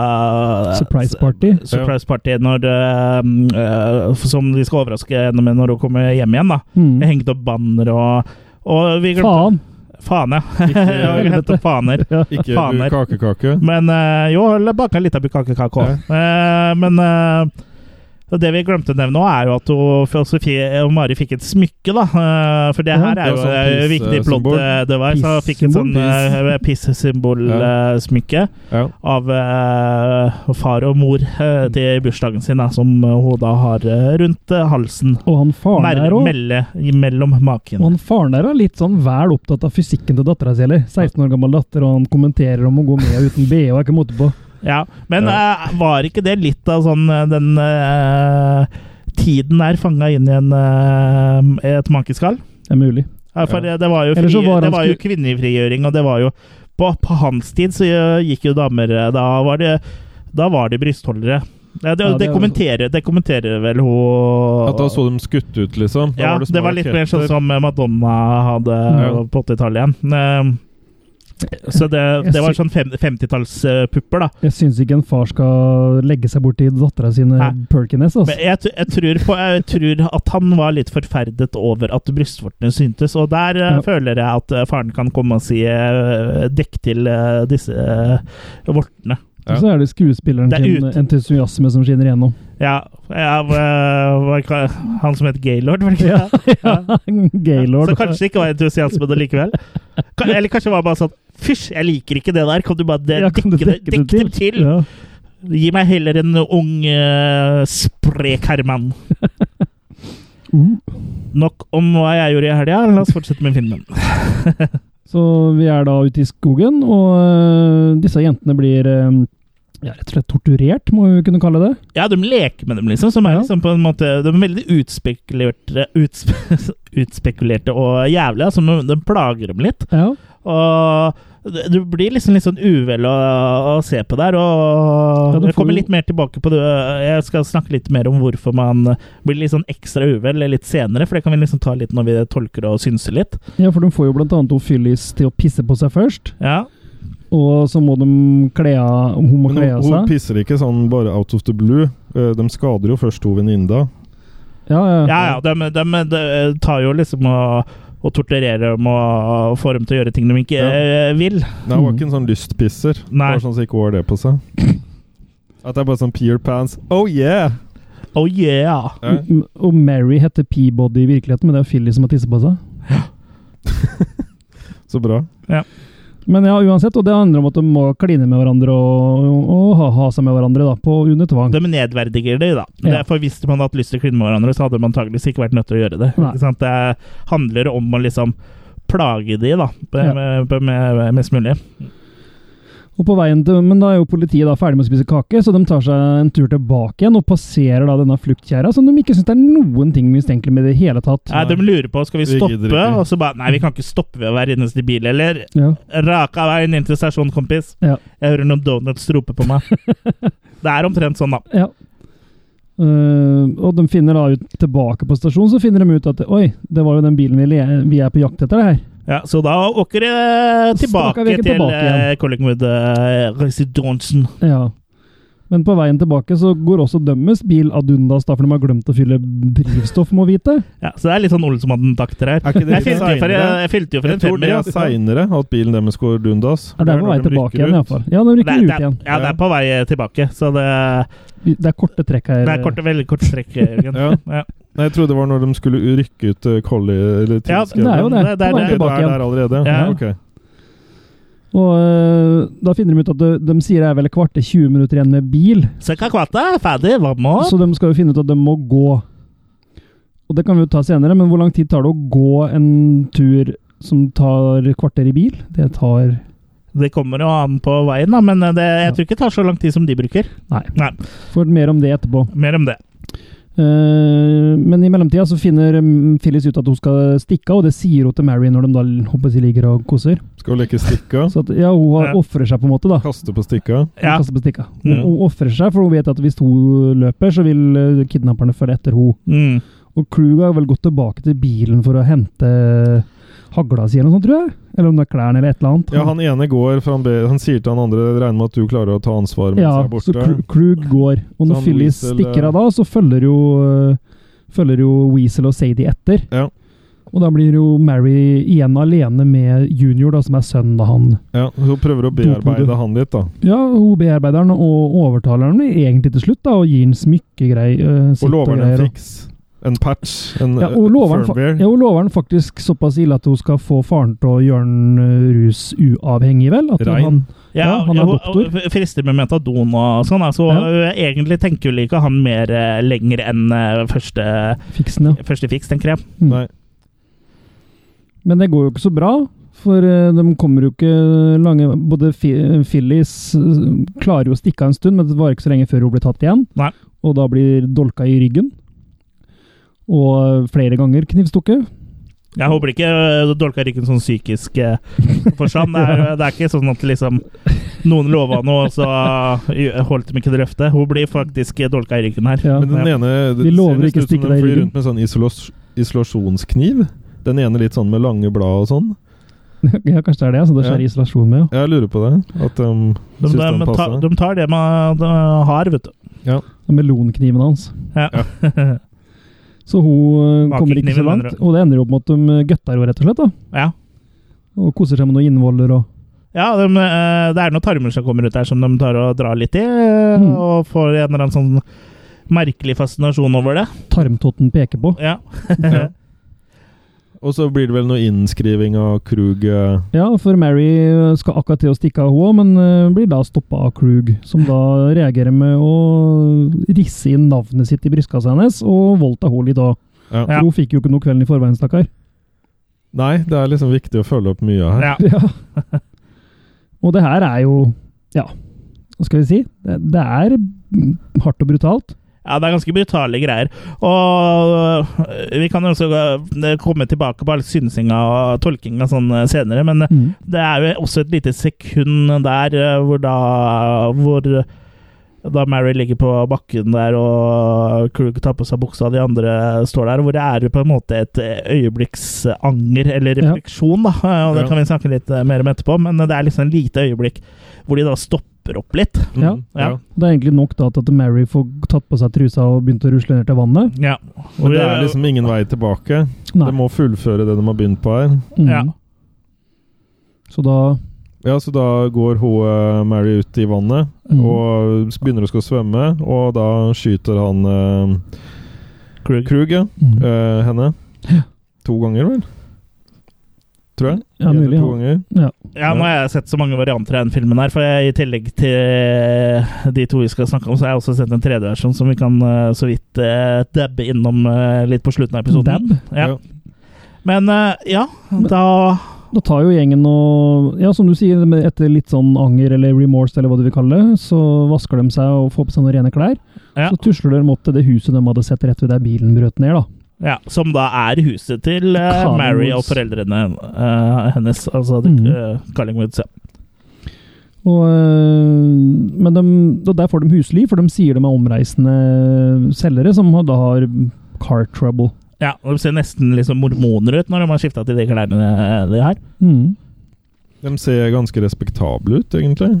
[SPEAKER 3] bursdag
[SPEAKER 4] Surprise party.
[SPEAKER 3] Surprise party når, eh, mm, eh, som de skal overraske henne med når hun kommer hjem igjen. da
[SPEAKER 4] Mm.
[SPEAKER 3] Jeg hengte opp banner og, og vi glemte,
[SPEAKER 4] Faen!
[SPEAKER 3] Faen, ja. Jeg glemte opp faner.
[SPEAKER 5] Ikke
[SPEAKER 3] faner.
[SPEAKER 5] bu- kakekake.
[SPEAKER 3] Men eh, jo, eller baka litt av bukakekake òg. men eh, det vi glemte å nevne, også er jo at hun, for Sofie og Mari fikk et smykke. da Eh, For det
[SPEAKER 4] Ja,
[SPEAKER 3] her er
[SPEAKER 5] det
[SPEAKER 3] jo
[SPEAKER 5] var sånn
[SPEAKER 3] eh,
[SPEAKER 5] piss,
[SPEAKER 3] viktig
[SPEAKER 5] eh,
[SPEAKER 3] plott.
[SPEAKER 5] symbol.
[SPEAKER 3] eh, Det var, så hun fikk et sånn eh, piss-symbol-smykke
[SPEAKER 5] Ja.
[SPEAKER 3] av eh, far og mor
[SPEAKER 5] Mm.
[SPEAKER 3] eh, til bursdagen sin, da, som hun da har eh, rundt eh, halsen.
[SPEAKER 4] Og han faren
[SPEAKER 3] Mer,
[SPEAKER 4] der òg.
[SPEAKER 3] melle, mellom
[SPEAKER 4] Og
[SPEAKER 3] maken.
[SPEAKER 4] han faren der er litt sånn vel opptatt av fysikken til dattera si, eller? 16 år gammel datter, og han kommenterer om å gå med uten BH. Jeg er ikke måte på.
[SPEAKER 3] Ja, Men eh, var ikke det litt av sånn eh, den eh, Tiden er fanga inn i en, eh, et mankeskall?
[SPEAKER 4] Det er mulig.
[SPEAKER 3] Ja, for
[SPEAKER 5] Ja.
[SPEAKER 3] eh, det var jo,
[SPEAKER 4] Eller
[SPEAKER 3] fri,
[SPEAKER 4] så var han
[SPEAKER 3] det var jo
[SPEAKER 4] sku-
[SPEAKER 3] kvinnefrigjøring, og det var jo På, på hans tid så eh, gikk jo damer eh, Da var det, da var det brystholdere. Ja, det,
[SPEAKER 4] Ja, det
[SPEAKER 3] det,
[SPEAKER 4] er jo-
[SPEAKER 3] kommenterer, det kommenterer vel hun
[SPEAKER 5] At da så de skutt ut, liksom? Da
[SPEAKER 3] Ja,
[SPEAKER 5] det
[SPEAKER 3] det,
[SPEAKER 5] små
[SPEAKER 3] var litt mer sånn
[SPEAKER 5] raketter.
[SPEAKER 3] som Madonna hadde
[SPEAKER 5] Ja.
[SPEAKER 3] på 80-tallet igjen. Eh, Så det,
[SPEAKER 4] Jeg
[SPEAKER 3] det var
[SPEAKER 4] sy-
[SPEAKER 3] sånn fem- 50-tallspupper, da.
[SPEAKER 4] Jeg syns ikke en far skal legge seg borti eh, dattera sine
[SPEAKER 3] Nei.
[SPEAKER 4] Perkines. Altså.
[SPEAKER 3] Men jeg, tr- jeg, tror på, jeg tror at han var litt forferdet over at brystvortene syntes, og der eh,
[SPEAKER 4] Ja.
[SPEAKER 3] føler jeg at eh, faren kan komme og si eh, 'dekk til eh, disse eh, vortene'.
[SPEAKER 5] Ja.
[SPEAKER 4] Og Så er det skuespilleren
[SPEAKER 3] Det er
[SPEAKER 4] sin
[SPEAKER 3] ut.
[SPEAKER 4] entusiasme som skinner igjennom.
[SPEAKER 3] Ja, ja hva- hva ka- han som het Gaylord, var det ikke det?
[SPEAKER 4] Gaylord.
[SPEAKER 3] Så kanskje det ikke var entusiasme det likevel? Ka- Eller kanskje det var bare sånn 'Fysj, jeg liker ikke det der, kan du bare de
[SPEAKER 4] Ja, kan
[SPEAKER 3] dekke,
[SPEAKER 4] du
[SPEAKER 3] det,
[SPEAKER 4] dekke det
[SPEAKER 3] dekke det til?'
[SPEAKER 4] Ja.
[SPEAKER 3] Gi meg heller en ung, eh, sprek herremann.
[SPEAKER 4] Uh.
[SPEAKER 3] Nok om hva jeg gjorde i helga. La oss fortsette med filmen.
[SPEAKER 4] Så vi er da ute i skogen, og øh, disse jentene blir øh, ja, rett og slett torturert, må vi kunne kalle det.
[SPEAKER 3] Ja, de leker med dem, liksom. Som er
[SPEAKER 4] Ja.
[SPEAKER 3] liksom på en måte De er veldig utspekulerte, utspe, utspekulerte og jævlige. Altså, de, de plager dem litt.
[SPEAKER 4] Ja.
[SPEAKER 3] Og det- du blir liksom litt sånn uvel å, å se på der.
[SPEAKER 4] Ja,
[SPEAKER 3] Og
[SPEAKER 4] du
[SPEAKER 3] jeg
[SPEAKER 4] får
[SPEAKER 3] kommer
[SPEAKER 4] jo-
[SPEAKER 3] litt mer tilbake på det. Jeg skal snakke litt mer om hvorfor man blir litt sånn ekstra uvel litt senere, for det kan vi liksom ta litt når vi tolker og synser litt.
[SPEAKER 4] ja, for de får jo blant annet Ophelis til å pisse på seg først,
[SPEAKER 3] Ja
[SPEAKER 4] og så må de kle av Hun må
[SPEAKER 5] Men
[SPEAKER 4] kle
[SPEAKER 5] hun,
[SPEAKER 4] av
[SPEAKER 5] hun
[SPEAKER 4] seg.
[SPEAKER 5] pisser ikke sånn bare out of the blue. Eh, De skader jo først to venninner.
[SPEAKER 4] Ja, ja.
[SPEAKER 3] Ja, ja. De, de, de tar jo liksom og, og torturerer dem og får dem til å gjøre ting de ikke
[SPEAKER 5] Ja.
[SPEAKER 3] eh, vil.
[SPEAKER 5] Nei, hun var ikke en sånn lystpisser.
[SPEAKER 3] Nei.
[SPEAKER 5] Bare sånn så ikke hun har det på seg. At det er bare sånn peer pants. Oh yeah!
[SPEAKER 3] Oh yeah!
[SPEAKER 5] Ja.
[SPEAKER 4] M- Og Mary heter Peabody i virkeligheten, men det er Philly som har tisset på seg.
[SPEAKER 5] Så bra.
[SPEAKER 4] Men ja, uansett, og det handler om at de må kline med hverandre og, og ha, ha seg med hverandre da, på under tvang.
[SPEAKER 3] De nedverdiger det, da.
[SPEAKER 4] Ja.
[SPEAKER 3] For hvis man hadde hatt lyst til å kline med hverandre, så hadde man antakeligvis ikke vært nødt til å gjøre det.
[SPEAKER 4] Nei.
[SPEAKER 3] Ikke sant? Det handler om å liksom plage de, da.
[SPEAKER 4] Ja.
[SPEAKER 3] Med, med, med, mest mulig.
[SPEAKER 4] Og på veien til, Men da er jo politiet da ferdig med å spise kake, så de tar seg en tur tilbake igjen og passerer da denne fluktkjerra, som de ikke syns det er noen ting mistenkelig med i det hele tatt.
[SPEAKER 3] Nei, de lurer på skal vi
[SPEAKER 5] Vi gidder
[SPEAKER 3] stoppe,
[SPEAKER 5] ikke.
[SPEAKER 3] og så bare Nei, vi kan ikke stoppe ved hver eneste bil, eller?
[SPEAKER 4] Ja.
[SPEAKER 3] Raka veien inn til stasjonen, kompis.
[SPEAKER 4] Ja.
[SPEAKER 3] Jeg hører noen donuts rope på meg. det er omtrent sånn, da.
[SPEAKER 4] ja. Eh, og de finner da ut tilbake på stasjonen, så finner de ut at Oi, det var jo den bilen vi, le, vi er på jakt etter, det her.
[SPEAKER 3] Ja, Så da åker jeg tilbake
[SPEAKER 4] Stakker vi
[SPEAKER 3] til
[SPEAKER 4] ikke tilbake igjen.
[SPEAKER 3] eh, Collingwood eh, Residensen.
[SPEAKER 4] Ja. Men på veien tilbake så går også dømmes bil ad undas, da, for de har glemt å fylle drivstoff, må vite.
[SPEAKER 3] Ja, så det er litt sånn Olsenmannen-takter her.
[SPEAKER 5] Er ikke det
[SPEAKER 3] Jeg fylte, jo for, jeg, jeg fylte jo for
[SPEAKER 5] Jeg
[SPEAKER 3] en
[SPEAKER 5] tror det
[SPEAKER 3] femmer. ja.
[SPEAKER 5] er seinere at bilen deres går dundas.
[SPEAKER 4] altså. Ja, det er på vei
[SPEAKER 5] når de
[SPEAKER 4] tilbake
[SPEAKER 5] rykker
[SPEAKER 4] igjen,
[SPEAKER 5] ut.
[SPEAKER 4] iallfall. Ja, de
[SPEAKER 3] Det, er-
[SPEAKER 4] rykker ut
[SPEAKER 3] det, er-
[SPEAKER 4] igjen.
[SPEAKER 3] ja, det er på vei tilbake, så det,
[SPEAKER 4] Det er korte trekk her.
[SPEAKER 3] det er kort, veldig kort strekk, Jørgen.
[SPEAKER 5] Ja.
[SPEAKER 3] Ja.
[SPEAKER 5] Nei, jeg trodde det var når de skulle rykke ut eh, Collie eller
[SPEAKER 3] Ja,
[SPEAKER 5] Tilskrevet.
[SPEAKER 4] det er jo det.
[SPEAKER 3] Det- det er
[SPEAKER 4] på vei
[SPEAKER 5] Ok, du
[SPEAKER 4] tilbake
[SPEAKER 5] er
[SPEAKER 4] igjen.
[SPEAKER 5] der allerede?
[SPEAKER 3] Ja.
[SPEAKER 5] ok.
[SPEAKER 4] Og øh, da finner de ut at de, de sier det er vel et kvarter 20 minutter igjen med bil,
[SPEAKER 3] Så Kakwata er ferdig, hva må?
[SPEAKER 4] så de skal jo finne ut at de må gå. Og det kan vi jo ta senere, men hvor lang tid tar det å gå en tur som tar et kvarter i bil? Det tar
[SPEAKER 3] Det kommer jo an på veien, da, men eh, det, jeg tror ikke det tar så lang tid som de bruker.
[SPEAKER 4] Nei.
[SPEAKER 3] Nei.
[SPEAKER 4] Får mer om det etterpå.
[SPEAKER 3] Mer om det.
[SPEAKER 4] Eh, men i mellomtida så finner mm, Phyllis ut at hun skal stikke av, og det sier hun til Mary når de da håper jeg, ligger og koser.
[SPEAKER 5] Skal hun leke stikka?
[SPEAKER 4] Så at, ja, hun
[SPEAKER 3] Ja.
[SPEAKER 4] har- ofrer seg på en måte, da.
[SPEAKER 5] Kaste på stikka?
[SPEAKER 3] Ja.
[SPEAKER 4] Hun kaster på stikka. Hun,
[SPEAKER 3] Mm.
[SPEAKER 4] hun ofrer seg, for hun vet at hvis hun løper, så vil eh, kidnapperne følge etter henne.
[SPEAKER 3] Mm.
[SPEAKER 4] Og Krug har vel gått tilbake til bilen for å hente hagla si eller noe sånt, tror jeg. Eller om det er klærne eller et eller annet.
[SPEAKER 5] Ja, han ene går, for han, ber, han sier til han andre regner med at du klarer å ta ansvar mens
[SPEAKER 4] Ja,
[SPEAKER 5] jeg er borte.
[SPEAKER 4] så Kru- Krug går. Og
[SPEAKER 5] Så
[SPEAKER 4] når
[SPEAKER 5] han
[SPEAKER 4] Phyllis
[SPEAKER 5] Weasel,
[SPEAKER 4] stikker
[SPEAKER 5] eh,
[SPEAKER 4] av da, så følger jo, øh, følger jo Weasel og Sadie etter.
[SPEAKER 5] Ja.
[SPEAKER 4] Og da blir jo Mary igjen alene med Junior, da, som er sønnen av han.
[SPEAKER 5] Ja, hun prøver å
[SPEAKER 4] Dophodet.
[SPEAKER 5] bearbeide han litt, da.
[SPEAKER 4] Ja, hun bearbeider han og overtaler han egentlig til slutt, da, og gir han smykkegreier. øh, sitt
[SPEAKER 5] Og lover han
[SPEAKER 4] greier, og-
[SPEAKER 5] en fiks. En patch. En
[SPEAKER 4] Ja,
[SPEAKER 5] eh,
[SPEAKER 4] og lover han, fa-
[SPEAKER 5] firmware.
[SPEAKER 4] ja, og lover han faktisk såpass ille at hun skal få faren til å gjøre han øh, rusuavhengig, vel? At
[SPEAKER 5] Rein.
[SPEAKER 4] han, Ja, han er
[SPEAKER 3] og-
[SPEAKER 4] doktor.
[SPEAKER 3] og eh, Frister med metadon og sånn, da, så
[SPEAKER 4] Ja.
[SPEAKER 3] eh, egentlig tenker vel ikke han mer eh, lenger enn eh, første,
[SPEAKER 4] fiksen, ja.
[SPEAKER 3] første fiks, tenker jeg.
[SPEAKER 5] Nei.
[SPEAKER 4] Men det går jo ikke så bra, For eh, de kommer jo ikke lange Både Fi- Phillies eh, klarer jo å stikke av en stund, men det varer ikke så lenge før hun blir tatt igjen.
[SPEAKER 3] Nei.
[SPEAKER 4] Og da blir dolka i ryggen. Og eh, flere ganger knivstukket.
[SPEAKER 3] Jeg håper ikke øh, dolka ryggen sånn psykisk eh, forstand. Det er, det er ikke sånn at liksom noen lova noe, og så øh, holdt de ikke det løftet. Hun blir faktisk dolka i ryggen her.
[SPEAKER 4] Ja.
[SPEAKER 5] Men den ene det
[SPEAKER 4] Vi lover
[SPEAKER 5] ser nesten ut
[SPEAKER 4] ikke
[SPEAKER 5] som
[SPEAKER 4] stikke
[SPEAKER 5] den
[SPEAKER 4] deg i
[SPEAKER 5] flyr
[SPEAKER 4] ryggen.
[SPEAKER 5] rundt med sånn isolas isolasjonskniv. Den ene litt sånn med lange blad og sånn.
[SPEAKER 4] ja, kanskje det er det. Altså, det skjer
[SPEAKER 5] Ja.
[SPEAKER 4] isolasjon med, ja.
[SPEAKER 5] Jeg lurer på det. At um, de
[SPEAKER 3] De,
[SPEAKER 5] syns
[SPEAKER 3] de,
[SPEAKER 5] den
[SPEAKER 3] ta,
[SPEAKER 5] passer.
[SPEAKER 3] de tar det man øh, har, vet du.
[SPEAKER 4] Melonkniven hans.
[SPEAKER 3] Ja.
[SPEAKER 4] Så hun eh, kommer ikke
[SPEAKER 3] Makekniven,
[SPEAKER 4] så
[SPEAKER 3] mener
[SPEAKER 4] langt.
[SPEAKER 3] du?
[SPEAKER 4] Og det ender jo opp med at de eh, gøtter henne, rett og slett. da.
[SPEAKER 3] Ja,
[SPEAKER 4] Og koser seg med noen innvoller og
[SPEAKER 3] ja de, øh, det er noen tarmer som kommer ut der som de tar og drar litt i, øh,
[SPEAKER 4] Mm.
[SPEAKER 3] og får en eller annen sånn merkelig fascinasjon over det.
[SPEAKER 4] tarmtotten peker på.
[SPEAKER 3] Ja.
[SPEAKER 5] Ja. Og så blir det vel noe innskriving av Krug eh,
[SPEAKER 4] Ja, for Mary eh, skal akkurat til å stikke av hun òg, men eh, blir da stoppa av Krug, som da reagerer med å risse inn navnet sitt i brystkassa hennes, og voldta hun litt òg.
[SPEAKER 5] Ja.
[SPEAKER 4] For Hun fikk jo ikke noe kvelden i forveien, stakkar.
[SPEAKER 5] Nei, det er liksom viktig å følge opp mye av her.
[SPEAKER 3] ja.
[SPEAKER 4] Ja. Og det her er jo Ja, hva skal vi si? Det, det er mm, hardt og brutalt.
[SPEAKER 3] Ja, det er ganske brutale greier. Og øh, vi kan jo også øh, komme tilbake på all synsinga og tolkinga sånn øh, senere, men øh,
[SPEAKER 4] Mm.
[SPEAKER 3] det er jo også et lite sekund der øh, hvor da hvor øh, da Mary ligger på bakken der og Krug tar på seg buksa, de andre står der, hvor det er jo på en måte et øh, øyeblikks øh, anger, eller
[SPEAKER 4] Ja.
[SPEAKER 3] refleksjon, da. øh, Og det
[SPEAKER 5] Ja.
[SPEAKER 3] kan vi snakke litt øh, mer om etterpå, men øh, det er liksom et lite øyeblikk hvor de da stopper opp litt.
[SPEAKER 5] Mm,
[SPEAKER 4] Ja.
[SPEAKER 3] Ja.
[SPEAKER 4] Det er egentlig nok da til at Mary får tatt på seg trusa og begynt å rusle ned til vannet.
[SPEAKER 3] Ja.
[SPEAKER 5] Men det er liksom ingen vei tilbake.
[SPEAKER 4] Nei.
[SPEAKER 5] De må fullføre det de har begynt på her.
[SPEAKER 4] Mm.
[SPEAKER 3] ja.
[SPEAKER 4] Så da
[SPEAKER 5] Ja, så da går hun eh, Mary ut i vannet
[SPEAKER 4] Mm.
[SPEAKER 5] og s- begynner å skal svømme, og da skyter han eh,
[SPEAKER 3] Krug.
[SPEAKER 5] Krug ja,
[SPEAKER 4] mm.
[SPEAKER 5] eh, henne. To ganger, vel? Tror jeg.
[SPEAKER 4] Ja,
[SPEAKER 5] En eller
[SPEAKER 4] mulig.
[SPEAKER 5] To
[SPEAKER 4] Ja.
[SPEAKER 5] ganger.
[SPEAKER 4] Ja.
[SPEAKER 3] Ja, nå har jeg sett så mange varianter av den filmen her, for jeg, i tillegg til de to vi skal snakke om, så har jeg også sett en tredje versjon som vi kan eh, så vidt eh, dabbe innom eh, litt på slutten av episoden.
[SPEAKER 4] Dab.
[SPEAKER 3] Ja. Mhm. Men eh, ja, da
[SPEAKER 4] Da tar jo gjengen og Ja, som du sier, med- etter litt sånn anger eller remorse, eller hva du vil kalle det, så vasker de seg og får på seg noen rene klær.
[SPEAKER 3] Ja.
[SPEAKER 4] Så tusler de opp til det huset de hadde sett rett ved der bilen brøt ned, da.
[SPEAKER 3] ja, Som da er huset til eh,
[SPEAKER 4] Collingwoods.
[SPEAKER 3] Mary og foreldrene eh, hennes, altså til,
[SPEAKER 4] Mhm.
[SPEAKER 3] eh, Collingwoods. Ja.
[SPEAKER 4] Og, øh, men de, og der får de husly, for de sier de er omreisende selgere som har- da har car trouble.
[SPEAKER 3] ja, og De ser nesten liksom mormoner ut når de har skifta til de klærne eh, de har.
[SPEAKER 4] Mm.
[SPEAKER 5] De ser ganske respektable ut, egentlig.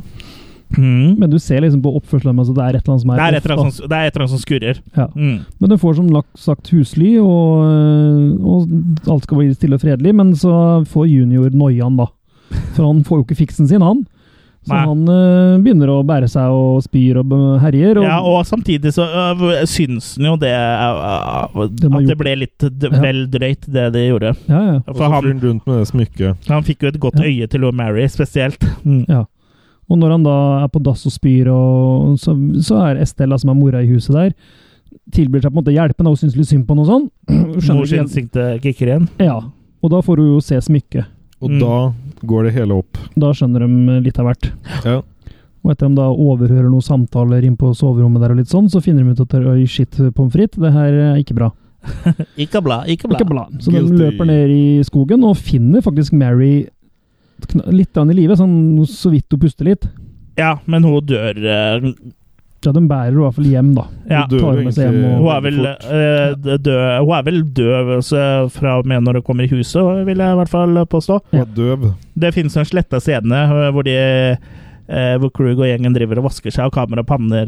[SPEAKER 3] Mhm.
[SPEAKER 4] Men du ser liksom på oppførselen deres at det er et eller annet som er
[SPEAKER 3] Det er et eller
[SPEAKER 4] off, da.
[SPEAKER 3] annet som- det er et eller annet som skurrer.
[SPEAKER 4] Ja.
[SPEAKER 3] Mm.
[SPEAKER 4] Men den får som lagt- sagt husly, og, øh, og alt skal bli stille og fredelig, men så får junior noiaen, da. For han får jo ikke fiksen sin, han. Så
[SPEAKER 3] Nei.
[SPEAKER 4] han øh, begynner å bære seg og spyr og øh, herjer. Og,
[SPEAKER 3] Ja, og samtidig så øh, syns den jo det øh,
[SPEAKER 4] Det må
[SPEAKER 3] At det
[SPEAKER 4] gjort.
[SPEAKER 3] ble litt d
[SPEAKER 4] Ja.
[SPEAKER 3] vel drøyt, det de gjorde.
[SPEAKER 4] ja, ja.
[SPEAKER 5] Og
[SPEAKER 3] For
[SPEAKER 5] så flyr
[SPEAKER 3] han,
[SPEAKER 5] han rundt med det smykket.
[SPEAKER 3] han fikk jo et godt
[SPEAKER 4] Ja.
[SPEAKER 3] øye til å Mary, spesielt. Mm.
[SPEAKER 4] og når han da er på dass og spyr, og, så, så er Estella, som er mora i huset der, tilbyr seg på en måte hjelpen, og hun syns litt synd på noe sånt. Hun skjønner
[SPEAKER 3] Mors
[SPEAKER 4] ikke helt-
[SPEAKER 3] instinkter kicker igjen.
[SPEAKER 4] Ja, og da får hun jo se smykket.
[SPEAKER 5] Og
[SPEAKER 3] Mm.
[SPEAKER 5] da går det hele opp.
[SPEAKER 4] Da skjønner de litt av hvert.
[SPEAKER 5] Ja.
[SPEAKER 4] Og etter de da overhører noen samtaler inn på soverommet der og litt sånn, så finner de ut at det- oi, shit, pommes frites, det her er ikke bra.
[SPEAKER 3] Ikke bla, ikke bla.
[SPEAKER 4] Ikke bla. Så de
[SPEAKER 5] Guilty.
[SPEAKER 4] løper ned i skogen og finner faktisk Mary kn- litt grann i live, sånn så vidt hun puster litt.
[SPEAKER 3] Ja, men hun dør øh,
[SPEAKER 4] Ja, de bærer henne i hvert fall hjem, da.
[SPEAKER 3] ja.
[SPEAKER 5] Hun dør
[SPEAKER 4] tar
[SPEAKER 5] jo
[SPEAKER 4] med seg
[SPEAKER 5] egentlig
[SPEAKER 4] hjem og-
[SPEAKER 3] Hun er vel
[SPEAKER 5] veldig fort.
[SPEAKER 3] øh, død Hun er vel død så fra og med når hun kommer i huset, vil jeg i hvert fall påstå.
[SPEAKER 5] Hun er døv.
[SPEAKER 3] Det finnes en sletta scene øh, hvor de eh, hvor Krug og gjengen driver og vasker seg, og kamera panner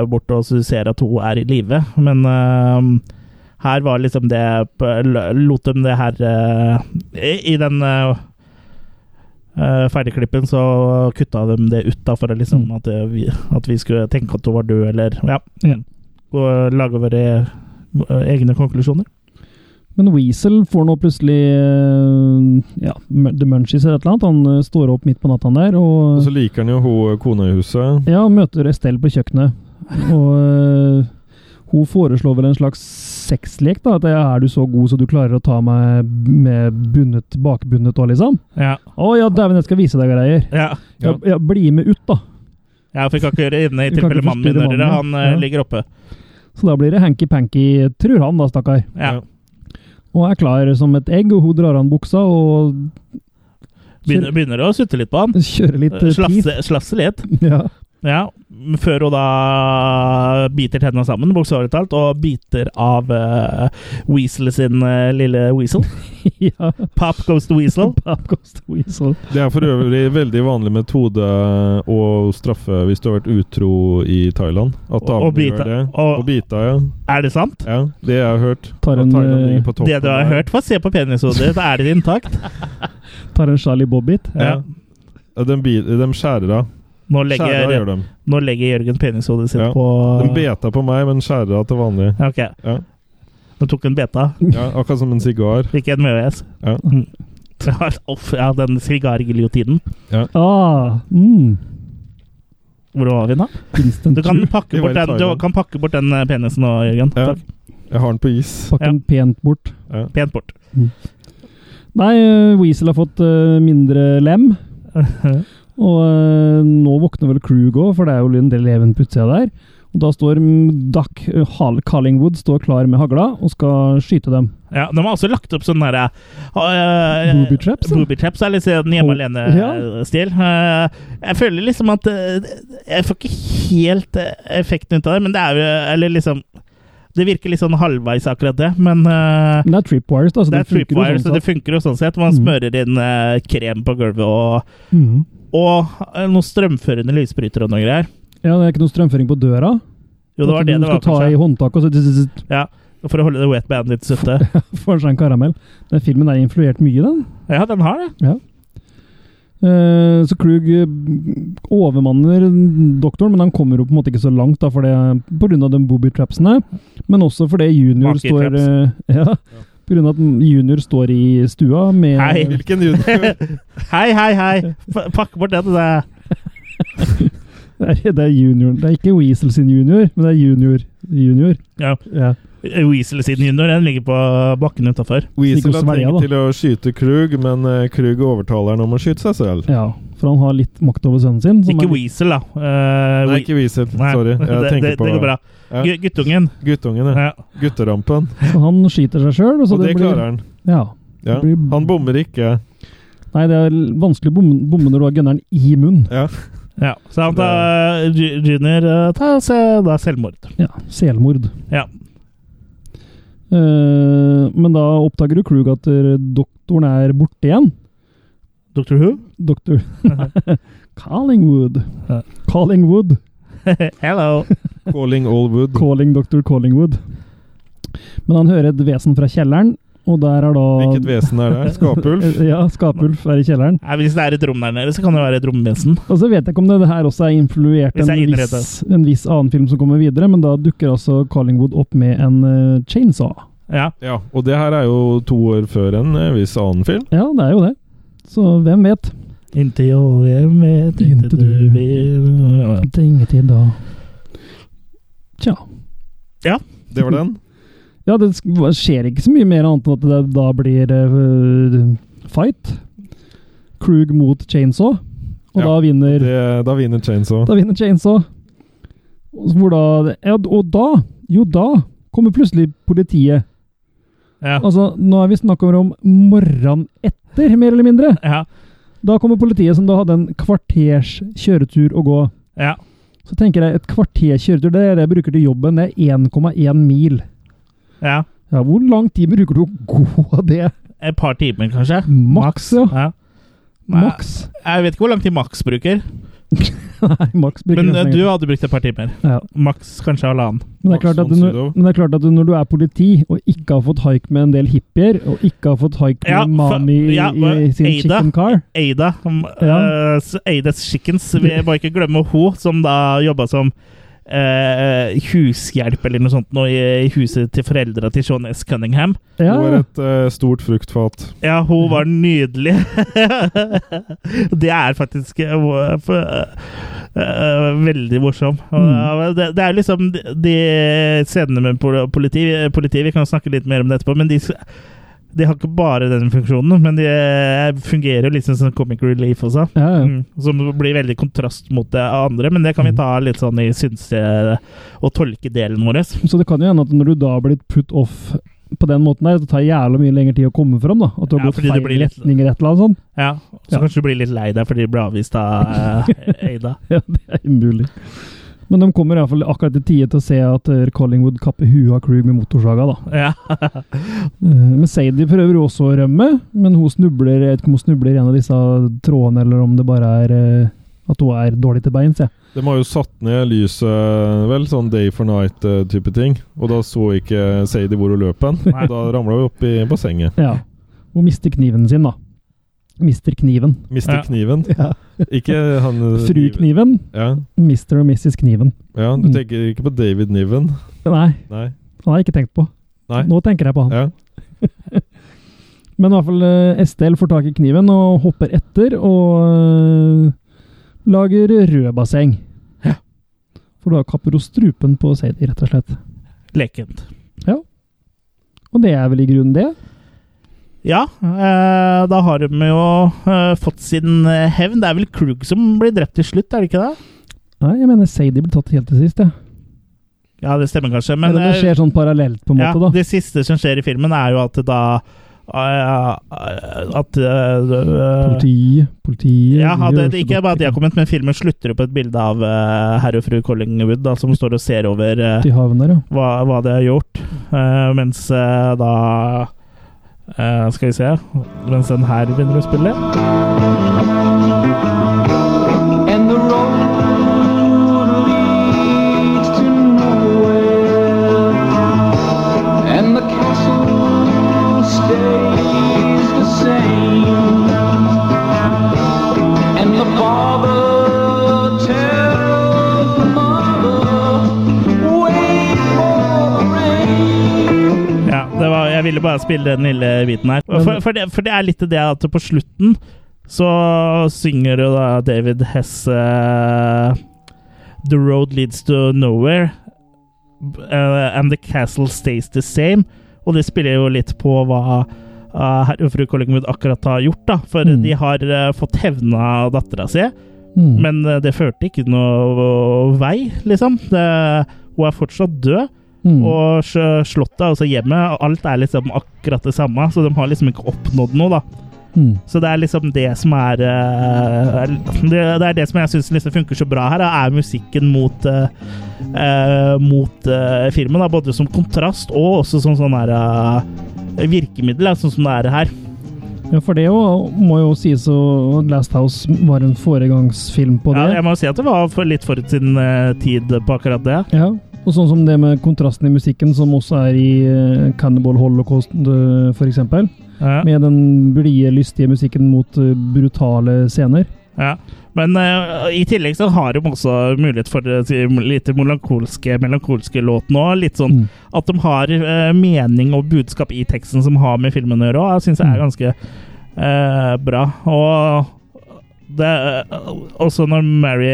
[SPEAKER 3] eh, bort, og så du ser at hun er i live. Men eh, her var liksom det p- l- Lot dem det her eh, i, I den eh, eh, ferdigklippen så kutta de det ut, da, for å liksom
[SPEAKER 4] Mm.
[SPEAKER 3] at, eh, vi, at vi skulle tenke at hun var død, eller Ja.
[SPEAKER 4] Ja.
[SPEAKER 3] Og lage våre eh, egne konklusjoner.
[SPEAKER 4] Men Weasel får nå plutselig eh, ja, m- the munchies eller et eller annet. Han eh, står opp midt på natta der og
[SPEAKER 5] Og så liker han jo hun eh, kona i huset.
[SPEAKER 4] Ja, møter Estelle på kjøkkenet. Og øh, hun eh, foreslår vel en slags sexlek, da. At er du så god så du klarer å ta meg med bundet, bakbundet og liksom?
[SPEAKER 3] Ja.
[SPEAKER 4] Å ja, dæven, jeg skal vise deg greier.
[SPEAKER 3] Ja.
[SPEAKER 4] Ja.
[SPEAKER 5] Ja.
[SPEAKER 4] Ja, bli med ut, da.
[SPEAKER 3] ja, for vi kan ikke gjøre det inne i
[SPEAKER 4] Vi kan
[SPEAKER 3] tilfelle
[SPEAKER 4] ikke
[SPEAKER 3] mannen min
[SPEAKER 4] forstyrre
[SPEAKER 3] hører det. Han
[SPEAKER 4] mannen.
[SPEAKER 3] eh,
[SPEAKER 4] Ja.
[SPEAKER 3] ligger oppe.
[SPEAKER 4] Så da blir det hanky-panky, tror han da, stakkar.
[SPEAKER 3] Ja.
[SPEAKER 5] Ja.
[SPEAKER 4] Og er klar som et egg, og hun drar an buksa og
[SPEAKER 3] Begynner, begynner å sutte litt på han.
[SPEAKER 4] kjører litt eh, tid.
[SPEAKER 3] Slafse, slafse litt.
[SPEAKER 4] Ja.
[SPEAKER 3] Ja, Før hun da biter tennene sammen, bokstavelig talt, og biter av eh, Weasel sin eh, lille weasel.
[SPEAKER 4] ja.
[SPEAKER 3] Pop goes the weasel.
[SPEAKER 4] Pap goes the weasel.
[SPEAKER 5] Det er for øvrig veldig vanlig metode å straffe hvis du har vært utro i Thailand.
[SPEAKER 3] Og-
[SPEAKER 5] At
[SPEAKER 3] og
[SPEAKER 5] damene
[SPEAKER 3] bite-
[SPEAKER 5] gjør det.
[SPEAKER 3] og-
[SPEAKER 5] Og bita, ja.
[SPEAKER 3] Er det sant?
[SPEAKER 5] ja. Det jeg har hørt.
[SPEAKER 4] Tar
[SPEAKER 5] At
[SPEAKER 4] en,
[SPEAKER 5] Thailand
[SPEAKER 4] eh,
[SPEAKER 5] ligger på toppen
[SPEAKER 3] Det du har
[SPEAKER 5] der.
[SPEAKER 3] hørt, få se på penishodet ditt. Er det intakt?
[SPEAKER 4] Tar en Charlie Bobbit.
[SPEAKER 5] Ja. Ja, De, bi- de skjærer av.
[SPEAKER 3] Nå
[SPEAKER 5] Skjærer
[SPEAKER 3] legger,
[SPEAKER 5] av gjør de.
[SPEAKER 3] nå legger Jørgen penishodet sitt
[SPEAKER 5] Ja.
[SPEAKER 3] på
[SPEAKER 4] Ah.
[SPEAKER 5] De beta på meg, men skjærer av til vanlig.
[SPEAKER 3] Ja, Ok,
[SPEAKER 5] Ja.
[SPEAKER 3] nå tok hun beta.
[SPEAKER 5] Ja, akkurat som en sigar.
[SPEAKER 3] Ikke en MØS.
[SPEAKER 5] Ja.
[SPEAKER 3] Mm. Ja, Uff, ja, den sigargiljotinen.
[SPEAKER 4] Ah, mm.
[SPEAKER 3] Hvor var vi nå?
[SPEAKER 4] Instant
[SPEAKER 3] Du kan pakke
[SPEAKER 5] Vi var
[SPEAKER 3] bort
[SPEAKER 5] i
[SPEAKER 3] den, du
[SPEAKER 5] Thailand.
[SPEAKER 3] kan pakke bort den eh, penisen nå, Jørgen.
[SPEAKER 5] Ja.
[SPEAKER 3] Takk.
[SPEAKER 5] Jeg har den på is.
[SPEAKER 4] Pakken pent bort.
[SPEAKER 5] Ja.
[SPEAKER 3] Pent bort.
[SPEAKER 4] Nei, eh, Weasel har fått eh, mindre lem. Og eh, nå våkner vel Krug òg, for det er jo en del even på utsida der. Og da står mm, Duck eh, Hall- Collingwood står klar med hagla og skal skyte dem.
[SPEAKER 3] Ja, de har også lagt opp sånn derre
[SPEAKER 4] Booby traps, eller?
[SPEAKER 3] Booby traps er litt sånn hjemme
[SPEAKER 4] Oh, ja.
[SPEAKER 3] alene-stil. Eh, jeg føler liksom at eh, Jeg får ikke helt eh, effekten ut av det, men det er jo Eller liksom Det virker litt sånn halvveis, akkurat det, men eh,
[SPEAKER 4] Men det er tripwires, da. Så
[SPEAKER 3] det er
[SPEAKER 4] funker jo
[SPEAKER 3] tripwire,
[SPEAKER 4] sånn
[SPEAKER 3] så det
[SPEAKER 4] sett.
[SPEAKER 3] funker jo sånn sett. Man
[SPEAKER 4] Mm.
[SPEAKER 3] smører inn eh, krem på gulvet og,
[SPEAKER 4] Mhm.
[SPEAKER 3] og eh, noen strømførende lysbrytere og noe greier.
[SPEAKER 4] Ja, det er ikke noe strømføring på døra.
[SPEAKER 3] Jo, det var det
[SPEAKER 4] du
[SPEAKER 3] det var,
[SPEAKER 4] skal ta i
[SPEAKER 3] kanskje.
[SPEAKER 4] håndtaket og så zzz, zzz,
[SPEAKER 3] Ja, for å holde det wet band litt sutte.
[SPEAKER 4] får seg en karamell. Den filmen er influert mye, den.
[SPEAKER 3] Ja, den har det.
[SPEAKER 4] Eh, så Krug eh, overmanner doktoren, men han kommer jo på en måte ikke så langt da, for det, på grunn av de booby-trapsene. Men også fordi junior står
[SPEAKER 3] Monkey-traps.
[SPEAKER 4] eh, Ja, på grunn av at junior står i stua med
[SPEAKER 3] Hei.
[SPEAKER 5] Hvilken junior?
[SPEAKER 3] Hei, hei, hei! F- Pakk bort den. Det.
[SPEAKER 4] Det er, det er junior. Det er ikke Weasel sin junior, men det er junior. junior.
[SPEAKER 3] Ja.
[SPEAKER 4] Ja.
[SPEAKER 3] Weasel sin junior, den ligger på bakken utafor.
[SPEAKER 5] Weasel
[SPEAKER 4] Snikos
[SPEAKER 5] har
[SPEAKER 4] Maria, da.
[SPEAKER 5] tenkt til å skyte Krug, men eh, Krug overtaler han om å skyte seg selv.
[SPEAKER 4] ja, For han har litt makt over sønnen sin. som
[SPEAKER 3] Ikke
[SPEAKER 4] er-
[SPEAKER 3] Weasel, da. Eh,
[SPEAKER 5] Nei,
[SPEAKER 3] We-
[SPEAKER 5] ikke Weasel.
[SPEAKER 3] Nei,
[SPEAKER 5] Sorry. Jeg
[SPEAKER 3] det,
[SPEAKER 5] tenker
[SPEAKER 3] det,
[SPEAKER 5] på
[SPEAKER 3] det går bra.
[SPEAKER 5] Ja.
[SPEAKER 3] Gu- Guttungen.
[SPEAKER 5] guttungen. Ja.
[SPEAKER 3] Ja.
[SPEAKER 5] Gutterampen.
[SPEAKER 4] Så han skyter seg sjøl. Og, så
[SPEAKER 5] Og det
[SPEAKER 4] det blir-
[SPEAKER 5] klarer han.
[SPEAKER 4] Ja.
[SPEAKER 5] Ja.
[SPEAKER 4] Det blir-
[SPEAKER 5] Han bommer ikke.
[SPEAKER 4] Nei, det er vanskelig å bomme bomme når du har gunneren i munnen.
[SPEAKER 5] Ja.
[SPEAKER 3] Ja. Så han tar eh, ju- junior eh, tar se- da selvmord.
[SPEAKER 4] Ja, Selmord.
[SPEAKER 3] Ja.
[SPEAKER 4] Eh, men da oppdager jo Krug at eh, doktoren er borte igjen.
[SPEAKER 3] Dr. Who?
[SPEAKER 4] Doktor Collingwood.
[SPEAKER 3] Ja.
[SPEAKER 4] Collingwood.
[SPEAKER 3] Hello!
[SPEAKER 5] Calling all wood.
[SPEAKER 4] Calling Dr. Collingwood. Men han hører et vesen fra kjelleren, og der er da Eh,
[SPEAKER 5] Hvilket vesen er det? Skapulf?
[SPEAKER 4] Ja, Skapulf er i kjelleren.
[SPEAKER 3] Nei, hvis det er et rom der nede, så kan det være et romvesen.
[SPEAKER 4] Og så vet jeg ikke om det her også er influert
[SPEAKER 3] Hvis
[SPEAKER 4] en
[SPEAKER 3] det er
[SPEAKER 4] viss, en viss annen film som kommer videre, men da dukker altså Collingwood opp med en eh, chainsaw.
[SPEAKER 3] Ja.
[SPEAKER 5] Ja, og det her er jo to år før en eh, viss annen film.
[SPEAKER 4] Ja, det er jo det. Så hvem vet?
[SPEAKER 3] Inntil jeg vet,
[SPEAKER 4] Inntil
[SPEAKER 3] inntil du
[SPEAKER 4] du-
[SPEAKER 3] vil
[SPEAKER 4] Det er ingenting da. Tja.
[SPEAKER 5] Det var den.
[SPEAKER 4] Ja, det sk- hva- skjer ikke så mye mer annet enn at det da blir eh, fight. Krug mot Chainsaw, og
[SPEAKER 5] Ja,
[SPEAKER 4] da vinner
[SPEAKER 5] Det, da vinner Chainsaw.
[SPEAKER 4] Da vinner Chainsaw. Og så Hvor da ja, Og da, jo da, kommer plutselig politiet.
[SPEAKER 3] Ja.
[SPEAKER 4] Altså, nå er vi snakker om morgenen etter, mer eller mindre.
[SPEAKER 3] Ja.
[SPEAKER 4] Da kommer politiet, som da hadde en kvarters kjøretur å gå.
[SPEAKER 3] ja.
[SPEAKER 4] Så tenker jeg, et kvarters kjøretur, det er det jeg bruker til jobben, det er 1,1 mil.
[SPEAKER 3] ja.
[SPEAKER 4] Ja, hvor lang tid bruker du å gå det?
[SPEAKER 3] Et par timer, kanskje?
[SPEAKER 4] Maks, ja.
[SPEAKER 3] Ja. Nei,
[SPEAKER 4] Maks.
[SPEAKER 3] Jeg vet ikke hvor lang tid Max bruker,
[SPEAKER 4] Nei, maks bruker
[SPEAKER 3] men
[SPEAKER 4] jeg
[SPEAKER 3] eh,
[SPEAKER 4] nesten
[SPEAKER 3] du
[SPEAKER 4] ikke.
[SPEAKER 3] hadde brukt et par timer.
[SPEAKER 4] Ja.
[SPEAKER 3] Maks kanskje halvannen.
[SPEAKER 4] Men det, er klart at du,
[SPEAKER 5] Maks
[SPEAKER 4] når-
[SPEAKER 5] Monsudo.
[SPEAKER 4] men det er klart at du, når du er politi, og ikke har fått haik med en del hippier, og ikke har fått haik med
[SPEAKER 3] Ja, fa-
[SPEAKER 4] mami i-
[SPEAKER 3] ja,
[SPEAKER 4] i sin
[SPEAKER 3] Ada.
[SPEAKER 4] chicken car
[SPEAKER 3] Ada. Um,
[SPEAKER 4] Ja.
[SPEAKER 3] eh, s- Aidas Chickens. Vi må ikke glemme hun som da jobba som eh, hushjelp eller noe sånt nå i i huset til foreldra til Sean S. Cunningham.
[SPEAKER 5] Det
[SPEAKER 4] Ja,
[SPEAKER 5] var et eh, stort fruktfat.
[SPEAKER 3] Ja, hun var nydelig. det er faktisk eh, hvor- for, eh, eh, veldig morsom. Og,
[SPEAKER 4] Mm.
[SPEAKER 3] ja, Det, det er liksom de- de scenene med pol- politi, politi Vi kan snakke litt mer om det etterpå, men de, s- de har ikke bare den funksjonen. Men de eh, fungerer jo liksom som comic relief også.
[SPEAKER 4] ja,
[SPEAKER 3] Mm,
[SPEAKER 4] Mm. ja.
[SPEAKER 3] som blir veldig kontrast mot det andre, men det kan vi ta litt sånn i synse- og tolkedelen vår.
[SPEAKER 4] Så det kan jo hende at når du da har blitt put off på den måten der, det tar jævla mye lengre tid å komme fram. da. At du har
[SPEAKER 3] Ja,
[SPEAKER 4] gått
[SPEAKER 3] fordi det
[SPEAKER 4] feil
[SPEAKER 3] blir litt-
[SPEAKER 4] retning eller et eller annet sånt.
[SPEAKER 3] Ja, så
[SPEAKER 4] Ja.
[SPEAKER 3] kanskje du blir litt lei deg fordi du ble avvist av eh, Ada.
[SPEAKER 4] Ja, det er umulig. Men de kommer i hvert fall akkurat i tide til å se at eh, Collingwood kapper huet av Krug med motorsaga. da.
[SPEAKER 3] Ja.
[SPEAKER 4] Eh, Men Sadie prøver jo også å rømme, men hun snubler jeg vet ikke om hun snubler i en av disse trådene, eller om det bare er eh, at hun er dårlig til beins. Ja.
[SPEAKER 5] De har jo satt ned lyset, vel, sånn day for night-type ting. Og da så ikke Sadie hvor hun løp hen.
[SPEAKER 3] Nei.
[SPEAKER 5] Da ramla hun opp i bassenget.
[SPEAKER 4] ja. Hun mister kniven sin, da. Mister kniven.
[SPEAKER 5] Mister
[SPEAKER 3] Ja.
[SPEAKER 5] kniven. Ikke han eh,
[SPEAKER 4] Fru Mm. Kniven.
[SPEAKER 5] Ja.
[SPEAKER 4] Mister og Mrs. Kniven.
[SPEAKER 5] ja, du tenker ikke på David Niven?
[SPEAKER 4] Nei,
[SPEAKER 5] Nei.
[SPEAKER 4] han har jeg ikke tenkt på.
[SPEAKER 5] Nei.
[SPEAKER 4] Nå tenker jeg på han.
[SPEAKER 5] Ja.
[SPEAKER 4] Men i hvert fall eh, Estelle får tak i kniven og hopper etter og eh, lager rødbasseng. For da kapper hun strupen på Sadie, rett og slett.
[SPEAKER 3] Lekent.
[SPEAKER 4] Og det er vel i grunnen det.
[SPEAKER 3] Ja, eh, da har de jo eh, fått sin eh, hevn. Det er vel Krug som blir drept til slutt, er det ikke det?
[SPEAKER 4] Nei, jeg mener Sadie ble tatt helt til sist, ja.
[SPEAKER 3] Ja, det stemmer kanskje, men
[SPEAKER 4] Men
[SPEAKER 3] eh,
[SPEAKER 4] det skjer sånn parallelt, på en
[SPEAKER 3] ja,
[SPEAKER 4] måte, da.
[SPEAKER 3] det siste som skjer i filmen, er jo at da eh, At eh,
[SPEAKER 4] Politiet, politiet
[SPEAKER 3] Ja, at det, ikke bare at de har
[SPEAKER 4] har
[SPEAKER 3] kommet, men filmen slutter jo på et bilde av eh, herr og fru Collingwood, da, som står og ser over eh,
[SPEAKER 4] i haven der, ja.
[SPEAKER 3] hva, hva de har gjort. Eh, mens eh, da eh, Skal vi se Mens den her begynner å spille.
[SPEAKER 7] And the road leads to nowhere. And the castle stays the same. And the father tells the mother, wait for the rain.
[SPEAKER 3] Ja, det var, jeg ville bare spille den lille biten her. For, for, det, for det er litt det at på slutten så synger jo da David Hess eh, The road leads to nowhere eh, and the castle stays the same. Og det spiller jo litt på hva eh, herr og fru Collingwood akkurat har gjort, da. For
[SPEAKER 4] Mm.
[SPEAKER 3] de har eh, fått hevna dattera si.
[SPEAKER 4] Mm.
[SPEAKER 3] Men eh, det førte ikke noe vei, liksom. Det, hun er fortsatt død.
[SPEAKER 4] mm.
[SPEAKER 3] Og sj- slottet, altså hjemmet, alt er liksom akkurat det samme. Så de har liksom ikke oppnådd noe, da.
[SPEAKER 4] mm.
[SPEAKER 3] Så det er liksom det som er eh, er- Det, det er det som jeg syns liksom funker så bra her, da, er musikken mot eh, eh, Mot eh, filmen. da, Både som kontrast og også som sånn her eh, virkemiddel, da, sånn som det er her.
[SPEAKER 4] Ja, for det jo, må jo sies at Last House var en foregangsfilm på
[SPEAKER 3] Ja,
[SPEAKER 4] det.
[SPEAKER 3] jeg må jo si at det var for litt forut sin eh, tid på akkurat det.
[SPEAKER 4] Ja, og sånn som det med kontrasten i musikken, som også er i eh, Cannibal Holocaust, eh, for eksempel.
[SPEAKER 3] Ja.
[SPEAKER 4] Med den blide, lystige musikken mot eh, brutale scener.
[SPEAKER 3] Ja. Men eh, i tillegg så har de også mulighet for eh, til litt melankolske, melankolske låt nå. Litt sånn
[SPEAKER 4] Mm.
[SPEAKER 3] at de har eh, mening og budskap i teksten som har med filmen å gjøre òg. Jeg syns det er ganske eh, bra. Og det eh, Også når Mary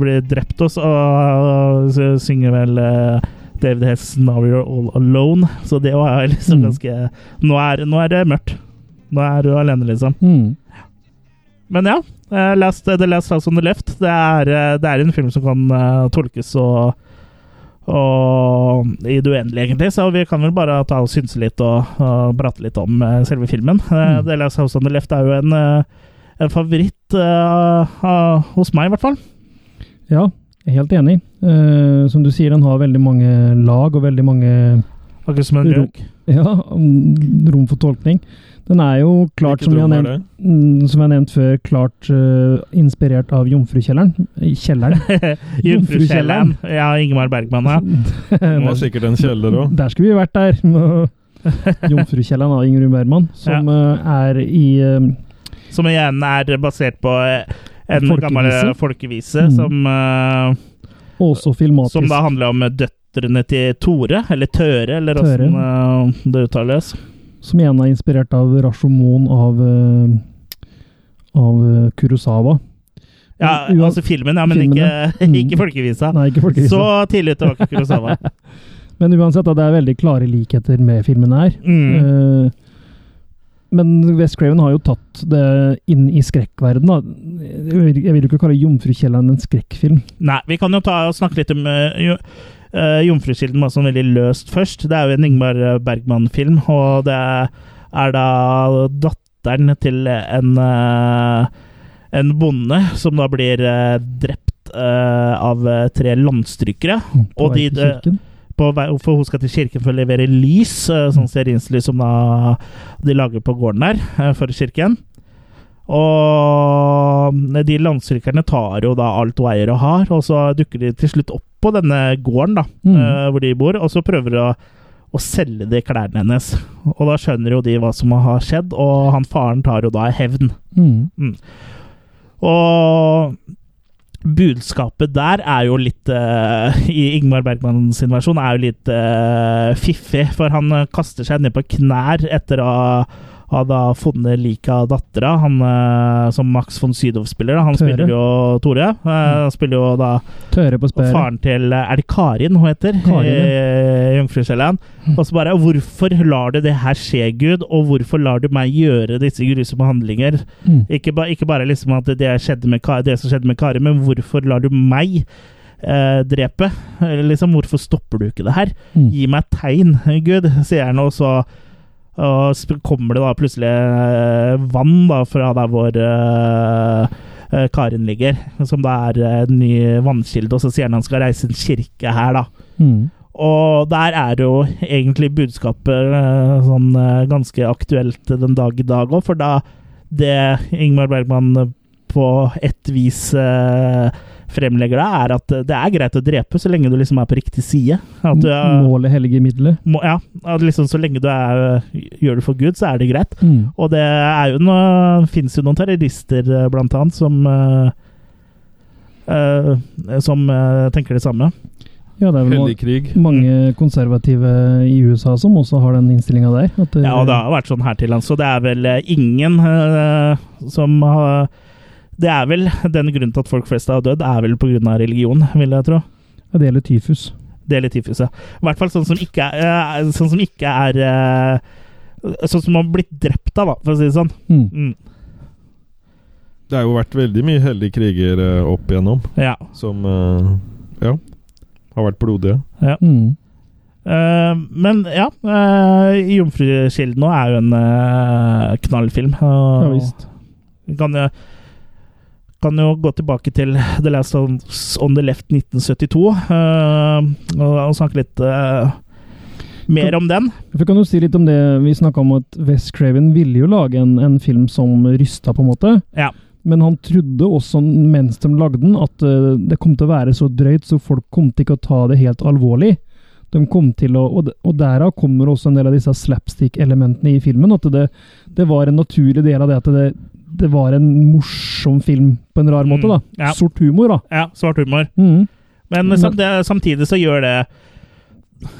[SPEAKER 3] blir drept også, og så synger vel eh, David Hess 'Now You're All Alone'. Så det var liksom
[SPEAKER 4] Mm.
[SPEAKER 3] ganske nå er, nå er det mørkt. Nå er du alene, liksom.
[SPEAKER 4] Mm.
[SPEAKER 3] Men ja, eh, last, The Last House on the Left det er, eh, det er en film som kan eh, tolkes og, og i det uendelige, egentlig. Så vi kan vel bare ta og synse litt og, og prate litt om eh, selve filmen. Eh,
[SPEAKER 4] Mm.
[SPEAKER 3] The Last House on the Left er jo en, eh, en favoritt eh, av- hos meg, i hvert fall.
[SPEAKER 4] Ja, jeg er helt enig. Eh, som du sier, den har veldig mange lag og veldig mange
[SPEAKER 3] Akkurat som en
[SPEAKER 4] Ro-
[SPEAKER 3] røk.
[SPEAKER 4] ja, mm, rom for tolkning. Den er jo klart,
[SPEAKER 5] Hvilket
[SPEAKER 4] som vi har
[SPEAKER 5] rom er
[SPEAKER 4] nevnt,
[SPEAKER 5] det?
[SPEAKER 4] mm, som jeg har nevnt før, klart eh, inspirert av Jomfrukjelleren. I Kjelleren.
[SPEAKER 3] Jomfrukjelleren. Ja, Ingemar Bergman, ja.
[SPEAKER 5] Hun har sikkert en kjeller òg.
[SPEAKER 4] Der skulle vi vært der. Jomfrukjelleren av Ingrid Bergman, som eh, er i eh,
[SPEAKER 3] Som igjen er basert på eh, en
[SPEAKER 4] Folkevise.
[SPEAKER 3] gammel eh, folkevise
[SPEAKER 4] Mm.
[SPEAKER 3] som eh,
[SPEAKER 4] Og også filmatisk.
[SPEAKER 3] Som da handler om døtrene til Tore, eller Tøre, eller
[SPEAKER 4] Tøre.
[SPEAKER 3] åssen eh, det uttales.
[SPEAKER 4] Som igjen er inspirert av Rashomon av, eh, av eh, Kurosawa.
[SPEAKER 3] Ja,
[SPEAKER 4] Ua-
[SPEAKER 3] altså filmen, ja, men
[SPEAKER 4] filmen,
[SPEAKER 3] ikke,
[SPEAKER 4] ja. Mm.
[SPEAKER 3] ikke folkevisa.
[SPEAKER 4] Nei, ikke folkevisa.
[SPEAKER 3] Så tidlig ute var ikke Kurosawa.
[SPEAKER 4] Men uansett, da, det er veldig klare likheter med filmen her.
[SPEAKER 3] Mm.
[SPEAKER 4] Eh, men West Craven har jo tatt det inn i skrekkverden. Da. Jeg vil- jeg vil jo ikke kalle 'Jomfrukjelleren' en skrekkfilm.
[SPEAKER 3] Nei, vi kan jo ta og snakke litt om eh, jo, eh, Jomfrukilden bare sånn veldig løst først. Det er jo en Ingmar eh, Bergman-film, og det er da datteren til en, eh, en bonde som da blir eh, drept eh, av eh, tre landstrykere.
[SPEAKER 4] På
[SPEAKER 3] Og
[SPEAKER 4] vei
[SPEAKER 3] de-
[SPEAKER 4] til kirken.
[SPEAKER 3] på vei, for hun skal til kirken for å levere lys, eh, sånn stearinslys som da de lager på gården der, eh, for kirken. Og eh, de landstrykerne tar jo da alt hun eier og har, og så dukker de til slutt opp på denne gården da,
[SPEAKER 4] Mm.
[SPEAKER 3] eh, hvor de bor, og så prøver de å, å selge de klærne hennes. Og da skjønner jo de hva som har skjedd, og han faren tar jo da hevn.
[SPEAKER 4] Mm.
[SPEAKER 3] Og budskapet der er jo litt eh, I Ingmar Bergman sin versjon er jo litt eh, fiffig, for han eh, kaster seg ned på knær etter å ha da funnet liket av dattera, han eh, som Max von Sydow spiller. Da. Han
[SPEAKER 4] Tore. Mm.
[SPEAKER 3] spiller jo Tore. eh, Han spiller jo da
[SPEAKER 4] Tøre på
[SPEAKER 3] og
[SPEAKER 4] spæret.
[SPEAKER 3] faren til eh, Er det Karin hun heter?
[SPEAKER 4] Karin, ja. Mm.
[SPEAKER 3] Eh, Jomfrukjelleren. Og så bare Hvorfor lar du det her skje, Gud? Og hvorfor lar du meg gjøre disse grusomme handlinger?
[SPEAKER 4] Mm.
[SPEAKER 3] Ikke, ba, ikke bare liksom at det, skjedde med, Ka- det som skjedde med Karin, men hvorfor lar du meg eh, drepe? Eller liksom, hvorfor stopper du ikke det her?
[SPEAKER 4] Mm.
[SPEAKER 3] Gi meg et tegn, Gud, sier han, og så og så kommer det da plutselig eh, vann da, fra der hvor eh, eh, Karin ligger, som da er eh, en ny vannkilde, og så sier han han skal reise en kirke her, da.
[SPEAKER 4] Mm.
[SPEAKER 3] Og der er jo egentlig budskapet eh, sånn eh, ganske aktuelt den dag i dag òg, for da det Ingmar Bergman eh, på et vis eh, fremlegger da, er at det er greit å drepe så lenge du liksom er på riktig side. At du er,
[SPEAKER 4] Målet hellige middelet.
[SPEAKER 3] må, ja, at liksom så lenge du er, gjør det for Gud, så er det greit.
[SPEAKER 4] Mm.
[SPEAKER 3] Og det er jo noe, finnes jo noen terrorister, eh, blant annet, som eh, eh, som eh, tenker det samme.
[SPEAKER 4] Ja, det er vel
[SPEAKER 5] Hellig
[SPEAKER 4] ma-
[SPEAKER 5] krig.
[SPEAKER 4] mange konservative i USA som også har den innstillinga der. At, eh,
[SPEAKER 3] Ja, og det har vært sånn her til lands, så det er vel eh, ingen eh, som har Det er vel den grunnen til at folk flest har dødd, er vel pga. religion, vil jeg tro.
[SPEAKER 4] ja, det gjelder tyfus.
[SPEAKER 3] Det er litt tyfus, ja. I hvert fall sånn som ikke er, eh, sånn som ikke er eh, Sånn som har blitt drept av, da, for å si det sånn.
[SPEAKER 4] Mm.
[SPEAKER 3] Mm,
[SPEAKER 5] Det har jo vært veldig mye hellige kriger eh, opp igjennom,
[SPEAKER 3] ja.
[SPEAKER 5] som eh, ja, har vært blodige.
[SPEAKER 4] Mm.
[SPEAKER 3] Eh, men ja, uh, 'Jomfrukilden' nå er jo en eh, knallfilm.
[SPEAKER 4] Ja
[SPEAKER 3] og
[SPEAKER 4] visst.
[SPEAKER 3] vi kan, jo- kan jo gå tilbake til 'The Last of Us On The Left' 1972 eh, og, og snakke litt eh, mer om den.
[SPEAKER 4] For kan du si litt om det vi snakka om, at Wes Craven ville jo lage en, en film som rysta, på en måte.
[SPEAKER 3] Ja.
[SPEAKER 4] Men han trodde også mens de lagde den, at eh, det kom til å være så drøyt, så folk kom til ikke å ta det helt alvorlig. De kom til å, og, og derav kommer også en del av disse slapstick-elementene i filmen. At det, det var en naturlig del av det at det, det var en morsom film på en rar måte. da.
[SPEAKER 3] Mm, ja.
[SPEAKER 4] Sort humor, da.
[SPEAKER 3] Ja, svart humor.
[SPEAKER 4] Mm.
[SPEAKER 3] Men
[SPEAKER 4] Men-
[SPEAKER 3] sam- det- samtidig så gjør det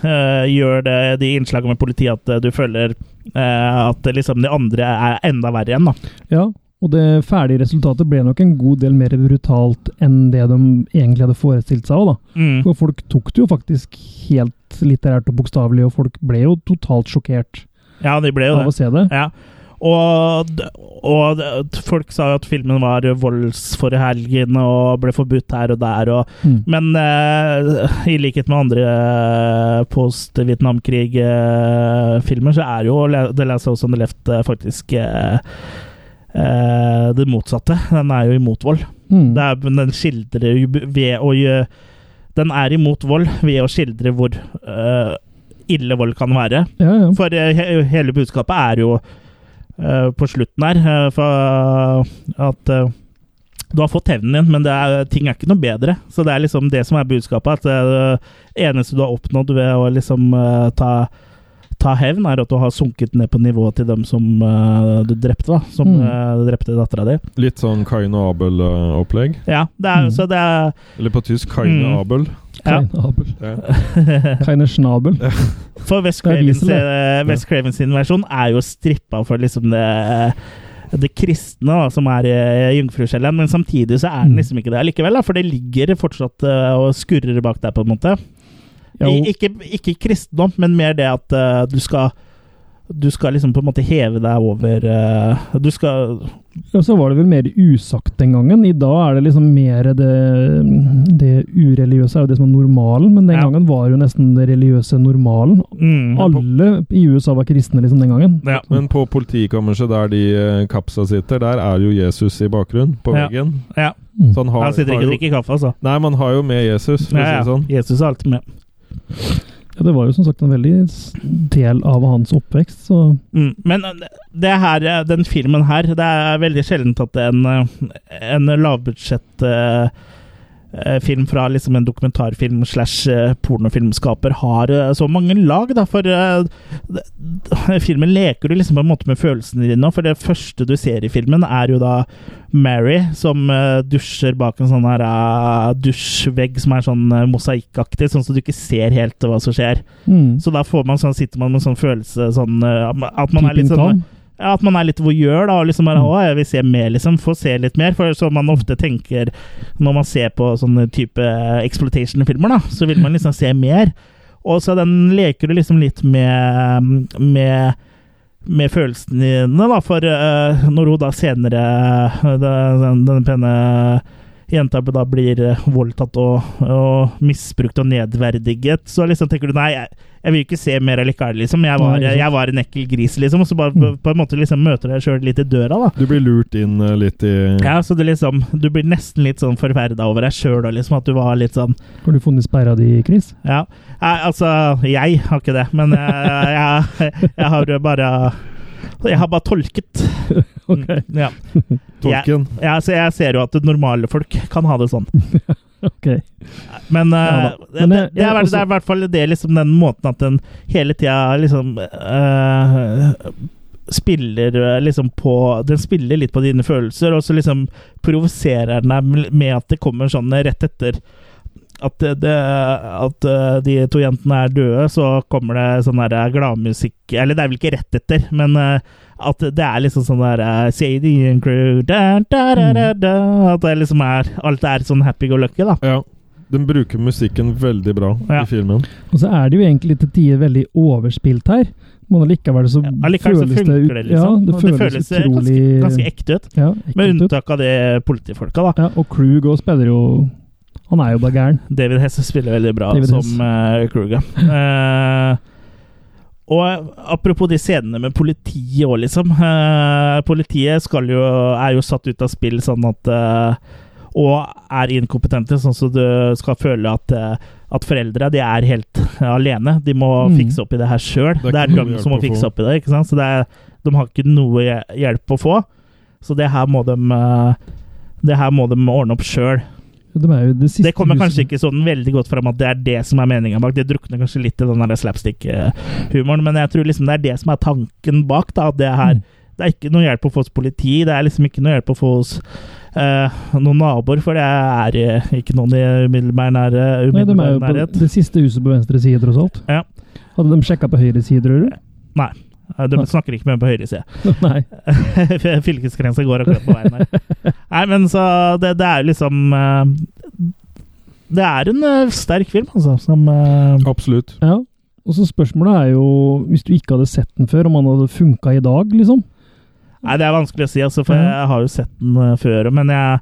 [SPEAKER 3] eh, gjør det de innslagene med politiet at eh, du føler eh, at eh, liksom de andre er enda verre igjen, da.
[SPEAKER 4] Ja, og det ferdige resultatet ble nok en god del mer brutalt enn det de egentlig hadde forestilt seg. Også, da.
[SPEAKER 3] Mm.
[SPEAKER 4] For folk tok det jo faktisk helt litterært og bokstavelig, og folk ble jo totalt sjokkert
[SPEAKER 3] Ja, de ble jo det.
[SPEAKER 4] av å se det.
[SPEAKER 3] Ja. Og, d- og d- folk sa jo at filmen var voldsforherligende og ble forbudt her og der. Og,
[SPEAKER 4] Mm.
[SPEAKER 3] men eh, i likhet med andre eh, post-Vietnamkrig-filmer, så er jo Le- The Last House on the Left eh, faktisk eh, eh, det motsatte. Den er jo imot vold.
[SPEAKER 4] Mm.
[SPEAKER 3] Det er, men den skildrer jo b- ved å gjø- Den er imot vold ved å skildre hvor eh, ille vold kan være.
[SPEAKER 4] Ja, ja.
[SPEAKER 3] For eh, he hele budskapet er jo eh, på slutten her eh, for at eh, du har fått hevnen din, men det er, ting er ikke noe bedre. Så det er liksom det som er budskapet. At eh, det eneste du har oppnådd ved å liksom eh, ta, ta hevn, er at du har sunket ned på nivået til dem som eh, du drepte, da. Som
[SPEAKER 4] Mm.
[SPEAKER 3] eh, drepte dattera di.
[SPEAKER 5] Litt sånn Kain og Abel-opplegg.
[SPEAKER 3] Ja, det er,
[SPEAKER 4] Mm.
[SPEAKER 3] så det er
[SPEAKER 5] Eller på tysk Kain og
[SPEAKER 3] Mm.
[SPEAKER 5] Abel.
[SPEAKER 3] ja.
[SPEAKER 4] Keine Abel.
[SPEAKER 5] Ja.
[SPEAKER 4] Keine Schnabel.
[SPEAKER 3] For West
[SPEAKER 4] Det er
[SPEAKER 3] Craven,
[SPEAKER 4] diesel, det.
[SPEAKER 3] eh, Wes Craven sin versjon er jo strippa for liksom det det kristne da, som er i Jungfruskjelleren, men samtidig så er den
[SPEAKER 4] Mm.
[SPEAKER 3] liksom ikke det likevel. Da, for det ligger fortsatt eh, og skurrer bak der, på en måte.
[SPEAKER 4] Ja,
[SPEAKER 3] I,
[SPEAKER 4] og-
[SPEAKER 3] ikke, ikke kristendom, men mer det at eh, du skal Du skal liksom på en måte heve deg over eh, Du skal
[SPEAKER 4] Ja, så var det vel mer usagt den gangen. I dag er det liksom mer det, det ureligiøse er jo det som er normalen, men den
[SPEAKER 3] Ja.
[SPEAKER 4] gangen var jo nesten det religiøse normalen.
[SPEAKER 3] mm,
[SPEAKER 4] Alle i USA var kristne liksom den gangen.
[SPEAKER 3] ja.
[SPEAKER 5] Men på politikammerset der de eh, kapsa sitter, der er jo Jesus i bakgrunnen, på
[SPEAKER 3] Ja.
[SPEAKER 5] veggen.
[SPEAKER 3] ja.
[SPEAKER 4] Mm.
[SPEAKER 5] Så han har,
[SPEAKER 3] Han sitter ikke
[SPEAKER 5] har
[SPEAKER 3] og
[SPEAKER 5] jo,
[SPEAKER 3] drikker kaffe, altså.
[SPEAKER 5] Nei, man har jo med Jesus, for å si
[SPEAKER 3] Ja,
[SPEAKER 5] det
[SPEAKER 3] ja.
[SPEAKER 5] sånn.
[SPEAKER 3] Jesus er alltid med.
[SPEAKER 4] Ja, det var jo som sagt en veldig s- del av hans oppvekst, så
[SPEAKER 3] Mm. Men eh, det her, eh, den filmen her Det er veldig sjeldent at en, eh, en lavbudsjett eh, eh, film fra liksom en dokumentarfilm slash eh, pornofilmskaper har eh, så mange lag, da. For eh, d- d- filmen leker du liksom på en måte med følelsene dine. For det første du ser i filmen, er jo da Mary som eh, dusjer bak en sånn her eh, dusjvegg som er sånn eh, mosaikkaktig, sånn så du ikke ser helt hva som skjer.
[SPEAKER 4] mm.
[SPEAKER 3] Så da får man sånn, sitter man med en sånn følelse sånn, eh, at, man er
[SPEAKER 4] Peeping
[SPEAKER 3] litt sånn
[SPEAKER 4] Tom.
[SPEAKER 3] ja, at man er litt voyeur, da. Og liksom bare, å, jeg vil se mer, liksom. Få se litt mer. For som man ofte tenker når man ser på sånne type exploitation-filmer, da, så vil man liksom se mer. Og så den leker du liksom litt med, med med følelsene dine, da, for eh, når hun da senere eh, den, den pene jenta da blir eh, voldtatt og, og misbrukt og nedverdiget, så liksom tenker du nei, jeg, jeg vil ikke se mer allikevel, liksom. Jeg var,
[SPEAKER 4] Nei, ikke sant.
[SPEAKER 3] jeg var en ekkel gris, liksom. Og så bare på, på en måte liksom møter du deg sjøl litt i døra, da.
[SPEAKER 5] Du blir lurt inn eh, litt i
[SPEAKER 3] Ja, så det liksom, Du blir nesten litt sånn forferda over deg sjøl, liksom, at du var litt sånn
[SPEAKER 4] Har du funnet sperra di, Chris?
[SPEAKER 3] ja. Nei, altså, jeg har ikke det, men jeg, jeg, jeg har jo bare Jeg har bare tolket. Mm,
[SPEAKER 4] Ok.
[SPEAKER 3] Ja.
[SPEAKER 5] tolken.
[SPEAKER 3] Ja, så jeg ser jo at normale folk kan ha det sånn.
[SPEAKER 4] Ok.
[SPEAKER 3] Men,
[SPEAKER 4] Ja
[SPEAKER 3] eh,
[SPEAKER 4] da.
[SPEAKER 3] det,
[SPEAKER 4] Men det-
[SPEAKER 3] det,
[SPEAKER 4] det
[SPEAKER 3] er,
[SPEAKER 4] er
[SPEAKER 3] vel-
[SPEAKER 4] også-
[SPEAKER 3] det er i hvert fall det liksom den måten at den hele tida liksom eh, Spiller eh, liksom på Den spiller litt på dine følelser, og så liksom provoserer den deg med at det kommer sånn rett etter at, det, det, at eh, de to jentene er døde, så kommer det sånn der gladmusikk Eller det er vel ikke rett etter, men eh, at det er liksom sånn der eh, Sadie and crew da, da, da, da, da, At det liksom er Alt er sånn happy go lucky, da.
[SPEAKER 5] Ja. Den bruker musikken veldig bra
[SPEAKER 3] Ja.
[SPEAKER 5] i filmen.
[SPEAKER 4] Og så er det jo egentlig til tider veldig overspilt her, men allikevel så
[SPEAKER 3] Ja, Allikevel så
[SPEAKER 4] føles det ut
[SPEAKER 3] funker det, liksom.
[SPEAKER 4] Ja, det
[SPEAKER 3] Og
[SPEAKER 4] føles, utrolig
[SPEAKER 3] ganske, ganske ekte ut.
[SPEAKER 4] ja,
[SPEAKER 3] Med
[SPEAKER 4] ekkelt Eh, ut.
[SPEAKER 3] unntak av det politifolka, da.
[SPEAKER 4] Ja, og Krug òg spiller jo Han er jo bare gæren.
[SPEAKER 3] David Hesse spiller veldig bra
[SPEAKER 4] David
[SPEAKER 3] som
[SPEAKER 4] Hess.
[SPEAKER 3] uh, Kruger. Eh, og apropos de scenene med politiet òg, liksom. Eh, politiet skal jo, er jo satt ut av spill sånn at eh, Og er inkompetente, sånn så du skal føle at, eh, at foreldre de er helt alene. De må
[SPEAKER 4] Mm.
[SPEAKER 3] fikse opp i det her sjøl.
[SPEAKER 5] Det er
[SPEAKER 3] Det er
[SPEAKER 5] ikke noe
[SPEAKER 3] dem
[SPEAKER 5] hjelp
[SPEAKER 3] som må
[SPEAKER 5] å få.
[SPEAKER 3] fikse opp i det. ikke sant? Så det er, De har ikke noe hje- hjelp å få. Så det her må de, eh, det her må de ordne opp sjøl.
[SPEAKER 4] De er jo det siste
[SPEAKER 3] Det kommer kanskje
[SPEAKER 4] huset.
[SPEAKER 3] ikke sånn veldig godt fram at det er det som er meninga bak. Det drukner kanskje litt i den der slapstick-humoren, men jeg tror liksom det er det som er tanken bak. da, at Det her,
[SPEAKER 4] Mm.
[SPEAKER 3] det er ikke noe hjelp å få hos politi, det er liksom ikke noe hjelp å få hos eh, noen naboer, for det er eh, ikke noen i umiddelbar nære-
[SPEAKER 4] Nei, de er
[SPEAKER 3] umiddelbar
[SPEAKER 4] jo på
[SPEAKER 3] nærhet.
[SPEAKER 4] det siste huset på venstre side, tross alt.
[SPEAKER 3] Ja.
[SPEAKER 4] Hadde de sjekka på høyre side, tror du?
[SPEAKER 3] Eh, De snakker ikke med på høyre side.
[SPEAKER 4] Nei.
[SPEAKER 3] Fylkesgrensa går akkurat på veien her. Nei, men så Det, det er liksom eh, Det er en eh, sterk film, altså, som eh,
[SPEAKER 5] Absolutt.
[SPEAKER 4] Ja. Og så spørsmålet er jo, hvis du ikke hadde sett den før, om han hadde funka i dag, liksom?
[SPEAKER 3] Nei, det er vanskelig å si, altså, for
[SPEAKER 4] Ja.
[SPEAKER 3] jeg har jo sett den eh, før. Men jeg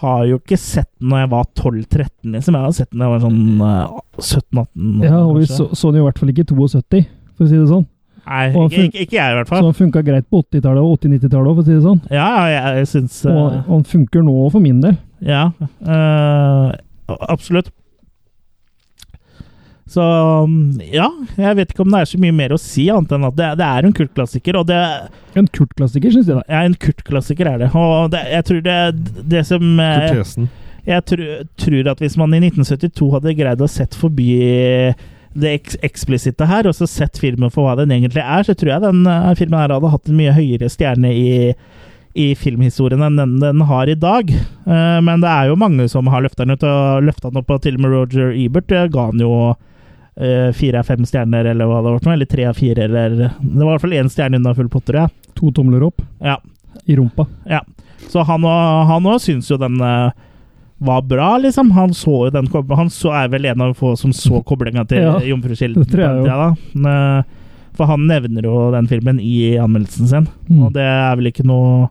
[SPEAKER 3] har jo ikke sett den når jeg var 12-13, liksom. Jeg har sett den da jeg var sånn eh, 17-18.
[SPEAKER 4] Ja, og vi
[SPEAKER 3] kanskje.
[SPEAKER 4] så, så den jo i hvert fall ikke i 72, for å si det sånn.
[SPEAKER 3] Nei,
[SPEAKER 4] og
[SPEAKER 3] ikke,
[SPEAKER 4] fun-
[SPEAKER 3] ikke, ikke jeg, i hvert
[SPEAKER 4] Så
[SPEAKER 3] fall.
[SPEAKER 4] han funka greit på 80-tallet og 80-90-tallet òg, for å si det sånn.
[SPEAKER 3] Ja, ja, jeg, jeg syns eh,
[SPEAKER 4] Og han funker nå for min del.
[SPEAKER 3] Ja. eh, absolutt. Så mm, ja, jeg vet ikke om det er så mye mer å si, annet enn at det, det er en kultklassiker. Og det
[SPEAKER 4] En kultklassiker, syns jeg. da.
[SPEAKER 3] ja, en kultklassiker er det. Og det, jeg tror det, det som eh,
[SPEAKER 5] Kortesen.
[SPEAKER 3] Jeg tru, tror at hvis man i 1972 hadde greid å sett forbi det eks eksplisitte her, og så sett filmen for hva den egentlig er, så tror jeg den eh, filmen her hadde hatt en mye høyere stjerne i, i filmhistorien enn den den har i dag. Eh, men det er jo mange som har løfta den ut, og løfta den opp, og til og med Roger Ebert eh, ga den jo eh, fire av fem stjerner, eller hva det var, for noe, eller tre av fire, eller Det var i hvert fall én stjerne unna full potter, ja.
[SPEAKER 4] To tomler opp
[SPEAKER 3] ja.
[SPEAKER 4] i rumpa.
[SPEAKER 3] Ja. Så han og- han òg syns jo den eh, var bra, liksom. Han så jo den kob- Han så, er vel en av få som så koblinga til
[SPEAKER 4] Ja,
[SPEAKER 3] Jomfrukilden.
[SPEAKER 4] det tror jeg
[SPEAKER 3] på den tida, da. Men, eh, For han nevner jo den filmen i anmeldelsen sin,
[SPEAKER 4] Mm.
[SPEAKER 3] og det er vel ikke noe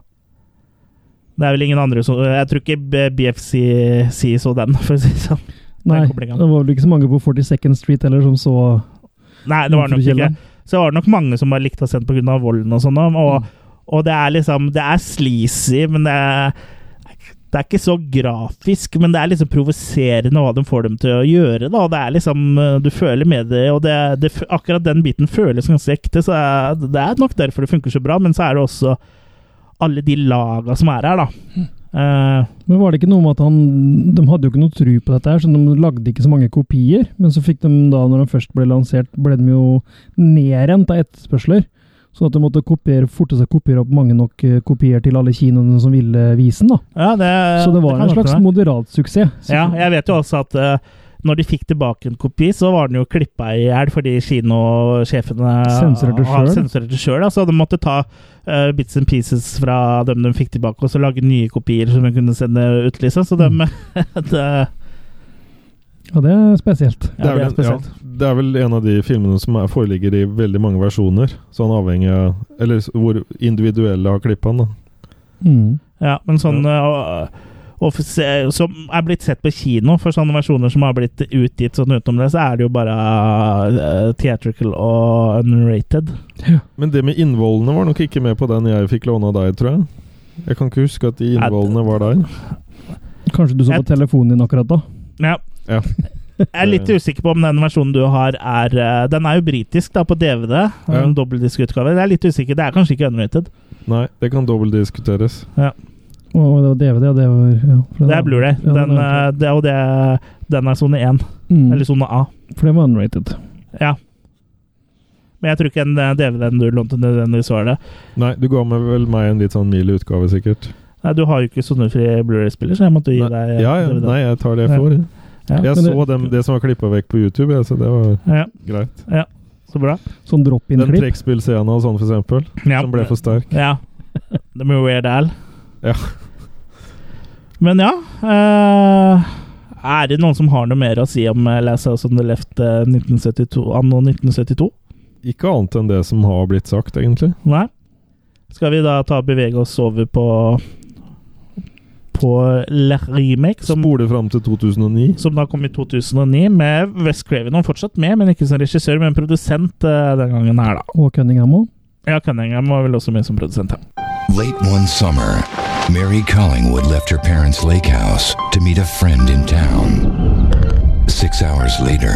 [SPEAKER 3] det er vel ingen andre som Jeg tror ikke B- BFC si så den, for å si det sånn.
[SPEAKER 4] Nei, det
[SPEAKER 3] koblingen.
[SPEAKER 4] var vel ikke så mange på 42nd Street heller som så
[SPEAKER 3] Nei, det var nok ikke.
[SPEAKER 4] Jomfrukilden.
[SPEAKER 3] Så var det nok mange som bare likte å sende pga. volden og sånn.
[SPEAKER 4] Mm.
[SPEAKER 3] Og, og det er liksom Det er sleazy, men det er, det er ikke så grafisk. Men det er liksom provoserende hva de får dem til å gjøre. Da. Og det er liksom eh, Du føler med det, og det, det, f- akkurat den biten føles ganske ekte. Så det er- det er nok derfor det funker så bra, men så er det også alle de laga som er her, da.
[SPEAKER 4] Mm.
[SPEAKER 3] Eh,
[SPEAKER 4] Men var det ikke noe med at han De hadde jo ikke noe tru på dette her, så de lagde ikke så mange kopier. Men så fikk de da, når den først ble lansert, ble de jo nedrent av etterspørsler. Så at de måtte kopiere, forte seg å kopiere opp mange nok eh, kopier til alle kinoene som ville vise den. da.
[SPEAKER 3] ja, det,
[SPEAKER 4] Så det var
[SPEAKER 3] kan
[SPEAKER 4] en
[SPEAKER 3] godt
[SPEAKER 4] slags
[SPEAKER 3] være.
[SPEAKER 4] moderat suksess. Så-
[SPEAKER 3] Ja, jeg vet jo også at eh, når de fikk tilbake en kopi, så var den jo klippa i hjel fordi kinosjefene
[SPEAKER 4] Sensurerte
[SPEAKER 3] har
[SPEAKER 4] selv.
[SPEAKER 3] sensurerte selv, da. Så de måtte ta eh, bits and pieces fra dem de fikk tilbake, og så lage nye kopier som de kunne sende ut. Liksom. Så de, det,
[SPEAKER 4] ja, det er spesielt.
[SPEAKER 3] ja, det er
[SPEAKER 5] vel,
[SPEAKER 3] spesielt.
[SPEAKER 5] ja, det er vel en av de filmene som er, foreligger i veldig mange versjoner. Sånn avhengig av Eller s- hvor individuelle har klippa den, da.
[SPEAKER 4] Mm.
[SPEAKER 3] Ja, men sånn eh, og- og for se- som er blitt sett på kino, for sånne versjoner som har blitt utgitt sånn utenom det, så er det jo bare eh, theatrical og unrated.
[SPEAKER 5] Men det med innvollene var nok ikke med på den jeg fikk låne av deg, tror jeg. Jeg kan ikke huske at de
[SPEAKER 3] Nei,
[SPEAKER 5] innvollene var der.
[SPEAKER 4] Kanskje du så på
[SPEAKER 3] Et-
[SPEAKER 4] telefonen din akkurat da?
[SPEAKER 3] Ja.
[SPEAKER 5] Ja.
[SPEAKER 3] Jeg er litt
[SPEAKER 5] Eh.
[SPEAKER 3] usikker på om den versjonen du har, er eh, Den er jo britisk, da, på DVD.
[SPEAKER 5] Ja.
[SPEAKER 3] En dobbeltdiskutgave. Jeg er litt usikker. Det er kanskje ikke unrated.
[SPEAKER 5] Nei, det kan dobbeltdiskuteres.
[SPEAKER 4] Og det var DVD, og det var ja, for
[SPEAKER 3] Det er Blu-ray.
[SPEAKER 4] ja,
[SPEAKER 3] Den,
[SPEAKER 4] er-
[SPEAKER 3] eh, det er jo det- den er sone 1,
[SPEAKER 4] mm,
[SPEAKER 3] eller sone A.
[SPEAKER 4] For den var unrated.
[SPEAKER 3] Ja. Men jeg tror ikke eh, den DVD-en du lånte, nødvendigvis var det.
[SPEAKER 5] Nei, du ga meg vel meg en litt sånn mild utgave, sikkert.
[SPEAKER 3] Nei, du har jo ikke sonefri Blu-ray-spiller, så jeg måtte gi
[SPEAKER 5] Nei,
[SPEAKER 3] deg eh,
[SPEAKER 5] ja, ja,
[SPEAKER 3] DVD.
[SPEAKER 5] nei jeg tar det
[SPEAKER 3] Ja.
[SPEAKER 5] jeg får. jeg.
[SPEAKER 3] Ja,
[SPEAKER 5] Jeg
[SPEAKER 4] men det-
[SPEAKER 5] så dem, det som var klippa vekk på YouTube, jeg, så det var
[SPEAKER 3] Ja,
[SPEAKER 5] greit.
[SPEAKER 3] så bra.
[SPEAKER 5] Den
[SPEAKER 4] Sånn drop-in-klipp.
[SPEAKER 5] trekkspillscena og sånn, for eksempel,
[SPEAKER 3] Ja.
[SPEAKER 5] som ble for sterk.
[SPEAKER 3] Ja. Det blir Weird Al.
[SPEAKER 5] Ja.
[SPEAKER 3] Men ja eh, Er det noen som har noe mer å si om eh, Last House on the Left eh, 1972, anno 1972?
[SPEAKER 5] Ikke annet enn det som har blitt sagt, egentlig.
[SPEAKER 3] Nei? Skal vi da ta og bevege oss over på På La Remake, som,
[SPEAKER 5] Spole fram til 2009.
[SPEAKER 3] som da kom i 2009, med West Craven. Og fortsatt med, men ikke som regissør, men produsent eh, den gangen her, da.
[SPEAKER 4] Og Cunningham òg.
[SPEAKER 3] Ja, Cunningham var vel også med som produsent, ja.
[SPEAKER 8] Late one summer, Mary Collingwood left her parents' lake house to meet a friend in town. Six hours later,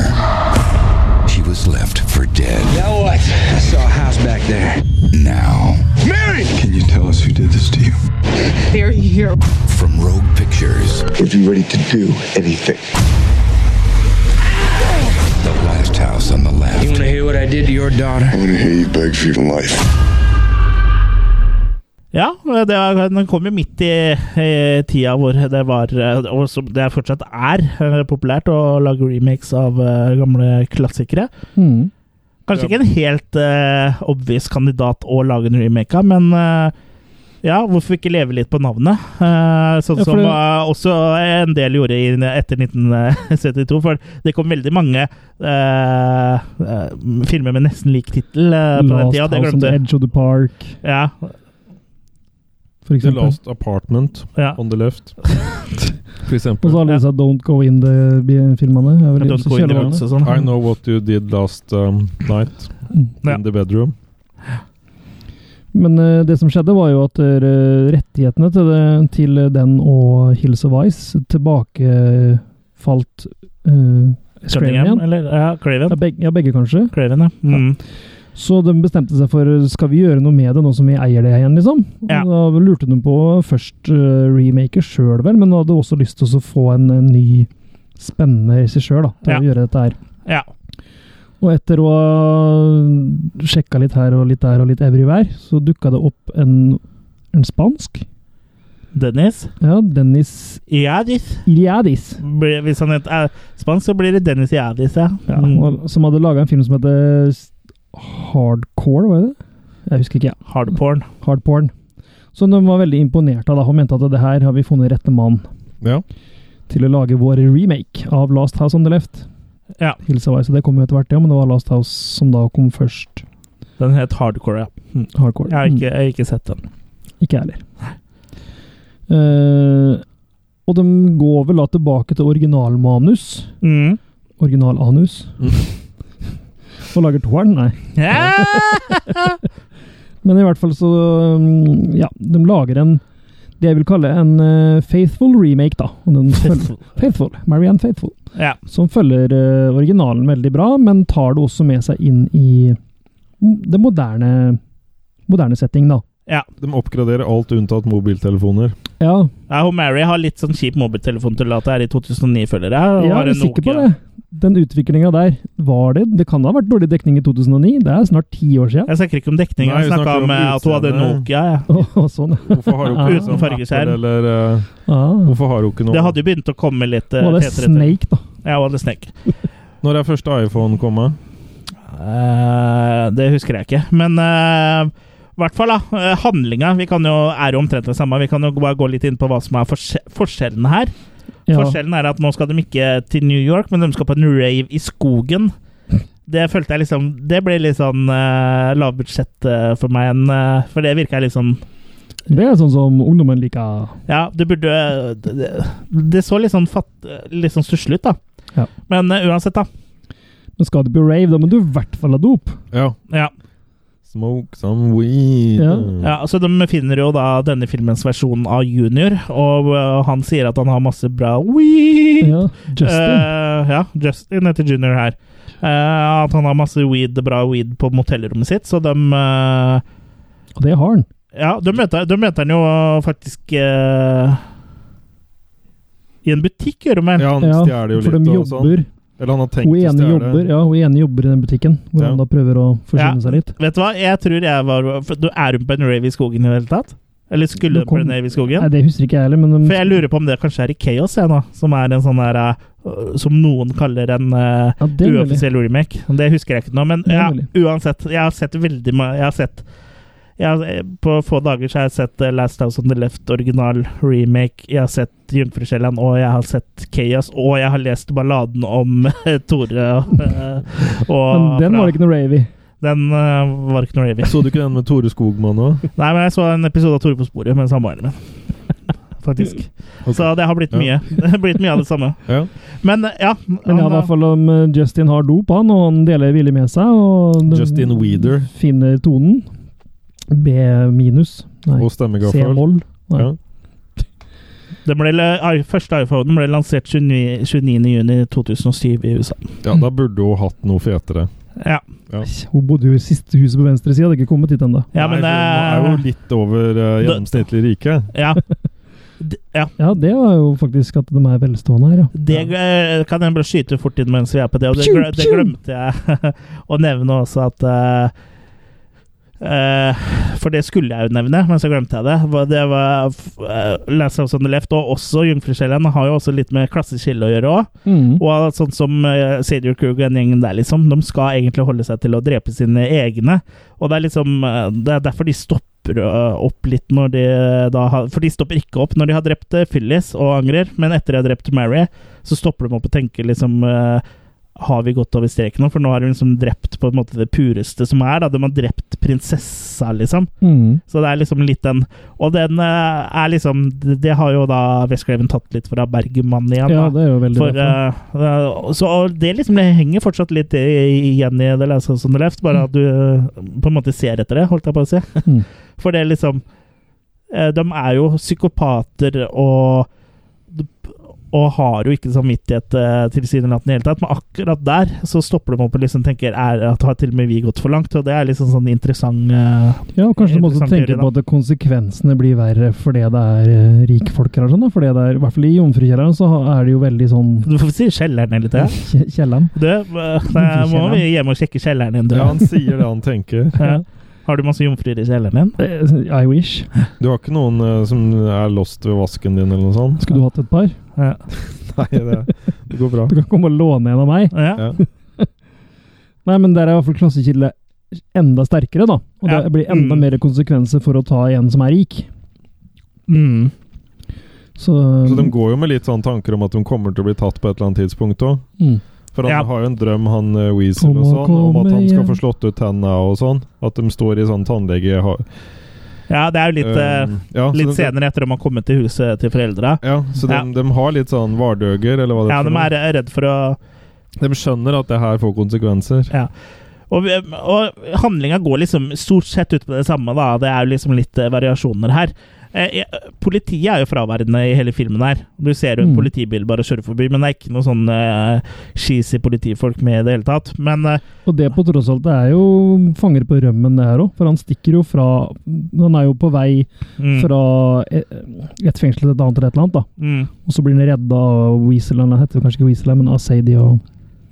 [SPEAKER 8] she was left for dead.
[SPEAKER 9] Now what? I saw a house back there.
[SPEAKER 8] Now,
[SPEAKER 9] Mary! Can you tell us who did this to you?
[SPEAKER 2] They're here.
[SPEAKER 8] from Rogue Pictures,
[SPEAKER 10] If you're ready to do anything,
[SPEAKER 8] the last house on the
[SPEAKER 9] You
[SPEAKER 8] left,
[SPEAKER 9] want to hear what I did to your daughter?
[SPEAKER 10] I want to hear you beg for your life.
[SPEAKER 3] Ja, det var, den kom jo midt i, i tida hvor det var eh, Og som det fortsatt er eh, populært å lage remakes av eh, gamle klassikere.
[SPEAKER 4] Mm.
[SPEAKER 3] Kanskje ikke en helt uh, obvious kandidat å lage en remake av, men eh, ja, hvorfor ikke leve litt på navnet? Eh, sånn
[SPEAKER 4] Ja, for
[SPEAKER 3] som
[SPEAKER 4] det-
[SPEAKER 3] eh, også en del gjorde i, etter 1972. For det kom veldig mange eh, eh, filmer med nesten lik tittel eh, på den
[SPEAKER 4] Last
[SPEAKER 3] tida. Det
[SPEAKER 4] House on the
[SPEAKER 3] glemte
[SPEAKER 4] Edge of the Park,
[SPEAKER 3] ja,
[SPEAKER 4] for
[SPEAKER 5] The
[SPEAKER 4] eksempel.
[SPEAKER 5] Last Apartment
[SPEAKER 3] ja.
[SPEAKER 5] on the Left, for
[SPEAKER 4] Og så
[SPEAKER 5] eksempel.
[SPEAKER 4] alle disse Don't Go In-filmene.
[SPEAKER 3] Don't Go In The Woods og sånn.
[SPEAKER 5] I Know What You Did Last um, Night
[SPEAKER 3] Ja.
[SPEAKER 5] in the Bedroom.
[SPEAKER 4] Men eh, det som skjedde, var jo at eh, rettighetene til, det, til den og Hills of Ice tilbakefalt uh, Scraven
[SPEAKER 3] Cunningham,
[SPEAKER 4] igjen.
[SPEAKER 3] eller? Ja, Craven.
[SPEAKER 4] Ja, begge, ja, begge kanskje.
[SPEAKER 3] Craven, ja. Mm.
[SPEAKER 4] Så de bestemte seg for skal vi gjøre noe med det nå som vi eier det igjen, liksom. Og
[SPEAKER 3] Ja.
[SPEAKER 4] Da lurte de på først uh, remaker sjøl, vel, men de hadde også lyst til å få en, en ny, spennende regissør da, til
[SPEAKER 3] Ja.
[SPEAKER 4] å gjøre dette her.
[SPEAKER 3] ja.
[SPEAKER 4] Og etter å ha sjekka litt her og litt der og litt everywhere, så dukka det opp en, en spansk.
[SPEAKER 3] Dennis?
[SPEAKER 4] Ja, Dennis
[SPEAKER 3] Iadis.
[SPEAKER 4] Iliadis.
[SPEAKER 3] Blir- Hvis han het er spansk, så blir det Dennis Iadis, ja.
[SPEAKER 4] Ja,
[SPEAKER 3] Mm.
[SPEAKER 4] og, som hadde laga en film som heter S- Hardcore, var det det? Jeg husker ikke. Ja.
[SPEAKER 3] Hardporn.
[SPEAKER 4] Hardporn. Så de var veldig imponert av det. Hun mente at det her har vi funnet rette mann
[SPEAKER 5] Ja.
[SPEAKER 4] til å lage vår remake av Last House on the Left.
[SPEAKER 3] Ja.
[SPEAKER 4] Hilsa var, så det kom jo etter hvert, ja, men det var Last House som da kom først.
[SPEAKER 3] Den het Hardcore, ja. Mm.
[SPEAKER 4] Hardcore.
[SPEAKER 3] Jeg har ikke, jeg har ikke sett den.
[SPEAKER 4] Mm, ikke jeg heller. Eh, og de går vel da tilbake til originalmanus.
[SPEAKER 3] Mm.
[SPEAKER 4] Originalanus. Mm. og lager toeren, nei.
[SPEAKER 3] Ja!
[SPEAKER 4] Men i hvert fall så um, Ja, de lager en det jeg vil kalle en eh, faithful remake, da. Og den følger, faithful. Marianne Faithful.
[SPEAKER 3] ja.
[SPEAKER 4] Som følger eh, originalen veldig bra, men tar det også med seg inn i mm, det moderne, moderne setting, da.
[SPEAKER 5] De oppgraderer alt unntatt mobiltelefoner.
[SPEAKER 4] Ja,
[SPEAKER 3] Ja, hun Mary har litt sånn kjip mobiltelefon til at det er i 2009, føler jeg. Hun
[SPEAKER 4] jeg
[SPEAKER 3] har
[SPEAKER 4] er
[SPEAKER 3] en
[SPEAKER 4] sikker på
[SPEAKER 3] Nokia.
[SPEAKER 4] det. Den utviklinga der, var det Det kan ha vært dårlig dekning i 2009? Det er snart ti år siden.
[SPEAKER 3] Jeg snakker ikke om dekning,
[SPEAKER 5] Nei,
[SPEAKER 3] jeg
[SPEAKER 5] vi
[SPEAKER 3] snakker om
[SPEAKER 5] snakker om
[SPEAKER 3] eh, at hun hadde en
[SPEAKER 5] utseende.
[SPEAKER 3] Nokia. Ja.
[SPEAKER 4] Å, sånn, ja.
[SPEAKER 5] Hvorfor har hun ikke
[SPEAKER 4] Uten
[SPEAKER 5] sånn
[SPEAKER 3] fargeskjerm.
[SPEAKER 5] Apple Eller, eh,
[SPEAKER 4] Ah.
[SPEAKER 5] hvorfor har hun ikke noe
[SPEAKER 3] Det hadde jo begynt å komme litt eh,
[SPEAKER 4] Var det
[SPEAKER 3] tetere til.
[SPEAKER 4] Snake, da?
[SPEAKER 3] Ja, hun hadde Snake.
[SPEAKER 5] Når er første iPhone kommet?
[SPEAKER 3] Eh, det husker jeg ikke. Men eh, i hvert fall, da. eh, Handlinga vi kan jo, er jo omtrent det samme. Vi kan jo bare gå litt inn på hva som er forse forskjellen her.
[SPEAKER 4] Ja.
[SPEAKER 3] Forskjellen er at nå skal de ikke til New York, men de skal på en rave i skogen. Det følte jeg liksom Det ble litt sånn uh, lavbudsjett eh, for meg. En, eh, for det virka litt sånn
[SPEAKER 4] Det er sånn som ungdommen liker.
[SPEAKER 3] Ja, det burde Det, det- det så litt sånn, fatt, litt sånn stusslig ut, da.
[SPEAKER 4] Ja.
[SPEAKER 3] Men eh, uansett, da.
[SPEAKER 4] Men skal du på rave, da må du i hvert fall ha dop.
[SPEAKER 5] Ja.
[SPEAKER 3] Ja,
[SPEAKER 5] Smoke some weed.
[SPEAKER 4] Ja.
[SPEAKER 3] ja, så De finner jo da denne filmens versjon av Junior, og eh, han sier at han har masse bra weed.
[SPEAKER 4] Ja, Justin.
[SPEAKER 3] Eh, ja, Justin heter Junior her. Eh, at han har masse weed, bra weed på motellrommet sitt, så de eh,
[SPEAKER 4] Og det har han.
[SPEAKER 3] Ja, de møter, de møter han jo faktisk eh, I en butikk, gjør de vel?
[SPEAKER 5] Ja, han
[SPEAKER 4] Ja,
[SPEAKER 5] stjeler jo litt
[SPEAKER 4] For
[SPEAKER 5] og
[SPEAKER 4] de
[SPEAKER 5] sånn.
[SPEAKER 4] jobber.
[SPEAKER 5] Eller han har tenkt
[SPEAKER 4] Hun
[SPEAKER 5] å
[SPEAKER 4] ene jobber,
[SPEAKER 5] stjele.
[SPEAKER 4] ja, hun ene jobber i den butikken, hvor
[SPEAKER 5] Ja.
[SPEAKER 4] han da prøver å forsyne
[SPEAKER 3] Ja.
[SPEAKER 4] seg litt.
[SPEAKER 3] Vet du hva, jeg tror jeg var for, du- Er hun på en rave i skogen i det hele tatt? Eller skulle
[SPEAKER 4] Du
[SPEAKER 3] hun på en
[SPEAKER 4] kom-
[SPEAKER 3] rave i skogen?
[SPEAKER 4] Nei, Det husker ikke jeg heller, men um,
[SPEAKER 3] For
[SPEAKER 4] de,
[SPEAKER 3] jeg lurer på om det kanskje er i Chaos, jeg nå. Som er en sånn der eh, Som noen kaller en eh,
[SPEAKER 4] ja, det er mulig.
[SPEAKER 3] uoffisiell remake. Det husker jeg ikke nå, men
[SPEAKER 4] Det er
[SPEAKER 3] ja,
[SPEAKER 4] mulig.
[SPEAKER 3] uansett. Jeg har sett veldig mye Jeg har sett jeg har, eh, På få dager så har jeg sett eh, Last House on the Left original remake, jeg har sett Jungfrusjælland, og jeg har sett Chaos, og jeg har lest balladen om Tore og, eh, og
[SPEAKER 4] Men den var det ikke noe rave i.
[SPEAKER 3] Den eh, var ikke noe rave.
[SPEAKER 5] Så du ikke den med Tore Skogman òg?
[SPEAKER 3] Nei, men jeg så en episode av Tore på sporet med samboeren min. Faktisk. Så det har blitt
[SPEAKER 5] Ja.
[SPEAKER 3] mye. Det har blitt mye av det samme.
[SPEAKER 5] Ja.
[SPEAKER 3] Men eh, ja.
[SPEAKER 4] Men ja, i hvert fall om eh, Justin har dop, han, og han deler villig med seg. Og den
[SPEAKER 5] Justin Weeder
[SPEAKER 4] finner tonen. B minus. Nei,
[SPEAKER 5] og stemmegaffel.
[SPEAKER 4] C-moll. Nei.
[SPEAKER 5] Ja.
[SPEAKER 3] Den ble, i- første iPhonen ble lansert 29. 29. juni 2007 i USA.
[SPEAKER 5] ja, da burde hun hatt noe fetere.
[SPEAKER 3] Ja,
[SPEAKER 4] Hun bodde jo i siste huset på venstre side, hadde ikke kommet hit ennå.
[SPEAKER 3] ja men
[SPEAKER 5] Nei, for hun er jo
[SPEAKER 3] det
[SPEAKER 5] litt over eh, gjennomsnittlig rike.
[SPEAKER 3] ja. D- ja.
[SPEAKER 4] Ja, det var jo faktisk at de er velstående her, ja.
[SPEAKER 3] Det eh, kan jeg bare skyte fort inn mens vi er på det, og det,
[SPEAKER 4] Pew,
[SPEAKER 3] gle- det
[SPEAKER 4] pew!
[SPEAKER 3] glemte jeg å nevne også at eh, eh, For det skulle jeg jo nevne, men så glemte jeg det. Hva- Det var uh, Last House on the Left, og også Jungfrusjellen har jo også litt med klasseskille å gjøre òg.
[SPEAKER 4] Mm.
[SPEAKER 3] Og sånn som uh, Sadio Krug og den gjengen der, liksom, de skal egentlig holde seg til å drepe sine egne. Og det er liksom eh, Det er derfor de stopper eh, opp litt når de eh, da har For de stopper ikke opp når de har drept eh, Phyllis og angrer, men etter de har drept Mary, så stopper de opp og tenker liksom eh, har vi gått over streken nå? For nå har de liksom drept på en måte det pureste som er. da, De har drept prinsessa, liksom.
[SPEAKER 4] Mm.
[SPEAKER 3] Så det er liksom litt den Og den eh, er liksom Det det har jo da Westgraven tatt litt fra Bergman igjen.
[SPEAKER 4] Ja,
[SPEAKER 3] da.
[SPEAKER 4] det er jo veldig
[SPEAKER 3] For,
[SPEAKER 4] derfor.
[SPEAKER 3] eh, så og det liksom det henger fortsatt litt i- igjen i The Last House on the Left, bare at du eh, på en måte ser etter det, holdt jeg på å si.
[SPEAKER 4] Mm.
[SPEAKER 3] For det er liksom eh, De er jo psykopater og og har jo ikke samvittighet eh, tilsynelatende i det hele tatt, men akkurat der så stopper de opp og liksom tenker er, at har til og med vi gått for langt, og det er liksom sånn interessant eh,
[SPEAKER 4] Ja, og kanskje du må også
[SPEAKER 3] interessant
[SPEAKER 4] tenke
[SPEAKER 3] teori,
[SPEAKER 4] på
[SPEAKER 3] da.
[SPEAKER 4] at konsekvensene blir verre fordi det er eh, rikfolk her. og Sånn, da. fordi det er, I hvert fall i Jomfrukjelleren så ha- er det jo veldig sånn
[SPEAKER 3] Du får si kjelleren hele tida.
[SPEAKER 4] kje- Kjelleren.
[SPEAKER 3] Du, eh, da må vi hjem og sjekke kjelleren din, du.
[SPEAKER 5] Ja, han sier det han tenker.
[SPEAKER 3] Ja. Har du masse jomfruer i kjelleren din?
[SPEAKER 4] Eh, I wish.
[SPEAKER 5] Du har ikke noen eh, som er lost ved vasken din, eller noe sånt?
[SPEAKER 4] Skulle du hatt et par?
[SPEAKER 3] Ja.
[SPEAKER 5] Nei, det, det går bra.
[SPEAKER 4] Du kan komme og låne en av meg.
[SPEAKER 3] Ja.
[SPEAKER 5] Ja.
[SPEAKER 4] Nei, men der er i hvert fall klassekilde enda sterkere, da. Og
[SPEAKER 3] Ja.
[SPEAKER 4] det blir enda
[SPEAKER 3] Mm.
[SPEAKER 4] mer konsekvenser for å ta en som er rik.
[SPEAKER 3] Mm.
[SPEAKER 4] Så,
[SPEAKER 5] Så de går jo med litt sånn tanker om at de kommer til å bli tatt på et eller annet tidspunkt òg.
[SPEAKER 4] Mm.
[SPEAKER 5] For han
[SPEAKER 3] Ja.
[SPEAKER 5] har jo en drøm, han eh, Weasel
[SPEAKER 4] Om
[SPEAKER 5] og
[SPEAKER 4] å
[SPEAKER 5] sånn, om at
[SPEAKER 4] komme
[SPEAKER 5] han skal
[SPEAKER 4] hjem.
[SPEAKER 5] få slått ut tenna og sånn. At de står i sånn tannlege... ha-
[SPEAKER 3] ja, det er jo litt, eh,
[SPEAKER 5] øhm, ja, så
[SPEAKER 3] litt
[SPEAKER 5] de-
[SPEAKER 3] senere etter at de har kommet til huset til foreldra.
[SPEAKER 5] Ja, så de,
[SPEAKER 3] Ja.
[SPEAKER 5] de har litt sånn vardøger, eller hva det
[SPEAKER 3] Ja,
[SPEAKER 5] for
[SPEAKER 3] de
[SPEAKER 5] noe.
[SPEAKER 3] er eh, redd for å
[SPEAKER 5] De skjønner at det her får konsekvenser.
[SPEAKER 3] Og, og handlinga går liksom stort sett ut på det samme, da. Det er jo liksom litt eh, variasjoner her. Eh, jeg- politiet er jo fraværende i hele filmen her. Du ser jo en
[SPEAKER 4] Mm.
[SPEAKER 3] politibil bare kjøre forbi, men det er ikke noe sånn eh, cheesy politifolk med i det hele tatt. Men eh,
[SPEAKER 4] Og det på tross alt, det er jo fanger på rømmen, det her òg. For han stikker jo fra Han er jo på vei
[SPEAKER 3] mm,
[SPEAKER 4] fra et, et fengsel til et annet eller et eller annet, da.
[SPEAKER 3] mm,
[SPEAKER 4] Og så blir han redda av Weasel, han heter kanskje ikke Weasel, men av Sadie og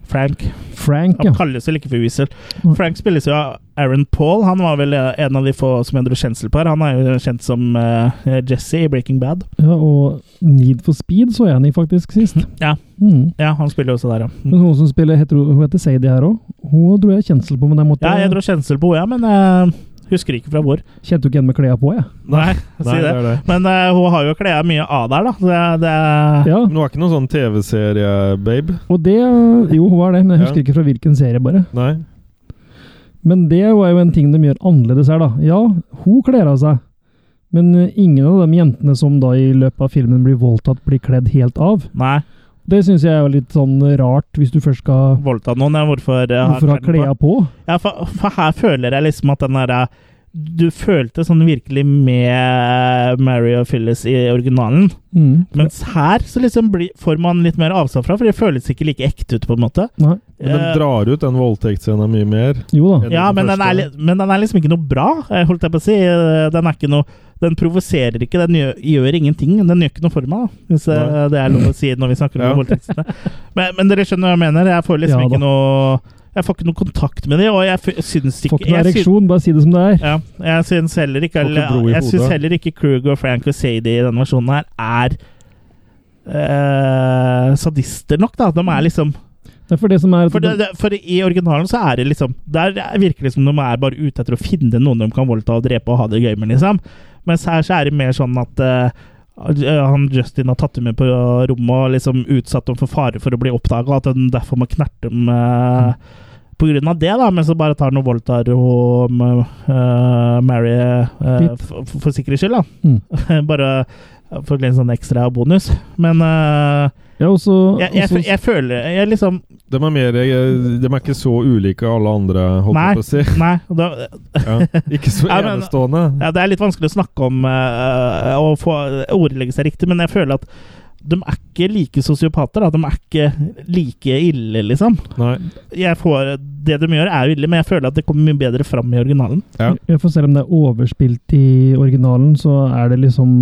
[SPEAKER 3] Frank.
[SPEAKER 4] Frank.
[SPEAKER 3] Han
[SPEAKER 4] Ja.
[SPEAKER 3] kalles vel ikke for Weasel.
[SPEAKER 4] Nei.
[SPEAKER 3] Frank spilles jo av Aaron Paul. Han var vel eh, en av de få som jeg dro kjensel på her. Han er jo kjent som eh, Jesse i Breaking Bad.
[SPEAKER 4] ja, og Need for Speed så jeg han i faktisk sist.
[SPEAKER 3] Ja.
[SPEAKER 4] Mm.
[SPEAKER 3] Ja, han spiller jo også der, ja.
[SPEAKER 4] Men
[SPEAKER 3] Mm.
[SPEAKER 4] hun som spiller, heter, hun heter Sadie her òg. Hun dro jeg kjensel på, men jeg måtte
[SPEAKER 3] Ja, jeg dro kjensel på henne, ja, men eh, husker ikke fra hvor.
[SPEAKER 4] kjente jo ikke igjen med klærne på, jeg.
[SPEAKER 3] Nei, si det.
[SPEAKER 5] er det.
[SPEAKER 3] Men eh, hun har jo kledd mye av der, da. Det, det,
[SPEAKER 4] Ja,
[SPEAKER 3] Mm.
[SPEAKER 5] Men hun er ikke noen sånn TV-serie-babe.
[SPEAKER 4] og det Jo, hun var det, men jeg husker
[SPEAKER 5] Ja.
[SPEAKER 4] ikke fra hvilken serie, bare.
[SPEAKER 5] Nei.
[SPEAKER 4] Men det var jo en ting de gjør annerledes her, da. Ja, hun kler av seg. Men eh, ingen av de jentene som da i løpet av filmen blir voldtatt, blir kledd helt av.
[SPEAKER 3] Nei,
[SPEAKER 4] Det syns jeg er jo litt sånn rart, hvis du først skal
[SPEAKER 3] voldtatt noen. Ja, hvorfor eh, har
[SPEAKER 4] Hvorfor ha
[SPEAKER 3] klærne på?
[SPEAKER 4] klærne på?
[SPEAKER 3] Ja, for, for her føler jeg liksom at den derre Du følte sånn virkelig med Mary og Phyllis i originalen.
[SPEAKER 4] Mm.
[SPEAKER 3] Mens her så liksom blir, får man litt mer avstand fra, for det føles ikke like ekte ut, på en måte.
[SPEAKER 4] Nei.
[SPEAKER 5] Men
[SPEAKER 3] Eh,
[SPEAKER 5] de drar ut den voldtektsscenen mye mer.
[SPEAKER 4] Jo da.
[SPEAKER 5] enn
[SPEAKER 3] ja, men den, er,
[SPEAKER 5] første.
[SPEAKER 3] li- men den er liksom ikke noe bra, eh, holdt jeg på å si. Eh, Den er ikke noe Den provoserer ikke, den gjør, gjør ingenting. Den gjør ikke noe for meg, da, hvis eh,
[SPEAKER 5] Nei.
[SPEAKER 3] det er lov å si når vi snakker om
[SPEAKER 5] Ja.
[SPEAKER 3] voldtektsene. Men, men dere skjønner hva jeg mener? Jeg får liksom
[SPEAKER 4] Ja, da.
[SPEAKER 3] ikke noe Jeg får ikke noe kontakt med dem, og jeg f- syns ikke
[SPEAKER 4] Får ikke noe
[SPEAKER 3] jeg syns-
[SPEAKER 4] ereksjon, bare si det som det er.
[SPEAKER 3] ja, jeg syns heller ikke,
[SPEAKER 5] Får ikke blod i
[SPEAKER 3] jeg syns
[SPEAKER 5] hodet.
[SPEAKER 3] heller ikke Krug og Frank og Sadie i denne versjonen her er eh, sadister nok, da. De er liksom
[SPEAKER 4] Det er for det som er at
[SPEAKER 3] for, det,
[SPEAKER 4] de-
[SPEAKER 3] det, for i originalen så er det liksom Der virker det som de er bare ute etter å finne noen de kan voldta og drepe og ha det gøy med, liksom. Mens her så er det mer sånn at eh, han Justin har tatt dem med på rommet og liksom utsatt dem for fare for å bli oppdaga, og at han derfor må knerte dem eh, på grunn av det, da. Men så bare tar han og voldtar og eh, Mary eh,
[SPEAKER 4] Litt.
[SPEAKER 3] for, for- for sikkerhets skyld, da. bare for litt sånn ekstra bonus. Men eh,
[SPEAKER 4] Ja, og så
[SPEAKER 3] jeg, jeg,
[SPEAKER 4] og så-
[SPEAKER 3] jeg føler Jeg liksom
[SPEAKER 5] De er, mer, eh, de er ikke så ulike alle andre, holdt
[SPEAKER 3] Nei.
[SPEAKER 5] jeg på å si.
[SPEAKER 3] Nei. Da,
[SPEAKER 5] Ja. Ikke så
[SPEAKER 3] Ja, men-
[SPEAKER 5] enestående.
[SPEAKER 3] Ja, det er litt vanskelig å snakke om eh, å få ordlegge seg riktig, men jeg føler at de er ikke like sosiopater. Da. De er ikke like ille, liksom.
[SPEAKER 5] Nei.
[SPEAKER 3] Jeg får, det de gjør, er jo ille, men jeg føler at det kommer mye bedre fram i originalen.
[SPEAKER 5] Ja.
[SPEAKER 4] Ja, for selv om det er overspilt i originalen, så er det liksom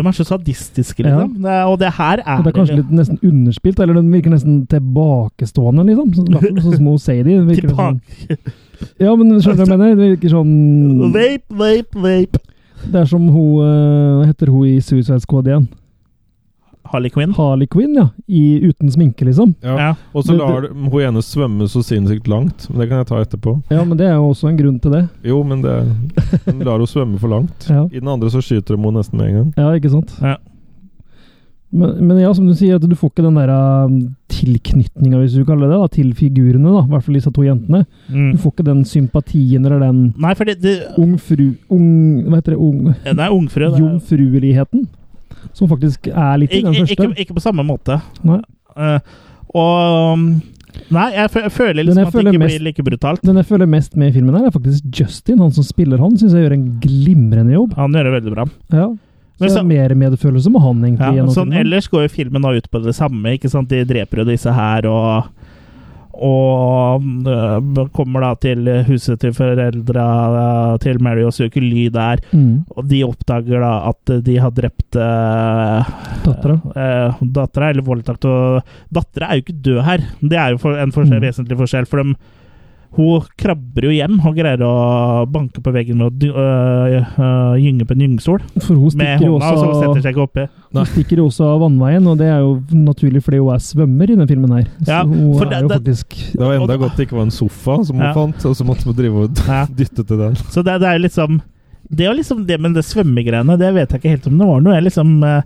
[SPEAKER 3] De er så sadistiske, liksom. Det, og det her
[SPEAKER 4] Og
[SPEAKER 3] er,
[SPEAKER 4] det er kanskje litt nesten underspilt, eller den virker nesten tilbakestående, liksom. Så, i hvert fall sånn som hun sier det. virker det sånn-
[SPEAKER 3] tilbake.
[SPEAKER 4] Ja, men skjønner du hva jeg mener? Det virker sånn
[SPEAKER 3] Vape, vape, vape.
[SPEAKER 4] Det er som hun eh, heter hun i Suicide Squad igjen.
[SPEAKER 3] Harley Quinn.
[SPEAKER 4] Harley Quinn, ja. I, uten sminke, liksom.
[SPEAKER 5] Ja.
[SPEAKER 3] Ja.
[SPEAKER 5] Og så
[SPEAKER 4] Men
[SPEAKER 5] lar de- hun ene svømme så sinnssykt langt. Men det kan jeg ta etterpå.
[SPEAKER 4] Ja, men det er jo også en grunn til det.
[SPEAKER 5] Jo, men det de lar henne svømme for langt.
[SPEAKER 4] Ja,
[SPEAKER 5] I den andre så skyter de henne nesten med en gang.
[SPEAKER 4] ja ikke sant?
[SPEAKER 3] Ja.
[SPEAKER 4] Men, men ja, som du sier, at du får ikke den der eh, tilknytninga, hvis du kaller det det, da, til figurene, da. I hvert fall disse to jentene. Du
[SPEAKER 3] Mm.
[SPEAKER 4] får ikke den sympatien eller den
[SPEAKER 3] Nei, for det, det,
[SPEAKER 4] ung fru... Ung Hva heter det? Ung
[SPEAKER 3] det er ungfru. det er-
[SPEAKER 4] Jomfrueligheten. Som faktisk er litt i
[SPEAKER 3] Ik
[SPEAKER 4] den
[SPEAKER 3] ikke,
[SPEAKER 4] første.
[SPEAKER 3] ikke på samme måte.
[SPEAKER 4] Nei.
[SPEAKER 3] Eh, og mm, Nei, jeg, fø- jeg føler
[SPEAKER 4] Den
[SPEAKER 3] liksom
[SPEAKER 4] jeg
[SPEAKER 3] at det
[SPEAKER 4] føler
[SPEAKER 3] ikke
[SPEAKER 4] mest-
[SPEAKER 3] blir like brutalt.
[SPEAKER 4] Den jeg føler mest med i filmen, her er faktisk Justin. Han som spiller han, syns jeg gjør en glimrende jobb.
[SPEAKER 3] Han gjør det veldig bra.
[SPEAKER 4] Ja. Så det er mer medfølelse med han, egentlig.
[SPEAKER 3] Ja,
[SPEAKER 4] gjennom
[SPEAKER 3] sånn,
[SPEAKER 4] filmen.
[SPEAKER 3] ellers går jo filmen da ut på det samme. ikke sant? De dreper jo disse her, og og øh, kommer da til huset til foreldra øh, til Mary og søker ly der.
[SPEAKER 4] Mm.
[SPEAKER 3] Og de oppdager da at de har drept øh,
[SPEAKER 4] Dattera.
[SPEAKER 3] eh, dattera, eller voldtatt og Dattera er jo ikke død her. Det er jo for, en forskjell,
[SPEAKER 4] Mm.
[SPEAKER 3] vesentlig forskjell, for dem hun krabber jo hjem og greier å banke på veggen med å dy- øh, øh, gynge på en gyngestol
[SPEAKER 4] For hun
[SPEAKER 3] med
[SPEAKER 4] stikker jo
[SPEAKER 3] hånda, og så setter
[SPEAKER 4] også,
[SPEAKER 3] seg ikke oppi.
[SPEAKER 5] Nei.
[SPEAKER 4] hun stikker jo også av vannveien, og det er jo naturlig fordi hun er svømmer i den filmen her. Så
[SPEAKER 3] Ja,
[SPEAKER 4] hun
[SPEAKER 3] for
[SPEAKER 4] er
[SPEAKER 3] det-
[SPEAKER 4] jo
[SPEAKER 3] det-
[SPEAKER 4] faktisk
[SPEAKER 5] Det var enda
[SPEAKER 3] Og da-
[SPEAKER 5] godt det ikke var en sofa som hun
[SPEAKER 3] Ja.
[SPEAKER 5] fant, og så måtte hun drive og
[SPEAKER 3] Ja.
[SPEAKER 5] dytte til den.
[SPEAKER 3] Så det, det er jo liksom Det er jo liksom det med det svømmegreiene, det vet jeg ikke helt om det var noe. Jeg liksom eh,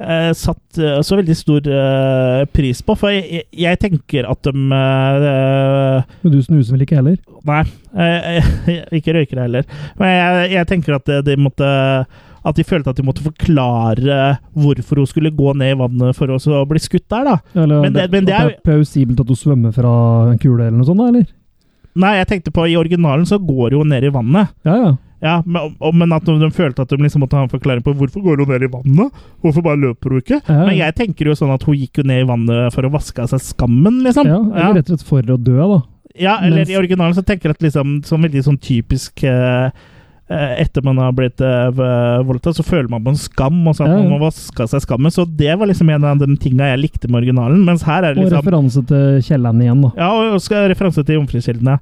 [SPEAKER 3] eh, satt eh, så veldig stor eh, pris på, for jeg, jeg, jeg tenker at de eh,
[SPEAKER 4] Men du snuser vel ikke heller?
[SPEAKER 3] Nei, eh, eh, ikke røykere heller. Men jeg, jeg tenker at de måtte At de følte at de måtte forklare hvorfor hun skulle gå ned i vannet for å så bli skutt der, da.
[SPEAKER 4] Eller,
[SPEAKER 3] Men det- men det
[SPEAKER 4] at
[SPEAKER 3] er-
[SPEAKER 4] det er plausibelt at hun svømmer fra en kule eller noe sånt, da, eller?
[SPEAKER 3] Nei, jeg tenkte på i originalen så går hun ned i vannet.
[SPEAKER 4] Ja, ja.
[SPEAKER 3] Ja, men, og- men at de følte at de liksom måtte ha en forklaring på hvorfor går hun ned i vannet? Hvorfor bare løper hun ikke?
[SPEAKER 4] Ja,
[SPEAKER 3] Men jeg tenker jo sånn at hun gikk jo ned i vannet for å vaske av seg skammen, liksom.
[SPEAKER 4] ja, eller rett og slett for å dø, da.
[SPEAKER 3] Ja, eller
[SPEAKER 4] Mens-
[SPEAKER 3] i originalen så tenker jeg at liksom sånn veldig sånn typisk eh, eh, Etter man har blitt eh, v- voldtatt, så føler man på en skam, og så at
[SPEAKER 4] Ja, ja.
[SPEAKER 3] man må vaske av seg skammen. Så det var liksom en av de tinga jeg likte med originalen. Mens her er
[SPEAKER 4] Og
[SPEAKER 3] det liksom
[SPEAKER 4] referanse til Kielland igjen, da.
[SPEAKER 3] ja, og og skal referanse til Jomfrukilden, ja.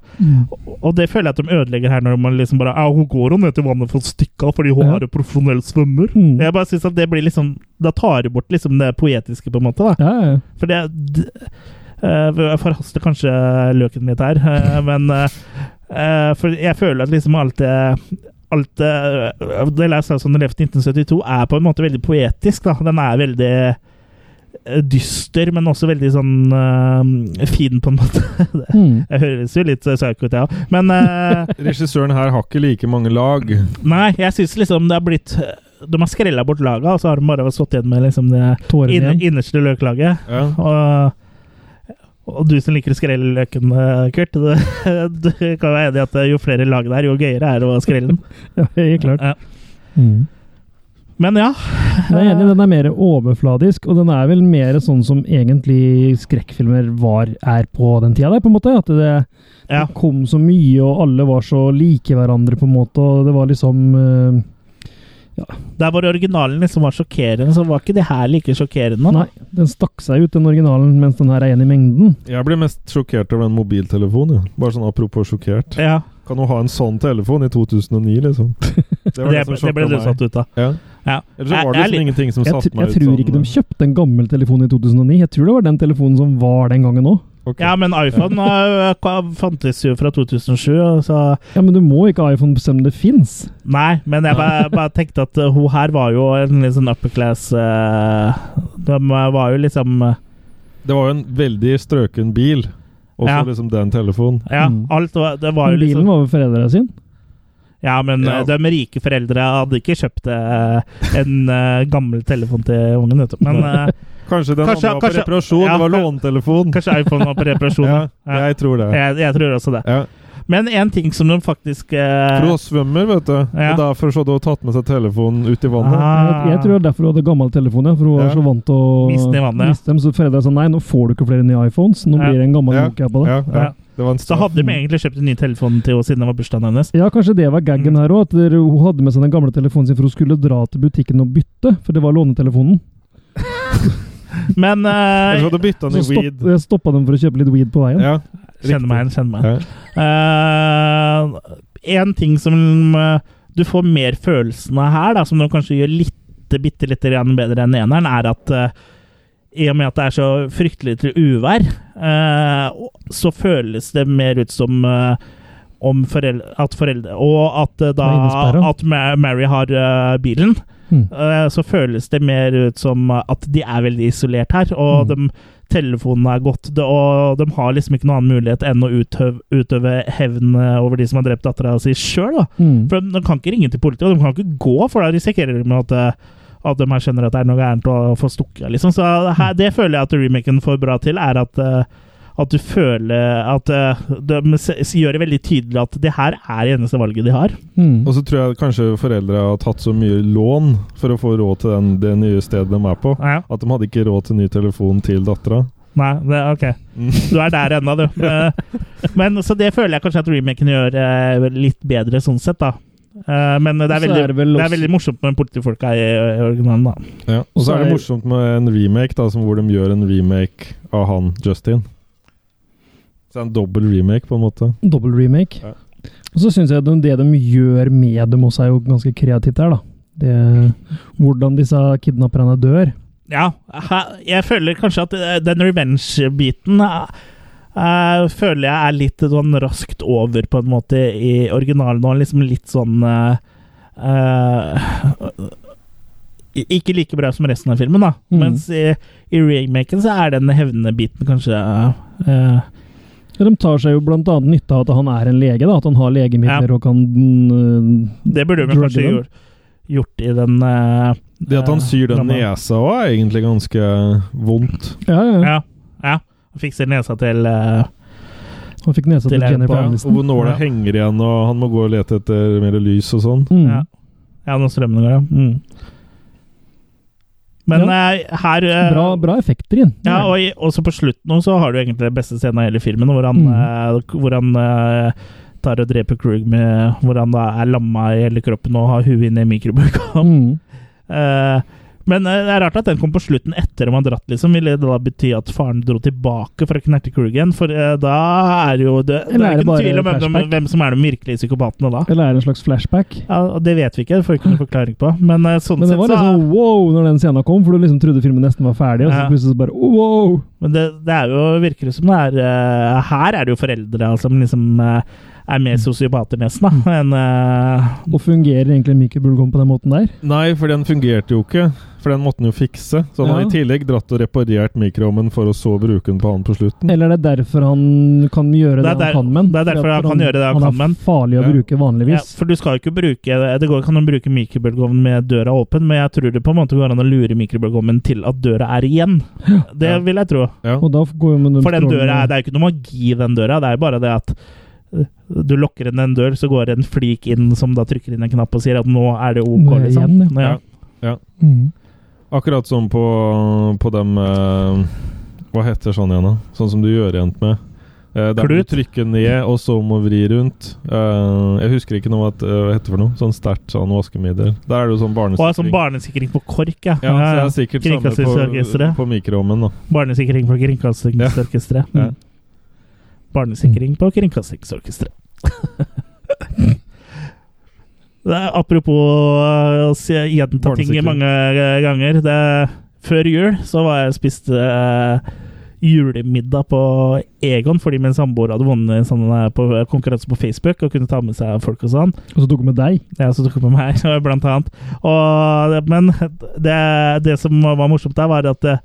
[SPEAKER 3] Og det føler jeg at de ødelegger her, når man liksom bare Ja, hun går jo ned til vannet for å stikke av fordi hun
[SPEAKER 4] Ja.
[SPEAKER 3] er en profesjonell svømmer.
[SPEAKER 4] Mm.
[SPEAKER 3] Jeg bare synes at det blir liksom Da tar det bort liksom det poetiske, på en måte. da
[SPEAKER 4] Ja, ja.
[SPEAKER 3] for det d- eh, Jeg forhaster kanskje løken litt her, eh, men eh, eh, For jeg føler at liksom alt det Alt det eh, Det Last House on the Left 1972 er på en måte veldig poetisk. da Den er veldig eh, dyster, men også veldig sånn eh, fin, på en måte.
[SPEAKER 4] Mm.
[SPEAKER 3] Jeg høres jo litt eh, psycho ut, jeg òg, men eh,
[SPEAKER 5] Regissøren her har ikke like mange lag.
[SPEAKER 3] Nei, jeg syns liksom det har blitt De har skrella bort laga, og så har de bare stått igjen med liksom det
[SPEAKER 4] Tårene
[SPEAKER 3] inne-
[SPEAKER 4] igjen.
[SPEAKER 3] innerste løklaget.
[SPEAKER 5] Ja.
[SPEAKER 3] Og, og du som liker å skrelle løken, eh, Kurt, du, du kan være enig i at eh, jo flere lag det er, jo gøyere er det å skrelle den.
[SPEAKER 4] Ja, helt klart.
[SPEAKER 3] Ja.
[SPEAKER 4] Mm.
[SPEAKER 3] Men ja.
[SPEAKER 4] Jeg er enig, den er mer overfladisk, og den er vel mer sånn som egentlig skrekkfilmer var, er på den tida der, på en måte. At det,
[SPEAKER 3] Ja.
[SPEAKER 4] det kom så mye, og alle var så like hverandre, på en måte, og det var liksom eh,
[SPEAKER 3] Der hvor originalen liksom var sjokkerende, så var ikke det her like sjokkerende.
[SPEAKER 4] Nei, den stakk seg ut, den originalen, mens den her er en i mengden.
[SPEAKER 5] Jeg blir mest sjokkert over den mobiltelefonen. Ja. Bare sånn apropos sjokkert.
[SPEAKER 3] Ja,
[SPEAKER 5] Kan hun ha en sånn telefon i 2009, liksom? Det
[SPEAKER 3] det, det, ble du satt ut av.
[SPEAKER 5] Ja.
[SPEAKER 3] Ja.
[SPEAKER 5] Ellers så
[SPEAKER 3] Jeg-
[SPEAKER 5] var det
[SPEAKER 3] jeg er
[SPEAKER 5] liksom
[SPEAKER 3] litt-
[SPEAKER 5] ingenting som
[SPEAKER 4] Jeg,
[SPEAKER 5] satte
[SPEAKER 4] tr-
[SPEAKER 5] meg
[SPEAKER 4] jeg
[SPEAKER 5] ut
[SPEAKER 4] tror
[SPEAKER 5] sånn.
[SPEAKER 4] ikke de kjøpte en gammel telefon i 2009. Jeg tror det var den telefonen som var den gangen òg.
[SPEAKER 5] Ok.
[SPEAKER 3] ja, men iPhone eh, ka- fantes jo fra 2007, og så
[SPEAKER 4] Ja, men du må ikke ha iPhone bestemme det fins.
[SPEAKER 3] Nei, men jeg bare, bare tenkte at eh, hun her var jo en litt sånn upper class eh, De var jo liksom eh,
[SPEAKER 5] Det var jo en veldig strøken bil, og så
[SPEAKER 3] Ja.
[SPEAKER 5] liksom den telefonen.
[SPEAKER 3] Ja,
[SPEAKER 4] Mm.
[SPEAKER 3] alt var Det var jo
[SPEAKER 4] Men
[SPEAKER 3] liksom
[SPEAKER 4] bilen var vel foreldra sin.
[SPEAKER 3] Ja, men
[SPEAKER 5] Ja.
[SPEAKER 3] eh, de rike foreldre hadde ikke kjøpt eh, en eh, gammel telefon til ungen, vet du. Men eh,
[SPEAKER 5] Kanskje den
[SPEAKER 3] Kanskje-
[SPEAKER 5] andre var på
[SPEAKER 3] kanskje-
[SPEAKER 5] reparasjon,
[SPEAKER 3] ja,
[SPEAKER 5] det var
[SPEAKER 3] kan-
[SPEAKER 5] lånetelefon.
[SPEAKER 3] kanskje iPhone var på reparasjon.
[SPEAKER 5] Ja,
[SPEAKER 3] ja.
[SPEAKER 5] jeg tror det.
[SPEAKER 3] Jeg, jeg tror også det.
[SPEAKER 5] Ja.
[SPEAKER 3] Men en ting som de faktisk eh,
[SPEAKER 5] For hun svømmer, vet du.
[SPEAKER 3] Ja.
[SPEAKER 5] Og derfor så hadde hun tatt med seg telefonen ut i vannet.
[SPEAKER 4] Jeg,
[SPEAKER 3] Ah.
[SPEAKER 4] jeg tror det er derfor hun hadde gammel telefon, ja, for hun var
[SPEAKER 5] Ja.
[SPEAKER 4] så vant til å
[SPEAKER 3] Miste den i vannet, ja.
[SPEAKER 4] miste dem. Så foreldra sa nei, nå får du ikke flere nye iPhones. Nå
[SPEAKER 3] Ja.
[SPEAKER 4] blir det en gammel
[SPEAKER 5] Ja.
[SPEAKER 4] Nokia på det.
[SPEAKER 5] Ja, ja.
[SPEAKER 3] Ja.
[SPEAKER 5] Det var en
[SPEAKER 3] Så
[SPEAKER 5] straff.
[SPEAKER 3] hadde de egentlig kjøpt en ny telefon til henne siden det var bursdagen hennes.
[SPEAKER 4] Ja, kanskje det var
[SPEAKER 3] Mm.
[SPEAKER 4] gaggen her òg, at dere- hun hadde med seg den gamle telefonen sin for hun skulle dra til butikken og bytte, for det var lånetelefonen.
[SPEAKER 3] Men
[SPEAKER 5] Ellers
[SPEAKER 3] uh,
[SPEAKER 5] hadde hun bytta den
[SPEAKER 4] Så
[SPEAKER 5] i weed.
[SPEAKER 4] stopp, stoppa dem for å kjøpe litt weed på veien.
[SPEAKER 5] Ja,
[SPEAKER 3] kjenn meg igjen, kjenn meg igjen.
[SPEAKER 5] Ja.
[SPEAKER 3] Eh, en ting som eh, du får mer følelsen av her, da, som du kanskje gjør litt, bitte litt grann bedre enn eneren, er at eh, i og med at det er så fryktelig til uvær, eh, så føles det mer ut som eh, om foreldre, at foreldre Og at eh, da
[SPEAKER 4] Det er innesperret.
[SPEAKER 3] at Ma- Mary har eh, bilen,
[SPEAKER 4] Mm.
[SPEAKER 3] eh, så føles det mer ut som at de er veldig isolert her. Og
[SPEAKER 4] Mm.
[SPEAKER 3] de, telefonene er gått, det- og de har liksom ikke noen annen mulighet enn å utøve, utøve hevn eh, over de som har drept dattera si sjøl.
[SPEAKER 4] Mm.
[SPEAKER 3] For de, de kan ikke ringe til politiet, og de kan ikke gå, for da risikerer de at eh, at de her skjønner at det er noe gærent og får stukket av, liksom. Så her, det føler jeg at remaken får bra til, er at eh, At du føler at eh, de s- s- gjør det veldig tydelig at det her er det eneste valget de har.
[SPEAKER 4] Mm.
[SPEAKER 5] Og så tror jeg kanskje foreldre har tatt så mye lån for å få råd til den, det nye stedet de er på,
[SPEAKER 3] Ja.
[SPEAKER 5] at de hadde ikke råd til ny telefon til dattera.
[SPEAKER 3] Nei, det, ok. Du er der ennå, du. Eh, Men, så det føler jeg kanskje at remaken gjør eh, litt bedre sånn sett, da. Eh, Men det er,
[SPEAKER 4] Så
[SPEAKER 3] veldig,
[SPEAKER 4] er det
[SPEAKER 3] det,
[SPEAKER 4] vel
[SPEAKER 3] er
[SPEAKER 4] også-
[SPEAKER 3] veldig morsomt med politifolka i i originalen, da.
[SPEAKER 5] Ja. Og så er det
[SPEAKER 4] Så er-
[SPEAKER 5] morsomt med en remake, da, som hvor de gjør en remake av han Justin. Så det er en dobbel remake, på en måte.
[SPEAKER 4] Dobbel remake.
[SPEAKER 5] Ja.
[SPEAKER 4] Og så syns jeg at det de gjør med dem også, er jo ganske kreativt her, da. Det, hvordan disse kidnapperne dør.
[SPEAKER 3] Ja, ha- jeg føler kanskje at eh, den revenge-biten eh, eh, føler jeg er litt sånn raskt over, på en måte, i originalen. Og liksom litt sånn eh, eh, i- Ikke like bra som resten av filmen, da.
[SPEAKER 4] Mm.
[SPEAKER 3] Mens i, i remaken så er den hevnebiten kanskje eh,
[SPEAKER 4] Ja, De tar seg jo bl.a. nytte av at han er en lege, da. At han har legemidler
[SPEAKER 3] Ja.
[SPEAKER 4] og kan øh,
[SPEAKER 3] Det burde vi
[SPEAKER 4] Drugger
[SPEAKER 3] kanskje
[SPEAKER 4] dem?
[SPEAKER 3] gjort, gjort i den eh,
[SPEAKER 5] Det at han
[SPEAKER 3] eh,
[SPEAKER 5] syr den
[SPEAKER 3] gamle-
[SPEAKER 5] nesa òg, er egentlig ganske vondt.
[SPEAKER 4] Ja, ja. ja.
[SPEAKER 3] Ja. ja. Han Fikser nesa til eh,
[SPEAKER 4] Han fikk nesa
[SPEAKER 3] Til
[SPEAKER 4] til
[SPEAKER 3] hjelp,
[SPEAKER 4] Jennifer
[SPEAKER 3] ja.
[SPEAKER 5] Og
[SPEAKER 4] Aniston.
[SPEAKER 5] hvor nåla
[SPEAKER 3] Ja.
[SPEAKER 5] henger igjen, og han må gå og lete etter mer lys og sånn.
[SPEAKER 4] Mm.
[SPEAKER 3] ja. ja, når strømmen går, ja. Mm. Men eh, her eh,
[SPEAKER 4] Bra, bra effekter inn.
[SPEAKER 3] Ja, og i, også på slutten nå så har du egentlig den beste scenen av hele filmen, hvor han,
[SPEAKER 4] Mm.
[SPEAKER 3] eh, hvor han eh, tar og dreper Krug med Hvor han da er lamma i hele kroppen og har huet inn i mikrobølgeovnen.
[SPEAKER 4] mm.
[SPEAKER 3] Eh, men eh, det er rart at den kom på slutten etter om han dratt, liksom. Ville det da bety at faren dro tilbake for å knerte Krugen? For eh, da er jo det, det
[SPEAKER 4] Eller
[SPEAKER 3] er
[SPEAKER 4] er det
[SPEAKER 3] ikke
[SPEAKER 4] bare
[SPEAKER 3] noen tvil om hvem, de-
[SPEAKER 4] flashback?
[SPEAKER 3] hvem som er de virkelige psykopatene da.
[SPEAKER 4] Eller er det en slags flashback?
[SPEAKER 3] Ja, og det vet vi ikke, det får vi ikke noen forklaring på. Men eh, sånn
[SPEAKER 4] Men det
[SPEAKER 3] sett
[SPEAKER 4] var
[SPEAKER 3] så
[SPEAKER 4] liksom wow når den scenen kom, for du liksom trodde filmen nesten var ferdig, og så
[SPEAKER 3] Ja.
[SPEAKER 4] plutselig så bare wow!
[SPEAKER 3] Men det, det er jo, virker det som det er eh, Her er det jo foreldre altså, som liksom eh, er
[SPEAKER 4] Mm.
[SPEAKER 3] mer sosiopater nesten da, enn eh,
[SPEAKER 4] Og fungerer egentlig mikrobølgeovn på den måten der?
[SPEAKER 5] Nei, for den fungerte jo ikke. For den måtte han jo fikse. Så han
[SPEAKER 4] Ja.
[SPEAKER 5] har i tillegg dratt og reparert mikroovnen for å så bruke den på han på slutten.
[SPEAKER 4] Eller er det derfor han kan gjøre det,
[SPEAKER 3] Det er der-
[SPEAKER 4] han kan med den?
[SPEAKER 3] det er derfor
[SPEAKER 4] Fordi at
[SPEAKER 3] han kan gjøre det han kan med den.
[SPEAKER 4] er farlig å
[SPEAKER 5] Ja.
[SPEAKER 4] bruke
[SPEAKER 3] ja,
[SPEAKER 4] vanligvis.
[SPEAKER 3] For du skal jo ikke bruke Det går, kan jo bruke mikrobølgeovnen med døra åpen, men jeg tror det på en måte går an å lure mikrobølgeovnen til at døra er igjen. Det
[SPEAKER 5] Ja.
[SPEAKER 3] vil jeg tro.
[SPEAKER 5] Ja.
[SPEAKER 4] Og da går jo med
[SPEAKER 3] For den
[SPEAKER 4] strålene-
[SPEAKER 3] døra er, det er jo ikke noe magi i den døra, det er jo bare det at eh, du lukker inn en dør, så går det en flik inn som da trykker inn en knapp og sier at 'nå er det OK',
[SPEAKER 4] Nå er jeg
[SPEAKER 3] liksom.
[SPEAKER 4] igjen,
[SPEAKER 3] ja.
[SPEAKER 4] Mm.
[SPEAKER 5] Akkurat som på, på dem eh, Hva heter sånn igjen, da? Sånn som du gjør igjen med. Eh, der må
[SPEAKER 3] Klut?
[SPEAKER 5] du trykke ned, og så må vri rundt. Eh, jeg husker ikke noe at, eh, hva heter det for noe. Sånn sterkt sånn vaskemiddel. Der er det jo sånn
[SPEAKER 3] Og har sånn
[SPEAKER 5] barnesikring.
[SPEAKER 3] barnesikring på KORK, ja.
[SPEAKER 5] ja, så det er sikkert samme
[SPEAKER 3] Kringkastingsorkestret.
[SPEAKER 5] på, på mikroovnen, da.
[SPEAKER 3] Barnesikring på Kringkastingsorkestret.
[SPEAKER 5] Ja.
[SPEAKER 3] Mm. Barnesikring på Kringkastingsorkestret. Det er Apropos eh, å si- gjenta ting
[SPEAKER 5] Barnesikring.
[SPEAKER 3] mange eh, ganger det, Før jul så var jeg og spiste eh, julemiddag på Egon fordi min samboer hadde vunnet en sånn, eh, på konkurranse på Facebook og kunne ta med seg folk og sånn.
[SPEAKER 4] Og så tok hun med deg.
[SPEAKER 3] Ja, så tok det på meg, blant annet. Og, men det, det som var morsomt der, var at det,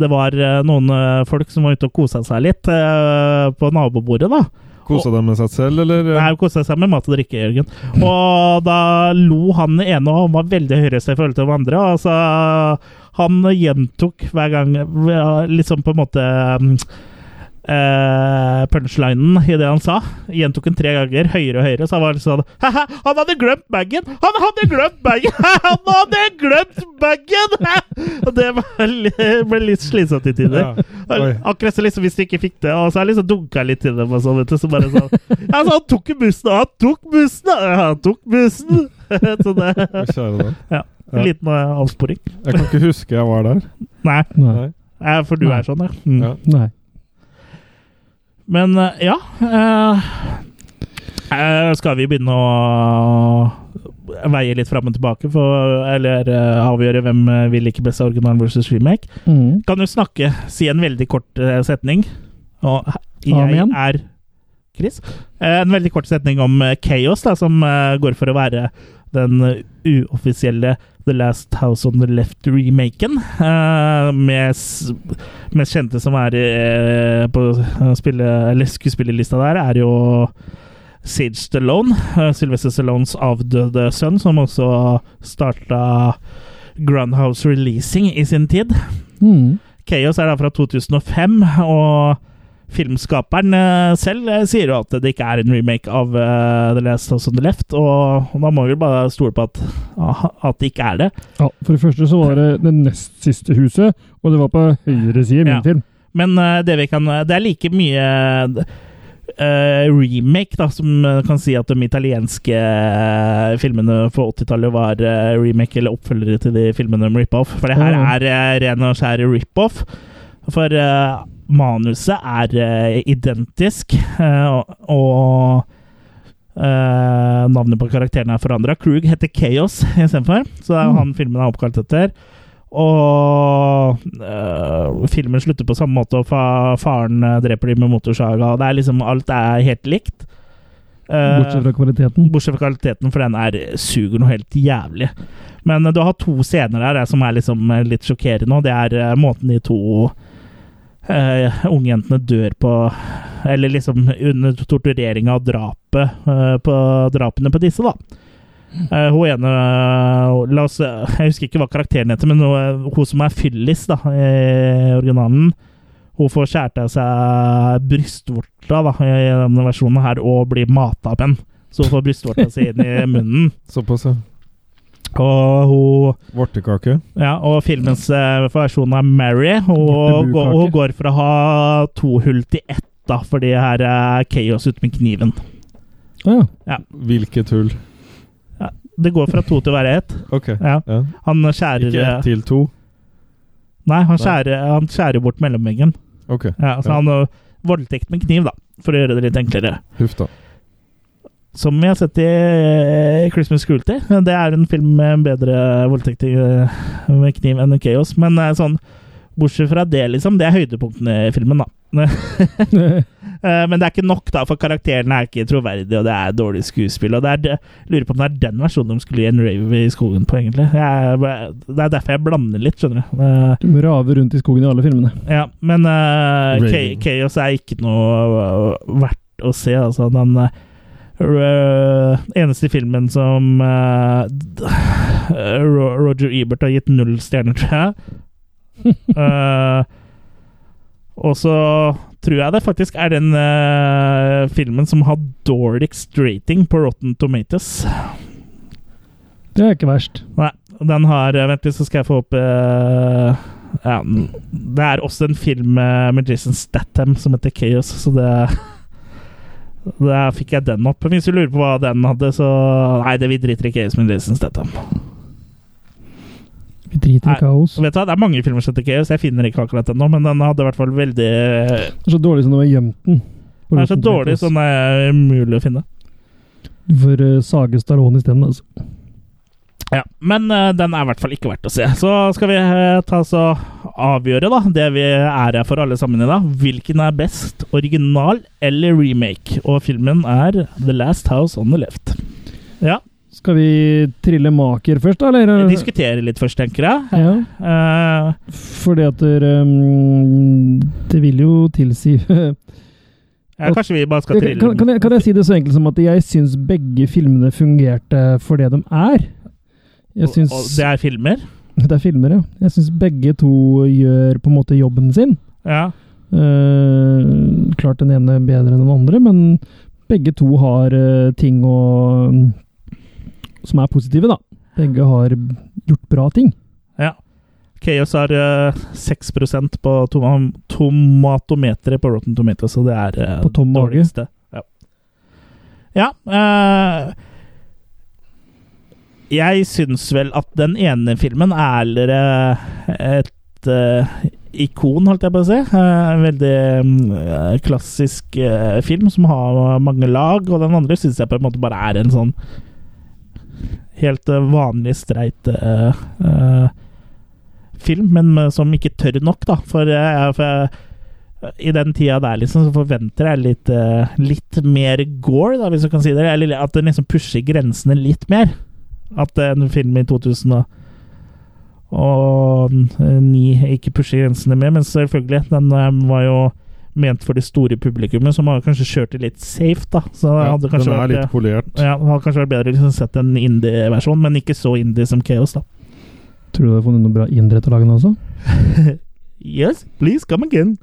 [SPEAKER 3] det var eh, noen eh, folk som var ute og kosa seg litt eh, på nabobordet, da.
[SPEAKER 5] Kosa deg med seg selv, eller?
[SPEAKER 3] Nei, kosa seg med mat og drikke, Jørgen. Og da lo han ene og var veldig høyrøst i forhold til de andre. Og så han gjentok hver gang eh, liksom på en måte mm, eh, punchlinen i det han sa. Gjentok den tre ganger, høyere og høyere. Så han var litt sånn «Haha, Han hadde glemt bagen! Han hadde glemt bagen! Han hadde glemt bagen! Og det var li- ble litt slitsomt i tider.
[SPEAKER 5] Ja. Oi.
[SPEAKER 3] Akkurat så liksom hvis du ikke fikk det, og så har jeg liksom dunka litt til dem og sånn, vet du, så bare sånn Ja, så han tok jo bussen, og han tok bussen, og han tok bussen! Så det
[SPEAKER 5] Å, Kjære deg.
[SPEAKER 3] Ja. En liten eh, avsporing.
[SPEAKER 5] Jeg kan ikke huske jeg var der.
[SPEAKER 3] Nei,
[SPEAKER 4] Nei.
[SPEAKER 3] eh, for du er sånn, ja.
[SPEAKER 5] Ja.
[SPEAKER 3] Mm.
[SPEAKER 4] Nei.
[SPEAKER 3] Men eh, ja eh, eh, Skal vi begynne å veie litt fram og tilbake, for, eller eh, avgjøre hvem eh, vi liker best av originalen versus remake?
[SPEAKER 4] Mm.
[SPEAKER 3] Kan du snakke, si en veldig kort eh, setning. Og jeg
[SPEAKER 4] Amen.
[SPEAKER 3] er Chris. Eh, En veldig kort setning om eh, Chaos, da, som eh, går for å være den eh, uoffisielle The Last House on the Left-remaken. eh, Med s- mest kjente som er eh, på eh, spille, eller skuespillerlista der, er jo Sage Stallone. eh, Sylvester Stallones avdøde sønn, som også starta Groundhouse Releasing i sin tid.
[SPEAKER 4] Mm.
[SPEAKER 3] Chaos er da fra 2005, og Filmskaperen eh, selv eh, sier jo at det ikke er en remake av eh, The Last House on the Left, og da må vi vel bare stole på at, at det ikke er det.
[SPEAKER 4] Ja, For det første så var det det nest siste huset, og det var på høyre side i min
[SPEAKER 3] Ja.
[SPEAKER 4] film.
[SPEAKER 3] Men eh, det vi kan Det er like mye eh, remake, da, som eh, kan si at de italienske eh, filmene på 80-tallet var eh, remake eller oppfølgere til de filmene de rippa off. For det her
[SPEAKER 4] Ja.
[SPEAKER 3] er eh, ren og skjær rip-off. For eh, manuset er eh, identisk, eh, og, og eh, navnet på karakteren er forandra. Krug heter Chaos istedenfor, så det er jo han filmen er oppkalt etter. Og eh, filmen slutter på samme måte, og fa faren eh, dreper de med motorsaga. Og det er liksom, alt er helt likt. Eh,
[SPEAKER 4] Bortsett fra kvaliteten.
[SPEAKER 3] Bortsett fra kvaliteten, for den er eh, suger noe helt jævlig. Men eh, du har to scener der eh, som er liksom eh, litt sjokkerende, og det er eh, måten de to uh, ungjentene dør på Eller liksom under tortureringa og drapet eh, på drapene på disse, da. Eh, hun ene eh, la oss, Jeg husker ikke hva karakteren heter, men hun, hun som er Fyllis da, i originalen Hun får skjært av seg brystvorta da, i denne versjonen her, og blir mata opp en. Så hun får brystvorta si inn i munnen.
[SPEAKER 5] Såpass, ja.
[SPEAKER 3] Og hun
[SPEAKER 5] Vortekake.
[SPEAKER 3] ja, og filmens eh, versjon er Mary. Og,
[SPEAKER 5] Bortebukake.
[SPEAKER 3] og hun går for å ha to hull til ett, da, fordi her er Chaos ute med kniven.
[SPEAKER 4] Å ja.
[SPEAKER 5] Hvilket hull?
[SPEAKER 3] Ja, det går fra to til å være ett.
[SPEAKER 5] Ok.
[SPEAKER 3] Ja.
[SPEAKER 5] Ja.
[SPEAKER 3] Han skjærer
[SPEAKER 5] Ikke ett til to?
[SPEAKER 3] Nei, han
[SPEAKER 5] Nei.
[SPEAKER 3] skjærer, han skjærer bort mellomveggen.
[SPEAKER 5] Ok.
[SPEAKER 3] Ja, så
[SPEAKER 5] Ja.
[SPEAKER 3] han ø, voldtekt med kniv, da, for å gjøre det litt enklere.
[SPEAKER 5] Huff da.
[SPEAKER 3] Som jeg har sett i eh, Christmas Cruelty. Det er en film med bedre voldtekt i, eh, med kniv enn Chaos. Men eh, sånn, bortsett fra det, liksom, det er høydepunktene i filmen, da. Eh, Men det er ikke nok, da, for karakterene er ikke troverdige, og det er dårlig skuespill. Og det er, det- jeg lurer på om det er den versjonen de skulle gi en rave i skogen på, egentlig. Jeg, det er derfor jeg blander litt, skjønner du. Eh,
[SPEAKER 4] Du må rave rundt i skogen i alle filmene.
[SPEAKER 3] Ja, men eh,
[SPEAKER 5] Raving.
[SPEAKER 3] Cha- Chaos er ikke noe eh, verdt å se. Altså, den eh, r- eneste filmen som eh, d- eh, Ro- Roger Ebert har gitt null stjerner, tror jeg. Eh, og så tror jeg det faktisk er den eh, filmen som har dårligst rating på Rotten Tomatoes.
[SPEAKER 4] Det er ikke verst.
[SPEAKER 3] Nei, den har eh, Vent litt, så skal jeg få opp eh, ja, n- Det er også en film eh, med Jason Statham som heter Chaos, så det Der fikk jeg den opp. Hvis du lurer på hva den hadde, så Nei, det vi driter i Chaos med Jason Statham.
[SPEAKER 4] Vi driter
[SPEAKER 3] Nei.
[SPEAKER 4] i kaos.
[SPEAKER 3] Så vet du hva, Det er mange filmer som heter Chaos, jeg finner ikke akkurat den nå, men den hadde i hvert fall veldig Den
[SPEAKER 4] Det er så dårlig som du har gjemt den.
[SPEAKER 3] er så dårlig, så den er umulig å finne.
[SPEAKER 4] Du får eh, sage Stallone isteden, altså.
[SPEAKER 3] Ja, Men eh, den er i hvert fall ikke verdt å se. Så skal vi eh, ta oss og avgjøre da, det vi er her for alle sammen i dag. Hvilken er best, original eller remake? Og filmen er The Last House on the Left. Ja,
[SPEAKER 4] Skal vi trille maker først, da? Eller?
[SPEAKER 3] vi diskuterer litt først, tenker jeg.
[SPEAKER 4] Ja.
[SPEAKER 3] Eh,
[SPEAKER 4] Fordi at dere, um, det vil jo tilsi
[SPEAKER 3] ja, kanskje vi bare skal
[SPEAKER 4] kan,
[SPEAKER 3] trille
[SPEAKER 4] kan, kan, jeg, kan jeg si det så enkelt som at jeg syns begge filmene fungerte for det de er? Jeg syns
[SPEAKER 3] Og- og Det er filmer.
[SPEAKER 4] Det er filmer, ja. Jeg syns begge to gjør på en måte jobben sin.
[SPEAKER 3] Ja.
[SPEAKER 4] Eh, klart den ene bedre enn den andre, men begge to har eh, ting å Som er positive, da. Begge har gjort bra ting.
[SPEAKER 3] ja. Chaos har eh, 6 på toma tomatometeret på Rotten Tomatoes, så det er eh,
[SPEAKER 4] På tom mage.
[SPEAKER 3] dårligste. Ja. ja eh, jeg syns vel at den ene filmen er eh, et eh, ikon, holdt jeg på å si. Eh, En veldig mm, eh, klassisk eh, film som har mange lag, og den andre syns jeg på en måte bare er en sånn helt eh, vanlig streit eh, eh, film, men med- som ikke tør nok, da. For, eh, for jeg- i den tida der liksom, så forventer jeg litt, eh, litt mer gore, da, hvis du kan si det. Eller at den liksom pusher grensene litt mer. At eh, en film i 2009 ikke pusher grensene mer, men selvfølgelig, den eh, var jo ment for det store publikummet, som har kanskje kjørt det litt safe, da. Så det
[SPEAKER 5] Ja,
[SPEAKER 3] hadde kanskje
[SPEAKER 5] den er
[SPEAKER 3] vært, eh,
[SPEAKER 5] litt polert.
[SPEAKER 3] ja, det hadde kanskje vært bedre å liksom sett en indie-versjon, men ikke så indie som Chaos, da.
[SPEAKER 4] Tror du du har funnet noe bra indre til å lage den også?
[SPEAKER 3] Yes, please come again.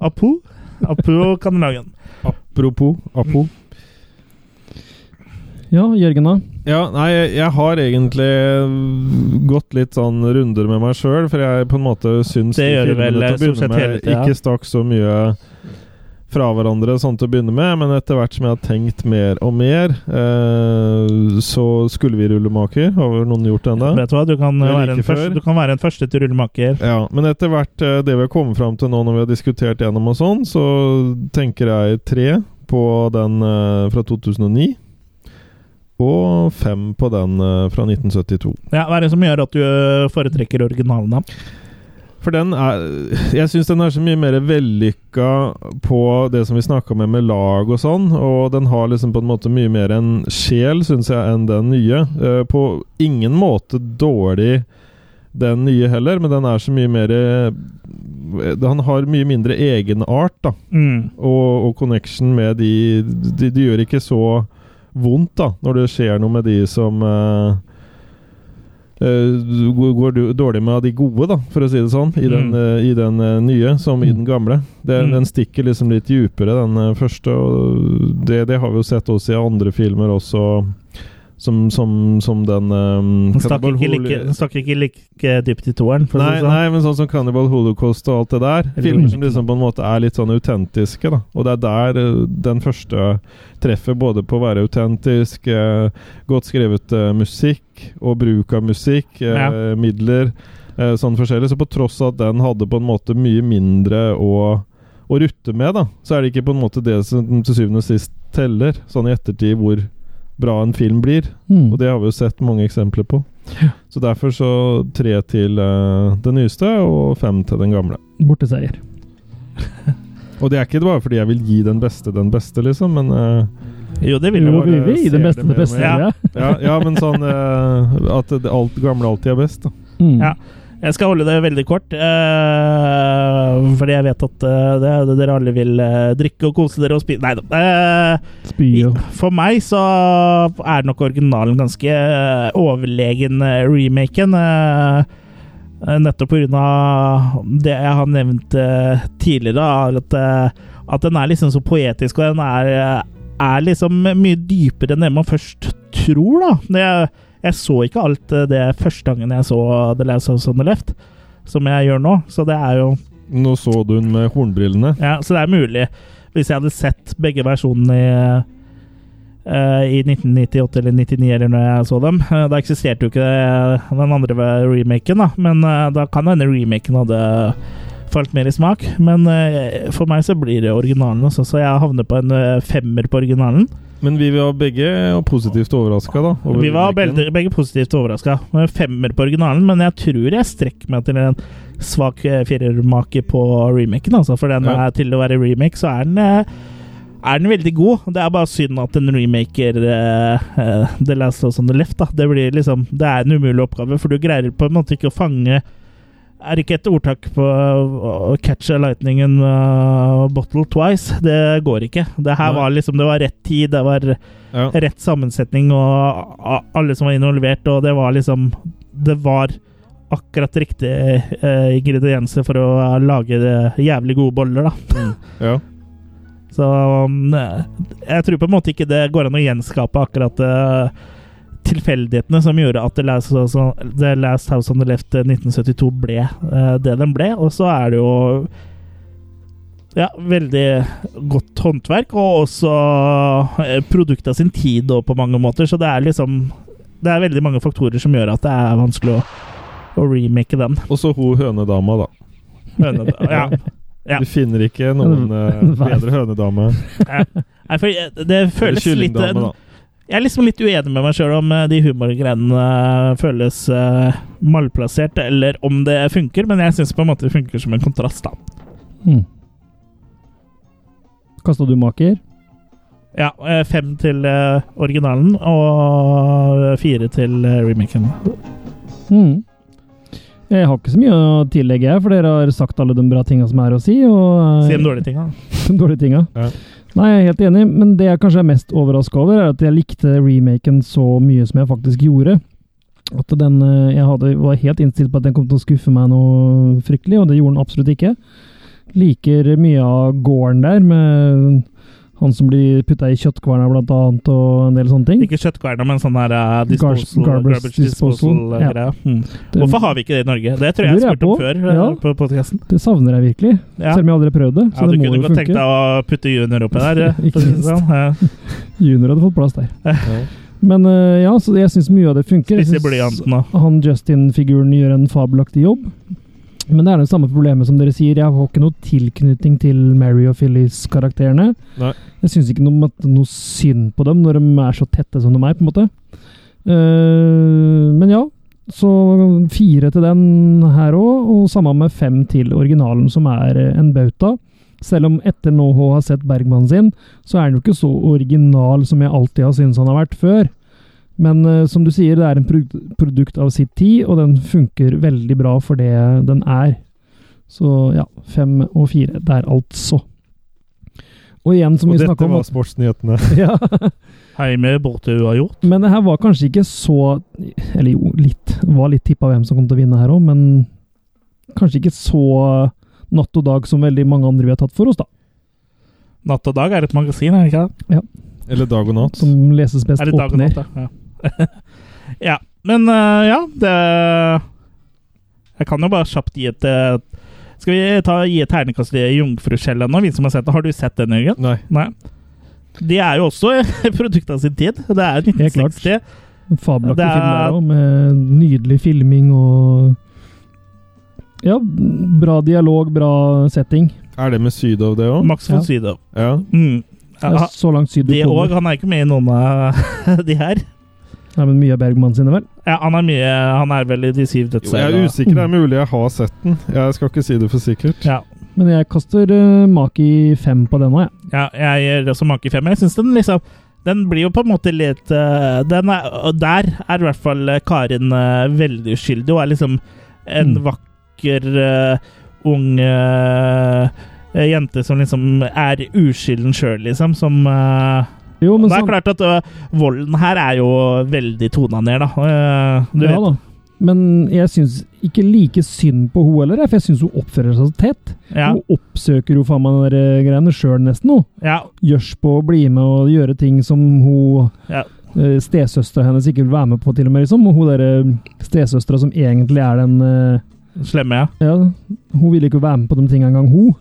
[SPEAKER 3] Apu. Apropos Kanelangen.
[SPEAKER 5] Apropos Apo.
[SPEAKER 4] Ja, Jørgen, da?
[SPEAKER 5] Ja, nei, jeg har egentlig gått litt sånn runder med meg sjøl, for jeg på en måte syns
[SPEAKER 3] Det
[SPEAKER 5] de
[SPEAKER 3] gjør du
[SPEAKER 5] filmene
[SPEAKER 3] vel,
[SPEAKER 5] til å
[SPEAKER 3] stort
[SPEAKER 5] begynne
[SPEAKER 3] sett hele
[SPEAKER 5] med
[SPEAKER 3] tida.
[SPEAKER 5] ikke stakk så mye fra hverandre sånn til å begynne med, men etter hvert som jeg har tenkt mer og mer, eh, så skulle vi rullemaker. Har vel noen gjort det ennå?
[SPEAKER 3] Vet du hva, du kan, eh,
[SPEAKER 5] Det er
[SPEAKER 3] være en
[SPEAKER 5] like
[SPEAKER 3] første,
[SPEAKER 5] før.
[SPEAKER 3] du kan være en første til rullemaker.
[SPEAKER 5] Ja, men etter hvert eh, det vi har kommet fram til nå når vi har diskutert gjennom og sånn, så tenker jeg tre på den eh, fra 2009. Og fem på den eh, fra 1972.
[SPEAKER 3] Ja, hva er det som gjør at du eh, foretrekker originalen, da?
[SPEAKER 5] For den er Jeg syns den er så mye mer vellykka på det som vi snakka med med lag og sånn, og den har liksom på en måte mye mer en sjel, syns jeg, enn den nye. Eh, På ingen måte dårlig den nye heller, men den er så mye mer eh, Han har mye mindre egenart, da
[SPEAKER 3] Mm.
[SPEAKER 5] og, og connection med de, de De gjør ikke så vondt da når det skjer noe med de som eh, eh, går går du- dårlig med av de gode, da, for å si det sånn, i den,
[SPEAKER 3] Mm.
[SPEAKER 5] eh, i den eh, nye som i den gamle. Det,
[SPEAKER 3] Mm.
[SPEAKER 5] Den stikker liksom litt djupere, den eh, første. Og det, det har vi jo sett også i andre filmer også, som, som, som den eh,
[SPEAKER 3] Den stakk
[SPEAKER 5] Cannibal
[SPEAKER 3] ikke
[SPEAKER 5] Hol-
[SPEAKER 3] like, den stakk ikke like eh, dypt i toeren, for å
[SPEAKER 5] Nei,
[SPEAKER 3] si det sånn.
[SPEAKER 5] nei, men sånn som Cannibal Holocaust og alt det der.
[SPEAKER 3] Eller
[SPEAKER 5] Filmer som
[SPEAKER 3] Rocky.
[SPEAKER 5] liksom på en måte er litt sånn autentiske. da Og det er der eh, den første treffer både på å være autentisk, eh, godt skrevet eh, musikk og bruk av musikk, eh,
[SPEAKER 3] Ja.
[SPEAKER 5] midler, eh, sånn forskjellig. Så på tross av at den hadde på en måte mye mindre å å rutte med, da, så er det ikke på en måte det som til syvende og sist teller, sånn i ettertid, hvor bra en film blir.
[SPEAKER 4] Mm.
[SPEAKER 5] Og det har vi jo sett mange eksempler på. Så derfor så tre til eh, den nyeste og fem til den gamle.
[SPEAKER 4] Borteseier.
[SPEAKER 5] Og det er ikke bare fordi jeg vil gi den beste den beste, liksom, men eh,
[SPEAKER 3] Jo, det vil
[SPEAKER 4] Jo,
[SPEAKER 3] jo
[SPEAKER 5] bare
[SPEAKER 4] vi vil gi det
[SPEAKER 5] ser
[SPEAKER 4] beste
[SPEAKER 5] det
[SPEAKER 4] det
[SPEAKER 5] mer og
[SPEAKER 4] beste.
[SPEAKER 3] mer.
[SPEAKER 4] Ja.
[SPEAKER 5] ja, ja, men sånn eh, at det alt gamle alltid er best, da.
[SPEAKER 4] Mm.
[SPEAKER 3] Ja. Jeg skal holde det veldig kort, eh, fordi jeg vet at eh, det, det dere alle vil eh, drikke og kose dere og spise Nei da. eh,
[SPEAKER 4] Spy og
[SPEAKER 3] I- For meg så er nok originalen ganske eh, overlegen eh, remaken. eh, eh, Nettopp pga. det jeg har nevnt eh, tidligere, er at, eh, at den er liksom så poetisk, og den er, eh, er liksom mye dypere enn det man først tror, da. Det, jeg så ikke alt eh, det første gangen jeg så The Last House on the Left, som jeg gjør nå, så det er jo
[SPEAKER 5] Nå så du den med hornbrillene.
[SPEAKER 3] ja, så det er mulig. Hvis jeg hadde sett begge versjonene i, eh, i 1998 eller 99, eller når jeg så dem eh, Da eksisterte jo ikke det- den andre ve- remaken, da. Men eh, da kan hende remaken hadde falt mer i smak. Men eh, for meg så blir det originalen, også, så jeg havner på en eh, femmer på originalen.
[SPEAKER 5] Men vi var begge positivt overraska, da. over
[SPEAKER 3] Vi var
[SPEAKER 5] remaken.
[SPEAKER 3] begge, begge positivt overraska. Femmer på originalen, men jeg tror jeg strekker meg til en svak eh, firermake på remaken. Altså, for den
[SPEAKER 5] Ja.
[SPEAKER 3] er til å være remake, så er den eh, er den veldig god. Det er bare synd at en remaker eh, eh, The Last of Us on the Left da. Det, blir liksom, det er en umulig oppgave, for du greier på en måte ikke å fange Er ikke et ordtak på å catch a lightning in a bottle twice. Det går ikke. Det her
[SPEAKER 5] Nei.
[SPEAKER 3] var liksom Det var rett tid. Det var
[SPEAKER 5] Ja.
[SPEAKER 3] rett sammensetning og a- alle som var involvert, og det var liksom Det var akkurat riktige eh, ingredienser for å lage det jævlig gode boller, da.
[SPEAKER 5] Ja.
[SPEAKER 3] Så mm, jeg tror på en måte ikke det går an å gjenskape akkurat eh, tilfeldighetene som gjorde at The Last, House on- The Last House on the Left eh, 1972 ble eh, det den ble, og så er det jo ja, veldig godt håndverk, og også eh, produkt av sin tid og på mange måter. Så det er liksom Det er veldig mange faktorer som gjør at det er vanskelig å, å remake den.
[SPEAKER 5] Og så hun hønedama, da.
[SPEAKER 3] Men, ja. Ja.
[SPEAKER 5] Du finner ikke noen eh,
[SPEAKER 4] Nei.
[SPEAKER 5] bedre hønedame.
[SPEAKER 3] Nei, for eh, det
[SPEAKER 5] Eller
[SPEAKER 3] føles litt eh,
[SPEAKER 5] kyllingdame, da.
[SPEAKER 3] Jeg er liksom litt uenig med meg sjøl om eh, de humorgreiene eh, føles eh, malplassert, eller om det funker, men jeg syns på en måte det funker som en kontrast, da.
[SPEAKER 4] mm. Kasta du maker?
[SPEAKER 3] Ja, eh, fem til eh, originalen og fire til eh, remaken.
[SPEAKER 4] Mm. Jeg har ikke så mye å tillegge, jeg, for dere har sagt alle de bra tinga som er å si. Og,
[SPEAKER 3] Si de dårlige tinga.
[SPEAKER 4] de dårlige tinga.
[SPEAKER 5] Ja.
[SPEAKER 4] Nei, jeg er helt enig, men det jeg kanskje er mest overraska over, er at jeg likte remaken så mye som jeg faktisk gjorde. At den, eh, Jeg hadde, var helt innstilt på at den kom til å skuffe meg noe fryktelig, og det gjorde den absolutt ikke. Liker mye av gården der, med han som blir putta i kjøttkverna blant annet, og en del sånne ting.
[SPEAKER 3] Ikke kjøttkverna, men sånn her eh, disposal,
[SPEAKER 4] Gar-
[SPEAKER 3] garbage,
[SPEAKER 4] garbage disposal, ja.
[SPEAKER 3] disposal-greie. Mm.
[SPEAKER 4] Det-
[SPEAKER 3] Hvorfor har vi ikke det i Norge? Det tror jeg jeg
[SPEAKER 4] Lurer jeg
[SPEAKER 3] spurte om
[SPEAKER 4] på.
[SPEAKER 3] før. eh,
[SPEAKER 4] Ja.
[SPEAKER 3] på podcasten.
[SPEAKER 4] Det savner jeg virkelig,
[SPEAKER 3] Ja.
[SPEAKER 4] selv om jeg aldri har prøvd det.
[SPEAKER 3] Ja,
[SPEAKER 4] Så
[SPEAKER 3] du
[SPEAKER 4] det må
[SPEAKER 3] kunne
[SPEAKER 4] jo
[SPEAKER 3] godt tenkt deg
[SPEAKER 4] funke.
[SPEAKER 3] å putte junior oppi der. eh,
[SPEAKER 4] Ikke
[SPEAKER 3] for å si det
[SPEAKER 4] minst.
[SPEAKER 3] sånn. Eh,
[SPEAKER 4] Junior hadde fått plass der.
[SPEAKER 5] Ja.
[SPEAKER 4] Men eh, ja, så jeg syns mye av det funker. Jeg
[SPEAKER 3] Spisse
[SPEAKER 4] synes
[SPEAKER 3] blyanten og
[SPEAKER 4] Han Justin-figuren gjør en fabelaktig jobb. Men det er det samme problemet som dere sier. Jeg har ikke noe tilknytning til Mary og Phyllis-karakterene.
[SPEAKER 5] Nei.
[SPEAKER 4] Jeg syns ikke noe, at- noe synd på dem når de er så tette som de er, på en måte. Eh, men ja. Så fire til den her òg, og samme med fem til originalen, som er eh, en bauta. Selv om etter nå å ha sett Bergman sin, så er den jo ikke så original som jeg alltid har syntes han har vært før. Men eh, som du sier, det er en produ- produkt av sitt tid, og den funker veldig bra for det den er. Så ja, fem og fire der, altså. Og igjen, som
[SPEAKER 5] Og
[SPEAKER 4] vi
[SPEAKER 5] dette
[SPEAKER 4] snakka om
[SPEAKER 5] var sportsnyhetene.
[SPEAKER 4] ja.
[SPEAKER 3] Heime borte du har gjort.
[SPEAKER 4] Men det her var kanskje ikke så Eller jo, litt. Det var litt tippa hvem som kom til å vinne her òg, men kanskje ikke så eh, natt og dag som veldig mange andre vi har tatt for oss, da.
[SPEAKER 3] Natt og dag er et magasin, er det ikke det?
[SPEAKER 5] Eller dag og natt.
[SPEAKER 4] Som leses best
[SPEAKER 3] Er det dag
[SPEAKER 4] opp
[SPEAKER 3] og natt,
[SPEAKER 4] ned.
[SPEAKER 3] da? Ja. ja. Men eh, ja, det Jeg kan jo bare kjapt gi et eh, Skal vi ta, gi et terningkast til Jungfrukjella nå, vi som har sett det? Har du sett den, Jørgen?
[SPEAKER 5] Nei.
[SPEAKER 3] Nei. Det er jo også et produkt av sin tid. Det er
[SPEAKER 4] Helt klart.
[SPEAKER 3] 1960.
[SPEAKER 4] En Fabelaktig
[SPEAKER 3] Det er-
[SPEAKER 4] film der òg, med nydelig filming og Ja, bra dialog, bra setting.
[SPEAKER 5] Er det med Sydow, det òg?
[SPEAKER 3] Max von
[SPEAKER 4] Ja.
[SPEAKER 3] Sydow.
[SPEAKER 5] Ja.
[SPEAKER 3] Mm.
[SPEAKER 4] Det er
[SPEAKER 3] Ja,
[SPEAKER 4] så langt syd du
[SPEAKER 3] det òg.
[SPEAKER 4] kommer.
[SPEAKER 3] Han er ikke med i noen av de her.
[SPEAKER 4] Nei, men mye av Bergman sine, vel?
[SPEAKER 3] Ja, han er mye Han er vel i De syv
[SPEAKER 5] Jo, jeg er
[SPEAKER 3] dødsøyene.
[SPEAKER 5] usikker. Det er mulig jeg har sett den. Jeg skal ikke si det for sikkert.
[SPEAKER 3] Ja.
[SPEAKER 4] Men jeg kaster eh, Maki fem på denne, jeg.
[SPEAKER 3] Ja, jeg gir også Maki 5. Jeg syns den liksom Den blir jo på en måte litt eh, den er, og Der er i hvert fall eh, Karin eh, veldig uskyldig. Hun er liksom en
[SPEAKER 4] Mm.
[SPEAKER 3] vakker, eh, ung eh, jente som liksom er uskylden sjøl, liksom. Som eh,
[SPEAKER 4] Jo, men sånn-
[SPEAKER 3] Det er
[SPEAKER 4] sam-
[SPEAKER 3] klart at ø, volden her er jo veldig tona ned, da. Eh, du
[SPEAKER 4] ja,
[SPEAKER 3] vet.
[SPEAKER 4] da. Men jeg syns ikke like synd på hun heller, jeg, for jeg syns hun oppfører seg så tett.
[SPEAKER 3] Ja,
[SPEAKER 4] Hun oppsøker jo faen meg de der eh, greiene sjøl nesten, hun.
[SPEAKER 3] ja,
[SPEAKER 4] Gjørs på å bli med og gjøre ting som hun
[SPEAKER 3] Ja.
[SPEAKER 4] eh, Stesøstera hennes ikke vil være med på, til og med. liksom. Og hun derre stesøstera som egentlig er den eh,
[SPEAKER 3] slemme, ja.
[SPEAKER 4] Ja, hun vil ikke være med på de tingene engang, hun.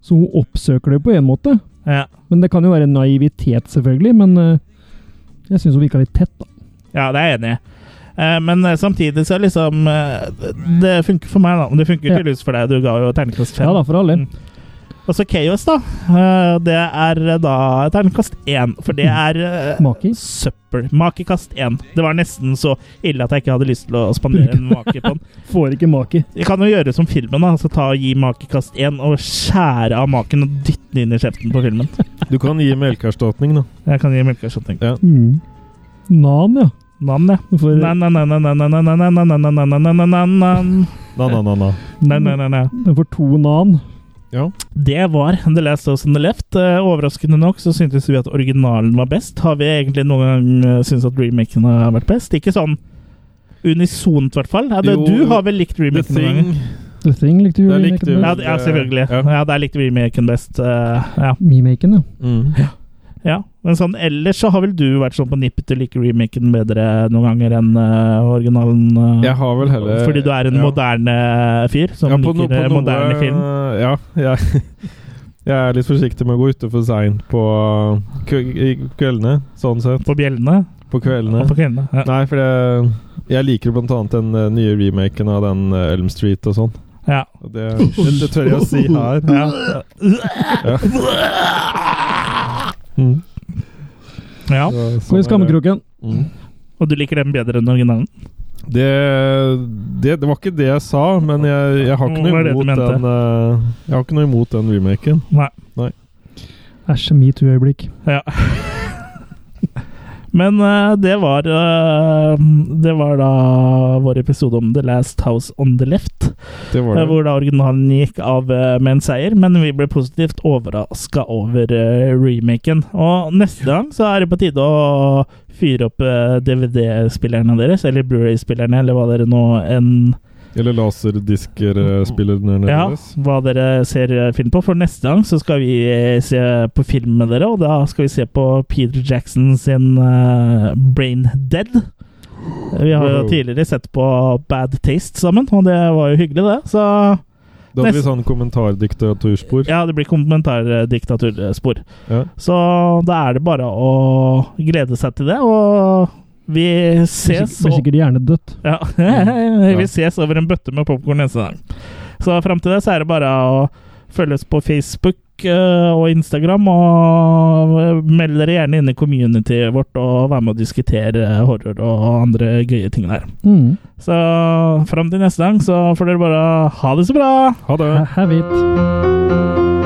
[SPEAKER 4] Så hun oppsøker det jo på en måte.
[SPEAKER 3] ja.
[SPEAKER 4] Men det kan jo være naivitet, selvfølgelig. Men eh, jeg syns hun virka litt tett, da.
[SPEAKER 3] Ja, det er jeg enig i. Eh, Men eh, samtidig så er liksom eh, Det funker for meg, da. Men det funker
[SPEAKER 4] Ja.
[SPEAKER 3] tydeligvis for deg. Du ga jo terningkast
[SPEAKER 4] Ja
[SPEAKER 3] fem.
[SPEAKER 4] da, for all del.
[SPEAKER 3] og så Chaos, da. Eh, Det er eh, da terningkast én. For det er eh,
[SPEAKER 4] Maki.
[SPEAKER 3] søppel. Makekast én. Det var nesten så ille at jeg ikke hadde lyst til å spandere en make på den.
[SPEAKER 4] Får ikke maki.
[SPEAKER 3] Vi kan jo gjøre som filmen, da. Altså ta og Gi makekast én og skjære av maken og dytte den inn i kjeften på filmen.
[SPEAKER 5] Du kan gi melkeerstatning, da.
[SPEAKER 3] Jeg kan gi melkeerstatning.
[SPEAKER 4] Mm. Nan, ja.
[SPEAKER 3] Nan, ja.
[SPEAKER 4] For,
[SPEAKER 3] Na-na-na-na-na-na-na-na-na-na-na-na-na-na-na.
[SPEAKER 5] Na, na, na, na.
[SPEAKER 4] den får to nan.
[SPEAKER 5] Ja.
[SPEAKER 3] Det var The Last House on the Left. Eh, Overraskende nok så syntes vi at originalen var best. Har vi egentlig noen gang eh, syntes at remaken har vært best? Ikke sånn unisont, i hvert fall. Ja, det-
[SPEAKER 5] Jo,
[SPEAKER 3] Du har vel likt
[SPEAKER 5] The
[SPEAKER 3] remaken? noen
[SPEAKER 5] Thing.
[SPEAKER 3] ganger?
[SPEAKER 4] The Thing likte du.
[SPEAKER 5] Der
[SPEAKER 4] Remaken
[SPEAKER 5] likte
[SPEAKER 4] best.
[SPEAKER 5] du.
[SPEAKER 3] Ja, det- ja, selvfølgelig.
[SPEAKER 5] Ja.
[SPEAKER 3] Ja, Der likte vi remaken best. eh, Ja.
[SPEAKER 4] Memaken, ja.
[SPEAKER 5] Mm.
[SPEAKER 3] ja. Men sånn ellers så har vel du vært sånn på nippet til å like remaken bedre noen ganger enn eh, originalen? eh,
[SPEAKER 5] Jeg har vel heller
[SPEAKER 3] Fordi du er en
[SPEAKER 5] ja.
[SPEAKER 3] moderne fyr som
[SPEAKER 5] Ja, på no-
[SPEAKER 3] liker
[SPEAKER 5] på
[SPEAKER 3] eh,
[SPEAKER 5] noe-
[SPEAKER 3] moderne film?
[SPEAKER 5] Ja. Jeg, jeg er litt forsiktig med å gå ute for seint på uh, kve- i kveldene, sånn sett.
[SPEAKER 3] På bjellene?
[SPEAKER 5] På kveldene.
[SPEAKER 3] Og på kvinnene? Ja.
[SPEAKER 5] Nei, for det, jeg liker blant annet den eh, nye remaken av den eh, Elm Street og sånn.
[SPEAKER 3] Ja.
[SPEAKER 5] Og Det, det, det tør jeg å si her.
[SPEAKER 3] Ja.
[SPEAKER 5] Mm.
[SPEAKER 3] ja.
[SPEAKER 5] Så,
[SPEAKER 4] Gå
[SPEAKER 5] sånn
[SPEAKER 4] i
[SPEAKER 5] er
[SPEAKER 4] skammekroken.
[SPEAKER 5] det. Mm.
[SPEAKER 3] Og du liker den bedre enn originalen?
[SPEAKER 5] Det, det, det var ikke det jeg sa, men jeg, jeg har ikke
[SPEAKER 3] Hva
[SPEAKER 5] noe
[SPEAKER 3] er det du
[SPEAKER 5] imot
[SPEAKER 3] mente?
[SPEAKER 5] den eh, Jeg har ikke noe imot den remaken.
[SPEAKER 3] Nei.
[SPEAKER 4] Æsj, metoo-øyeblikk.
[SPEAKER 3] Ja. Men eh, det var eh, Det var da vår episode om The Last House on the Left.
[SPEAKER 5] Det var
[SPEAKER 3] eh,
[SPEAKER 5] det.
[SPEAKER 3] Hvor da originalen gikk av eh, med en seier, men vi ble positivt overraska over eh, remaken. Og neste gang så er det på tide å fyre opp eh, DVD-spillerne deres, eller Blu-ray-spillerne, eller hva dere nå enn
[SPEAKER 5] Eller eh, laserdisker-spilleren
[SPEAKER 3] Ja, hva dere ser eh, film på. For neste gang så skal vi eh, se på film med dere, og da skal vi se på Peter Jackson sin eh, Brain Dead. Vi har jo
[SPEAKER 5] Wow.
[SPEAKER 3] tidligere sett på Bad Taste sammen, og det var jo hyggelig, det. Så
[SPEAKER 5] Da hadde vi
[SPEAKER 3] Nest-
[SPEAKER 5] sånn kommentardiktaturspor.
[SPEAKER 3] ja, det blir kommentardiktaturspor.
[SPEAKER 5] Ja.
[SPEAKER 3] Så da er det bare å glede seg til det, og vi
[SPEAKER 4] Blir
[SPEAKER 3] ses
[SPEAKER 4] sikk- blir sikkert hjernedødt.
[SPEAKER 3] Mm. Ja. vi ses over en bøtte med popkorn neste gang. Så fram til det så er det bare å følge oss på Facebook eh, og Instagram, og eh, meld dere gjerne inn i communityet vårt og vær med å diskutere horror og andre gøye ting der.
[SPEAKER 4] Mm.
[SPEAKER 3] Så fram til neste gang så får dere bare ha det så bra!
[SPEAKER 5] Ha det!
[SPEAKER 4] Ha- Have it.